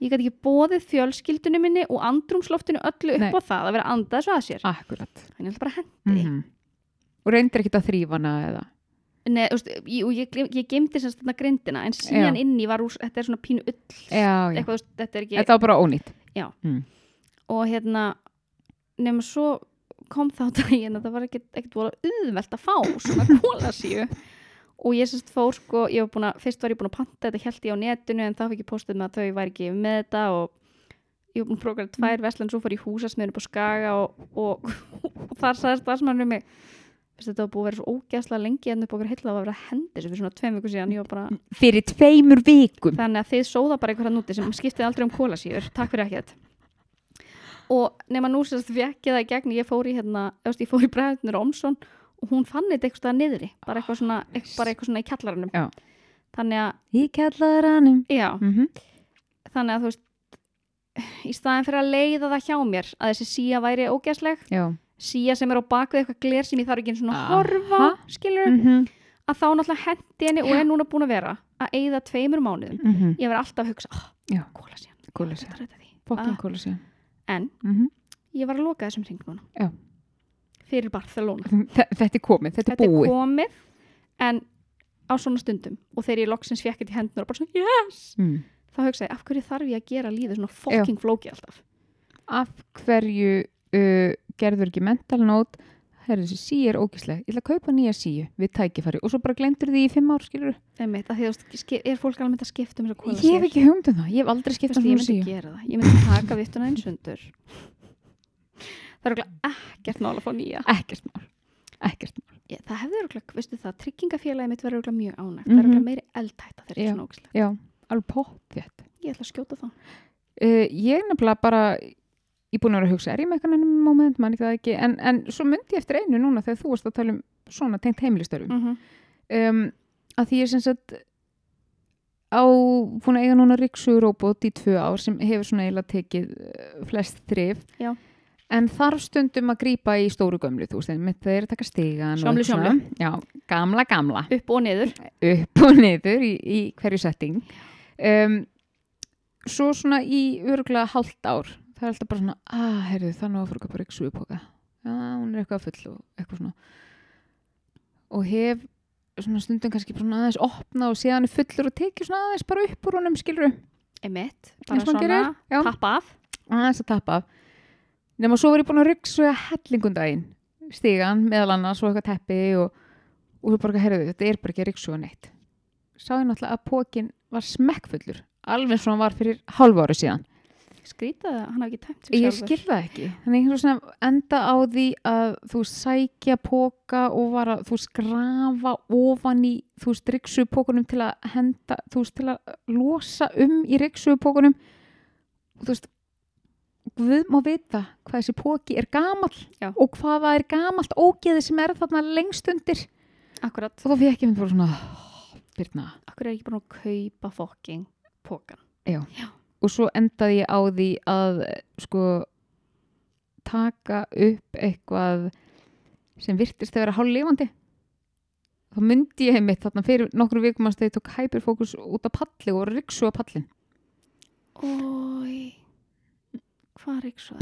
Speaker 1: ég gæti ekki bóðið fjölskyldunum minni og andrumsloftinu öllu upp
Speaker 2: Nei. Ah.
Speaker 1: á það að vera andað svo að sér
Speaker 2: akkurat
Speaker 1: þannig ég ætla bara að hendi
Speaker 2: mm og reyndir ekki að þrýfa hana eða
Speaker 1: Nei, þú veist, ég, og ég, glem- ég gemdi semst þarna grindina en síðan
Speaker 2: Já.
Speaker 1: inn í var úr, þetta er svona pínu ull
Speaker 2: já, já.
Speaker 1: eitthvað, þú veist, þetta er ekki
Speaker 2: þetta var bara ónýtt
Speaker 1: og hérna, nema svo kom þá [laughs] daginn að það var ekkit, ekkit vola auðvelt að fá svona kólasíu og ég semst fór sko, ég var búin að fyrst var ég búin að panta þetta held ég á netinu en þá fikk ég postið með að þau væri ekki með þetta og ég var búin að prógra tvær veslan svo fór ég húsasmiðin upp á Skaga og, og, og þar sagði starfsmannum mig Veistu, þetta var búið að vera svo ógæslega lengi en upp okkur heilla það var að vera að hendi þessu fyrir svona tveim viku síðan ég var bara
Speaker 2: fyrir tveimur vikum
Speaker 1: þannig að þið sóða bara einhverja núti sem skiptið aldrei um kólasýður, takk fyrir ekkert og nema nú sérst fekk ég það í gegn, ég fór í hérna eftir, ég fór í bræðunir Ómsson og hún fann þetta eitthvað niðri, bara eitthvað svona,
Speaker 2: nice.
Speaker 1: bara eitthvað svona í kjallarunum
Speaker 2: Já.
Speaker 1: þannig að,
Speaker 2: ég kallar hannum
Speaker 1: já,
Speaker 2: mm -hmm.
Speaker 1: þannig að þú veist í staðin fyrir að leiða það hjá mér að þessi síja væri ógæsleg
Speaker 2: já
Speaker 1: síja sem er á bakvið eitthvað gler sem ég þarf ekki einu sinni að
Speaker 2: Aha.
Speaker 1: horfa, skilur
Speaker 2: mm -hmm.
Speaker 1: að þá náttúrulega hendi henni og er núna búin að vera að eigða tveimur mánuðum
Speaker 2: Mm -hmm.
Speaker 1: ég verð alltaf að hugsa,
Speaker 2: Já.
Speaker 1: oh, kóla síðan
Speaker 2: kólusja
Speaker 1: Ah.
Speaker 2: fokkin kólusja
Speaker 1: en
Speaker 2: mm -hmm.
Speaker 1: ég var að loka þessum hring núna
Speaker 2: Já.
Speaker 1: fyrir Barcelona
Speaker 2: þetta er komið, þetta er
Speaker 1: þetta er
Speaker 2: búið
Speaker 1: komið en á svona stundum og þegar ég loksins fekk þetta í hendur og bara svona yes
Speaker 2: mm.
Speaker 1: þá hugsaði ég af hverju þarf ég að gera lífið svona fucking flóki alltaf
Speaker 2: af hverju uh, gerður ekki mental note herri þessi síu er ógíslega, ég ætla að kaupa nýja síu við tækifæri og svo bara glemdur því í fimm ár skilur
Speaker 1: Einmitt, að því, þú veist, ske- er fólk alveg að skipta um þess að kóla
Speaker 2: ég hef ekki hugmynd um það, ég hef aldrei skipt um
Speaker 1: Veistu, ég
Speaker 2: svona
Speaker 1: myndi
Speaker 2: síu
Speaker 1: gera það, ég myndi taka vittuna eins undur það er okkur ekkert mál að fá nýja
Speaker 2: ekkert mál, ekkert mál
Speaker 1: ég, það hefði okkur, veistu það, tryggingafélagi mitt verður okkur mjög ánægt, það er
Speaker 2: Mhm.
Speaker 1: okkur meiri eldhætta þegar
Speaker 2: Já.
Speaker 1: ekki svona ógislega,
Speaker 2: já, alveg pott þetta
Speaker 1: ég ætla að skjóta þá
Speaker 2: uh, ég er nefnilega bara ég búin að vera að hugsa, er ég með eitthvað ennum moment man ekki það ekki, en, en svo myndi ég eftir einu núna þegar þú varst að tala um svona tengt heimilistörfum
Speaker 1: mm -hmm.
Speaker 2: um, að því ég sem sagt á, búin að eiga núna ríksuróbót í tvö ár sem hefur svona eiginlega tekið uh, flest þrif
Speaker 1: Já.
Speaker 2: en þarf stundum að grípa í stóru gömlu þú veist, einmitt þeir eru að taka stigan og
Speaker 1: Sjómlu,
Speaker 2: eitthvað svona. já, gamla, gamla
Speaker 1: upp og niður
Speaker 2: upp og niður í, í hverju setting um, svo svona í örgulega hálft ár það er alltaf bara svona, að herðu það er nú að fórka bara ekki súipoka já, hún er eitthvað full og eitthvað svona og hef svona stundum kannski bara svona aðeins opna og séðan er fullur og tekið svona aðeins bara upp úr honum skilur
Speaker 1: emitt, bara
Speaker 2: Eins og hann
Speaker 1: svona
Speaker 2: já.
Speaker 1: tappa af
Speaker 2: aðeins að tappa af nema svo var ég búin að ryggsuga hellingundaginn stígan meðal annars og eitthvað teppi og, og svo bara eitthvað herðu þetta er bara ekki að ryggsuga neitt sá ég náttúrulega að pókin var smekkfullur alveg svo hann var fyrir hálf ári síðan
Speaker 1: skrítið að hann hafi ekki tæmt sig
Speaker 2: ég
Speaker 1: sjálfur
Speaker 2: skil það ekki þannig einhvern svona enda á því að þú sækja póka og var að þú skrafa ofan í þú veist ryggsugupókunum til að henda þú veist til að losa um í ryggsugupókunum þú veist við má vita hvað þessi póki er gamall
Speaker 1: Já.
Speaker 2: og hvað það er gamalt ógeði sem er þarna lengst undir
Speaker 1: akkurat,
Speaker 2: og þá fekk ég mynd bara svona "Oh, Birna
Speaker 1: akkur er ég ekki búin að kaupa fokking pókan
Speaker 2: og svo endaði ég á því að eh, sko taka upp eitthvað sem virtist að vera hálflifandi þá myndi ég einmitt þarna fyrir nokkru vikum að þegar ég tók hyperfókus út af palli og ryksu á pallin
Speaker 1: oi hvað er ekki svo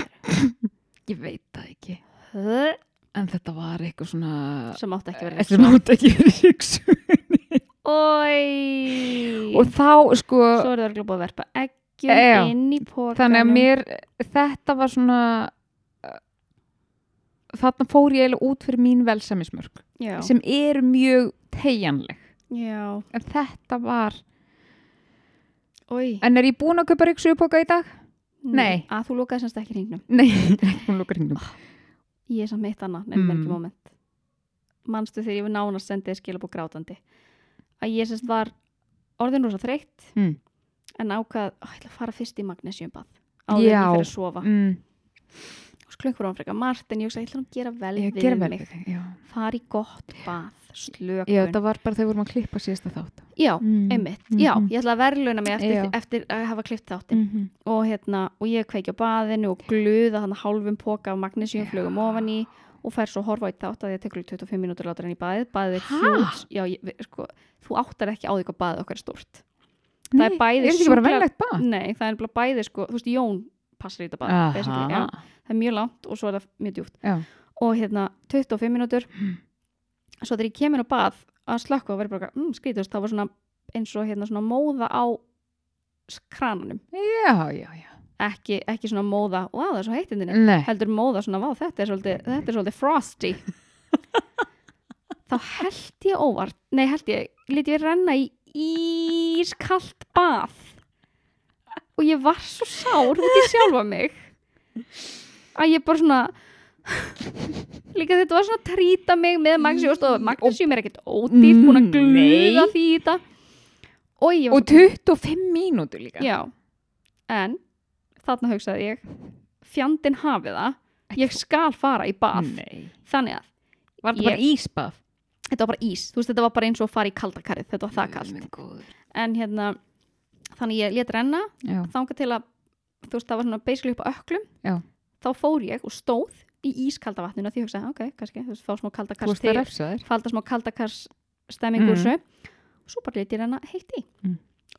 Speaker 2: ég veit það ekki
Speaker 1: þær
Speaker 2: en þetta var eitthvað svona
Speaker 1: sem átt ekki að vera
Speaker 2: sem átt ekki ryksu
Speaker 1: oi
Speaker 2: og þá sko
Speaker 1: svo er það örgulega búið að verpa
Speaker 2: Já.
Speaker 1: eggjum inn í pókanum
Speaker 2: þannig að mér þetta var svona eh, þarna fór ég eiginlega út fyrir mín velsamismörk
Speaker 1: já,
Speaker 2: sem eru mjög tegjanleg
Speaker 1: já,
Speaker 2: en þetta var
Speaker 1: oi
Speaker 2: en er ég búin að kaupa ryksugupoka í dag? nei.
Speaker 1: að þú lókaði semst ekki hringnum
Speaker 2: nei, [laughs] hún lukar hringnum
Speaker 1: ég er samt mitt annað, nefnum
Speaker 2: Mm.
Speaker 1: ekki moment manstu þegar ég var nánast sendið skilabók grátandi að ég semst var orðin rosa þreytt
Speaker 2: Mm.
Speaker 1: en ákvað, "Ó, ég ætla að fara fyrst í magnesiumbað áður en
Speaker 2: Já.
Speaker 1: ég fer að sofa
Speaker 2: mm,
Speaker 1: klukkur án frekar margt en ég hugsa, ég ætla nú að gera vel
Speaker 2: ég
Speaker 1: við
Speaker 2: gera vel
Speaker 1: mig
Speaker 2: við þig já.
Speaker 1: fara í gott bað, slökun
Speaker 2: já, það var bara þegar vorum að klippa síðasta þátt
Speaker 1: já,
Speaker 2: Mm.
Speaker 1: einmitt, já,
Speaker 2: Mhm.
Speaker 1: ég ætla að verðluna mig eftir,
Speaker 2: Já.
Speaker 1: eftir að hafa klift þáttinn
Speaker 2: mm -hmm.
Speaker 1: og hérna, og ég kveiki á baðinu og gluða þannig hálfum póka af magnesíum flugum ofan í og fær svo horfa í þátt að ég tekur alveg 25 mínútur látur enn í baðið, baðið er
Speaker 2: Ha?
Speaker 1: hjúts já, ég, við- sko, þú áttar ekki á því hvað baðið okkar er stórt Það er bæði
Speaker 2: er þetta ekki bara
Speaker 1: sjúklega-
Speaker 2: velegt bað
Speaker 1: nei, það er bara bæðið sko, þú veist, Jón passar í þetta bað, basically, já,
Speaker 2: Aha.
Speaker 1: það er mjög langt og svo er það mjög djúpt
Speaker 2: Já.
Speaker 1: og hérna, 25 mínútur
Speaker 2: Hmm.
Speaker 1: svo þegar ég kemur á bað að slökku og verður bara, eitthvað, mm, skrítust, það var svona eins og hérna svona móða á s- krananum
Speaker 2: já, já, já
Speaker 1: ekki, ekki svona móða, wow, það er svo hérna." heitindinu
Speaker 2: Nei.
Speaker 1: heldur móða svona, vá, þetta er svolítið, þetta er svolítið frosty
Speaker 2: [laughs]
Speaker 1: þá held ég óvart nei, held ég, lít ég renna í ískalt bað og ég var svo sár út í sjálfa mig að ég bara svona [laughs] líka þetta var svona að trýta mig með magnusjúst og magnusjúm er ekkert ódýrt búin að gluða
Speaker 2: Mm, Nei.
Speaker 1: því í þetta og ég var
Speaker 2: og 25 mínútur líka
Speaker 1: Já, en þarna hugsaði ég fjandin hafi það ég skal fara í bað
Speaker 2: Nei.
Speaker 1: þannig að
Speaker 2: var þetta
Speaker 1: Ég-
Speaker 2: bara ísbað
Speaker 1: þetta var bara ís þú veist þetta var bara eins og að fara í kaldakarið þetta var það kalt
Speaker 2: kallt
Speaker 1: en hérna þannig ég let renna þanga til að þú veist það var svona basically upp á öklum
Speaker 2: Já.
Speaker 1: þá fór ég og stóð í ískalda vatninu því ég hugsaði ok, kannski þú veist fá smá
Speaker 2: þú
Speaker 1: kaldakars
Speaker 2: veist það refsaður
Speaker 1: falda smá kaldakars stemming úr
Speaker 2: Mm.
Speaker 1: þessu og svo bara litir hennar heitt í
Speaker 2: Mm.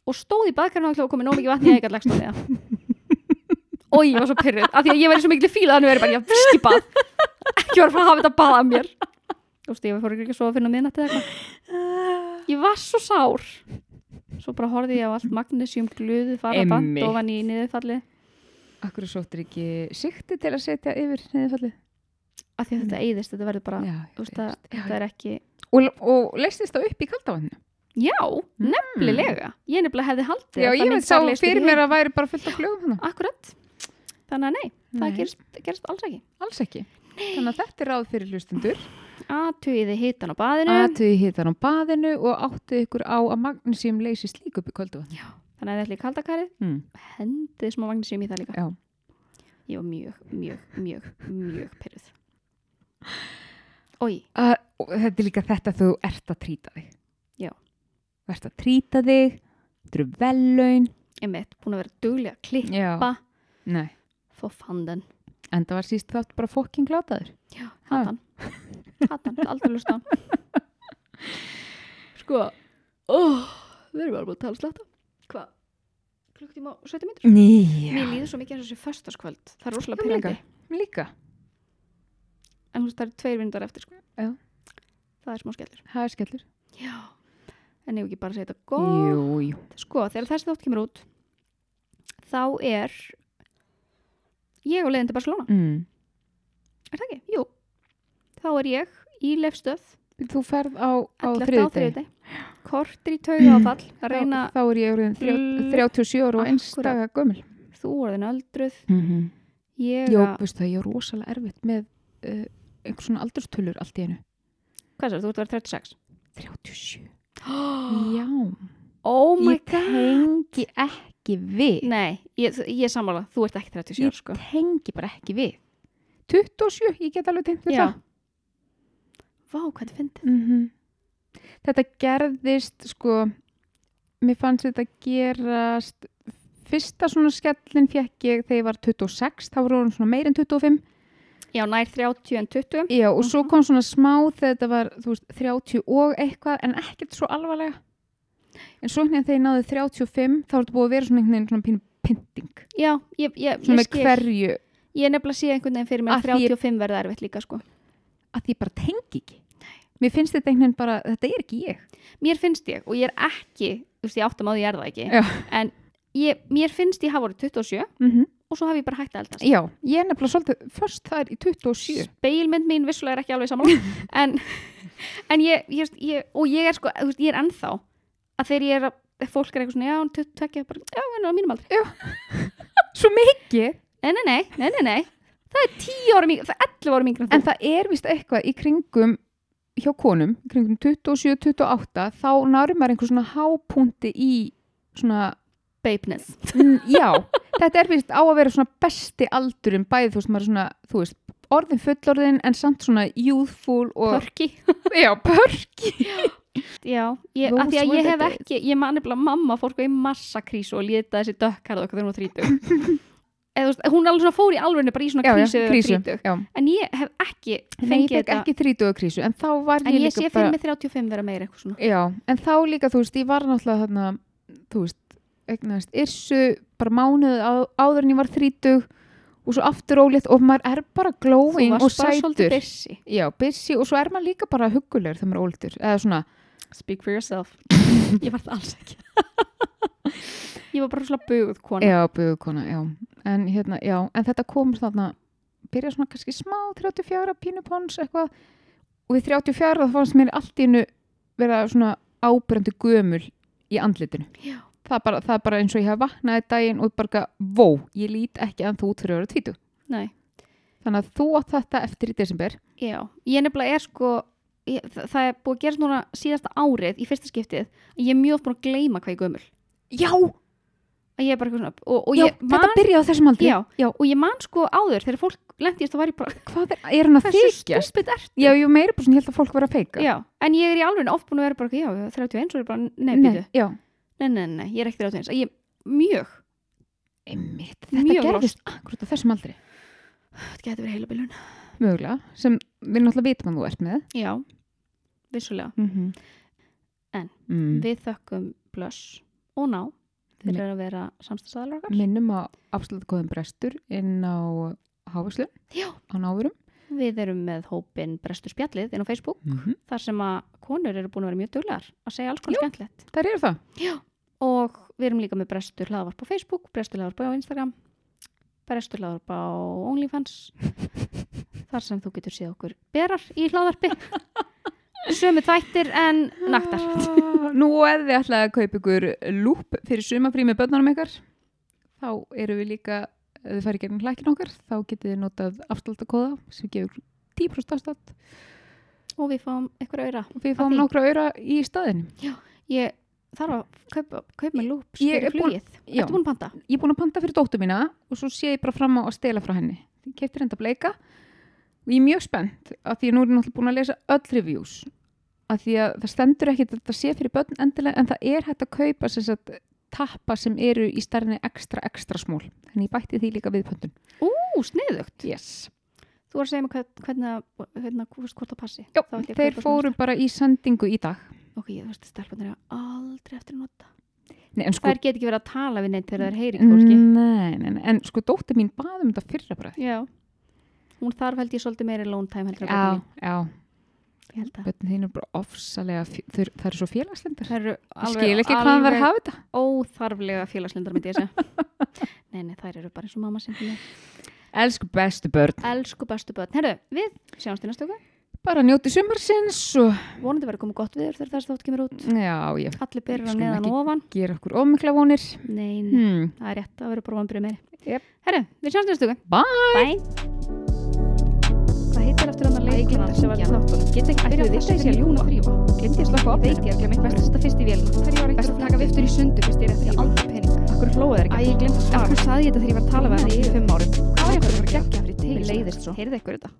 Speaker 1: og stóð í baðkarinu og komið nóg mikið vatni að ég gæti lagst á því það
Speaker 2: [laughs]
Speaker 1: og ég var svo pyrruð af því að ég var í svo miklu fíla þannig að ég bara, ég viski bað ekki var að fara að hafa þetta bað að mér þú veist, ég fór ekki að sofa fyrir miðnætti eða eitthvað
Speaker 2: Ah.
Speaker 1: ég var svo sár svo bara horfði ég á allt magnesjum gluðu fara band
Speaker 2: Einmitt.
Speaker 1: ofan í niðurfalli
Speaker 2: akkur sóttir ekki sikti til að setja yfir neðinfallið
Speaker 1: af því að þetta eyðist, þetta verður bara þú veist, að, þetta
Speaker 2: og,
Speaker 1: er ekki
Speaker 2: og leistist það upp í kaldavannu
Speaker 1: já, nefnilega ég nefnilega hefði haldið
Speaker 2: Mm. já
Speaker 1: að það
Speaker 2: ég
Speaker 1: myndi
Speaker 2: veit sá
Speaker 1: fara leyst upp í
Speaker 2: fyrir
Speaker 1: heim.
Speaker 2: mér að væri bara fullt af hérna. flugum hana
Speaker 1: Akkurat. Þannig að nei, það gerist, gerist alls ekki.
Speaker 2: alls ekki þannig að þetta er ráð fyrir hlustundur
Speaker 1: Aðtugiði hitan á baðinu,
Speaker 2: aðtöði hittan á baðinu og áttu ykkur á að magnesíum leysist líka upp í kaldavannu
Speaker 1: þannig að þið ætli í kaldakarið,
Speaker 2: mm.
Speaker 1: hendið smá magnesíum í það líka.
Speaker 2: Já.
Speaker 1: Ég var mjög, mjög, mjög, mjög pyrruð. Ói,
Speaker 2: að, Uh, og þetta er líka þetta að þú ert að trýta þig
Speaker 1: Já.
Speaker 2: þú ert að trýta þig þetta eru vellaun
Speaker 1: einmitt, búin að vera duglega að klippa,
Speaker 2: já, nei
Speaker 1: fó fandan,
Speaker 2: en það var síst þátt bara fokking glátaður
Speaker 1: hatan, hatan, aldrei lusta. [laughs] Sko, oh, við erum bara búin að tala sletta. Hvað? Klukktíma og 70 minnur? Mér
Speaker 2: nýja
Speaker 1: líður svo mikið eins og þessi föstaskvöld. Það er rosalega
Speaker 2: Já, mér líka.
Speaker 1: pyrrandi.
Speaker 2: líka,
Speaker 1: en þú veist það eru tveir vindar eftir sko.
Speaker 2: Já.
Speaker 1: það er smá skellur
Speaker 2: það er skellur
Speaker 1: já. en ég ekki bara að segja þetta gott
Speaker 2: jú, jú,
Speaker 1: sko þegar þessi þátt kemur út þá er ég á leiðin til Barcelona
Speaker 2: mm.
Speaker 1: er það ekki? Jú þá er ég í lefstöð
Speaker 2: þú ferð á,
Speaker 1: 11.
Speaker 2: á
Speaker 1: á
Speaker 2: þriðið
Speaker 1: þriðið kortir í tauga
Speaker 2: [clears throat]
Speaker 1: áfall að reyna
Speaker 2: þá er ég orðin
Speaker 1: Mm.
Speaker 2: þrjá- 37 ára og eins
Speaker 1: Akkúrat.
Speaker 2: daga gömul
Speaker 1: þú orðin öldruð
Speaker 2: mm -hmm.
Speaker 1: ég
Speaker 2: Jó,
Speaker 1: að
Speaker 2: veistu það, ég er rosalega erfitt með uh, einhver svona aldurstölur allt í einu
Speaker 1: hvað sér, þú ert að vera 36
Speaker 2: 37
Speaker 1: oh [gasps]
Speaker 2: Já,
Speaker 1: my
Speaker 2: ég
Speaker 1: god
Speaker 2: tengi ekki við
Speaker 1: nei, ég, ég er sammála, þú ert ekki 37
Speaker 2: Ég
Speaker 1: sko.
Speaker 2: tengi bara ekki við 27, ég get alveg tengt við
Speaker 1: Já.
Speaker 2: það
Speaker 1: vá, hvað þetta fyndið
Speaker 2: -hmm. Þetta gerðist sko, mér fannst þetta gerast fyrsta svona skellin fekk ég þegar ég var 26, þá voru hún svona meir en 25
Speaker 1: já, nær 30 en 20
Speaker 2: Já, og
Speaker 1: Mhm.
Speaker 2: svo kom svona smá þegar þetta var, þú veist, 30 og eitthvað en ekkert svo alvarlega en svo hérna þegar ég náði 35 þá er þetta búið að vera svona einhvern veginn svona pínu pynting
Speaker 1: já, ég, ég, ég
Speaker 2: svona með
Speaker 1: skil
Speaker 2: hverju,
Speaker 1: Ég nefnilega sé einhvern veginn fyrir mér
Speaker 2: Að
Speaker 1: að
Speaker 2: því ég-
Speaker 1: 35 verða erfitt líka sko.
Speaker 2: að ég bara tengi ekki Mér finnst þetta einhvern veginn bara, þetta er ekki ég
Speaker 1: Mér finnst ég, og ég er ekki, þú veist ég áttum á því ég er það ekki,
Speaker 2: Já.
Speaker 1: en ég, mér finnst ég hafa orðið 27
Speaker 2: mm
Speaker 1: og svo hafi ég bara hægt að eldast.
Speaker 2: Já, ég er nefnilega svolítið först þar í 27
Speaker 1: Speilmynd mín vissulega er ekki alveg saman,
Speaker 2: [laughs]
Speaker 1: en, en ég, ég, veist, ég, og ég er sko, þú veist, ég er ennþá að þegar ég er að, ef fólk er eitthvað svona, já, hún 22, bara, já, hann er á mínum aldri.
Speaker 2: Svo mikið
Speaker 1: Nei, nei, nei, nei, nei, nei, það er 10 árum yngri, það er 11 árum yngri en
Speaker 2: En
Speaker 1: þú.
Speaker 2: það er vist eitthvað í kringum hjá konum, í kringum 27-28 þá nárum maður einhver svona hápunti í svona,
Speaker 1: Bapeness.
Speaker 2: mm, já þetta er vist á að vera svona besti aldurinn bæði þú veist, maður er svona, þú veist, orðin fullorðin en samt svona youthful og
Speaker 1: Pörki.
Speaker 2: já, pörki
Speaker 1: Já, ég,
Speaker 2: Those
Speaker 1: af því að ég
Speaker 2: were
Speaker 1: hef
Speaker 2: the
Speaker 1: ekki, ég man nefnilega mamma fór sko í massakrísu og leta þessi dökkarð okkur þegar hún var þrítug.
Speaker 2: [laughs]
Speaker 1: Eða þú veist, hún alveg svona fór í alveg bara í svona
Speaker 2: já, já,
Speaker 1: krísu þegar
Speaker 2: krísu,
Speaker 1: þrítug.
Speaker 2: já.
Speaker 1: En ég hef ekki
Speaker 2: Nei, ég
Speaker 1: fengið
Speaker 2: fekk
Speaker 1: þetta.
Speaker 2: ekki þrítuga krísu en þá var
Speaker 1: en
Speaker 2: ég,
Speaker 1: ég
Speaker 2: líka
Speaker 1: sé fyrir mig 35 vera meira eitthvað svona.
Speaker 2: já, en þá líka, þú veist, ég var náttúrulega þarna, þú veist, eignast yrsu, bara mánuð á, áður en ég var þrítug og svo aftur ólétt og maður er bara glowing og
Speaker 1: Þú varst bara svolítið
Speaker 2: sætur
Speaker 1: busy.
Speaker 2: já, busy og svo er maður líka bara huggulegur þegar maður er ólítur eða svona,
Speaker 1: Speak for yourself. [laughs] ég var það alls ekki. [laughs] ég var bara svona bugð kona.
Speaker 2: já, byggukona, já en hérna, já, en þetta kom þarna byrja svona kannski smá 34 pínupons eitthvað og við 34 þá fannst mér allt í hennu vera svona ábyrjandi gömul í andlitinu
Speaker 1: Já.
Speaker 2: það er bara, það er bara eins og ég hef vaknaði daginn og bara, eitthvað, vó, ég lít ekki en þú út fyrir að vera tvítu
Speaker 1: Nei.
Speaker 2: þannig að þú átt þetta eftir í desember
Speaker 1: Já, ég nefnilega er sko ég, þa- það er búið að gerast núna síðasta árið í fyrsta skiptið að ég er mjög oft búin að gleyma hvað ég er gömul
Speaker 2: já,
Speaker 1: að ég er bara eitthvað svona og, og
Speaker 2: já
Speaker 1: ég man
Speaker 2: þetta byrjaði á þessum aldri
Speaker 1: Já, og ég man sko áður þegar fólk lendist að væri bara
Speaker 2: hvað er, er hann að
Speaker 1: hversu
Speaker 2: þykjast?
Speaker 1: stúpid ertu?
Speaker 2: já, ég var meira bara svona, ég held að fólk vera að feika
Speaker 1: Já, en ég er í alveg oft búin að vera bara já, 31 og er bara, nei, býtu,
Speaker 2: Nei, já.
Speaker 1: nei, nei, nei, ég er ekki 31 ég, mjög,
Speaker 2: Einmitt,
Speaker 1: Mm. Mjög
Speaker 2: þetta gerðist akkurat á þessum aldri
Speaker 1: þetta getur verið heila bilun
Speaker 2: mögulega, sem við náttúrulega vitum að þú ert með
Speaker 1: Já, vissulega
Speaker 2: mm -hmm.
Speaker 1: Mhm. En
Speaker 2: mm.
Speaker 1: við þökkum blöss og ná
Speaker 2: Nei.
Speaker 1: fyrir að vera samstæðsadar okkar
Speaker 2: minnum á absolutt góðum brestur inn á háfæslu
Speaker 1: Já.
Speaker 2: á náfurum
Speaker 1: Við erum með hópin Brestur Spjallið inn á Facebook
Speaker 2: mm -hmm.
Speaker 1: þar sem að konur eru búin að vera mjög duglegar að segja alls konar skemmtilegt
Speaker 2: þar eru það
Speaker 1: og við erum líka með Brestur hlaðvarp á Facebook, Brestur hlaðvarp á Instagram Brestur hlaðvarp á
Speaker 2: [laughs]
Speaker 1: OnlyFans þar sem þú getur séð okkur berar í hlaðvarpi sömu þættir en naktar
Speaker 2: Ah, [laughs] Nú ef þið ætlaði að kaupa ykkur lúp fyrir sumafrí með börnunum ykkar þá eru við líka ef þið farið gegnum hlækin okkar þá getið þið notað afsláttakóða sem gefur 10% afslátt
Speaker 1: og við fáum eitthvað auðra
Speaker 2: og við fáum
Speaker 1: því.
Speaker 2: nokkra auðra í staðinu
Speaker 1: ég þarf að kaupa, kaupa mér lúps
Speaker 2: Ég
Speaker 1: fyrir
Speaker 2: er búin-
Speaker 1: flugið
Speaker 2: Já.
Speaker 1: Ertu búin að panta?
Speaker 2: ég er búin að panta fyrir dóttu mína og svo sé ég bara fram á að stela frá henni ég kefti reynda bleika og ég er mjög spennt af því að nú er ég náttúrulega búin að lesa öll reviews af því að það stendur ekki að þetta sé fyrir börn endilega en það er hægt að kaupa sem sagt, tappa sem eru í stærni ekstra ekstra smól þannig ég bætti því líka við pöntun
Speaker 1: Ú, sniðugt
Speaker 2: yes.
Speaker 1: Þú var að segja mér hvern- hvernig, að- hvernig, að- hvort það passi
Speaker 2: Jó,
Speaker 1: Þá ætla ég að
Speaker 2: þeir
Speaker 1: kaupa svona
Speaker 2: fóru bara í sendingu í dag
Speaker 1: ok, ég þú veist að stelpunar eru aldrei eftir að nota
Speaker 2: Nei, en sko,
Speaker 1: þær get ekki verið að tala við neitt þegar þær heyri
Speaker 2: Mm,
Speaker 1: ekki fólki
Speaker 2: nei, nei, nei, en sko dóttu mín baðum þetta fyrra bara
Speaker 1: já, hún þarf held ég svolítið meiri lone time heldur en
Speaker 2: já,
Speaker 1: börnin
Speaker 2: já,
Speaker 1: mín. ég held að
Speaker 2: börn þín er bara ofsalega fjö- þau- það er svo félagslindar
Speaker 1: það eru
Speaker 2: Ég
Speaker 1: alveg,
Speaker 2: skil ekki hvað hann var að hafa þetta.
Speaker 1: óþarflega félagslindar myndi ég segja
Speaker 2: [laughs]
Speaker 1: nei, nei, þær eru bara eins og mamma sem hún er
Speaker 2: Elsku bestu börn.
Speaker 1: elsku bestu börn, herru, við sjáumst í næstu okkar
Speaker 2: Bara njóti sumarsins og
Speaker 1: vonandi verið komið gott viður þegar þess þátt kemur út
Speaker 2: já, já,
Speaker 1: allir byrjar
Speaker 2: Skulum
Speaker 1: um neðan
Speaker 2: ekki-
Speaker 1: og ofan
Speaker 2: gera okkur ómikla vonir.
Speaker 1: nei, nei,
Speaker 2: Hmm.
Speaker 1: það er rétt, það verður bara vonbrið meiri
Speaker 2: Jep.
Speaker 1: herru, við sjáumst í næstu okkar
Speaker 2: Bye!
Speaker 1: Bye. Hvað heitir eftir hann að leikona sem var í þáttunum? Get ekki
Speaker 3: Byrja
Speaker 1: byrjað
Speaker 3: þess
Speaker 1: þess
Speaker 3: að
Speaker 1: að
Speaker 3: segja ljúna
Speaker 1: ljúna
Speaker 3: þrýfa.
Speaker 1: Glendi ég slokka á
Speaker 3: Veit ég ekki, mitt best að setja fyrst í vélina.
Speaker 1: Hverju var
Speaker 3: Best að taka viftur í sundu fyrst ég er að þrýfa. Aldrei pening.
Speaker 1: Akkur hlóðu
Speaker 3: Æ,
Speaker 1: þær ekki?
Speaker 3: ég glemt að svara.
Speaker 1: Akkur saði ég þetta þegar ég var að tala við hann
Speaker 3: Nei,
Speaker 1: í
Speaker 3: ég-
Speaker 1: fimm árum?
Speaker 3: Hvað var ég að fara að gegja fyrir
Speaker 1: Mér
Speaker 3: tegist?
Speaker 1: leiðist svo. Heyrðu ykkur þetta?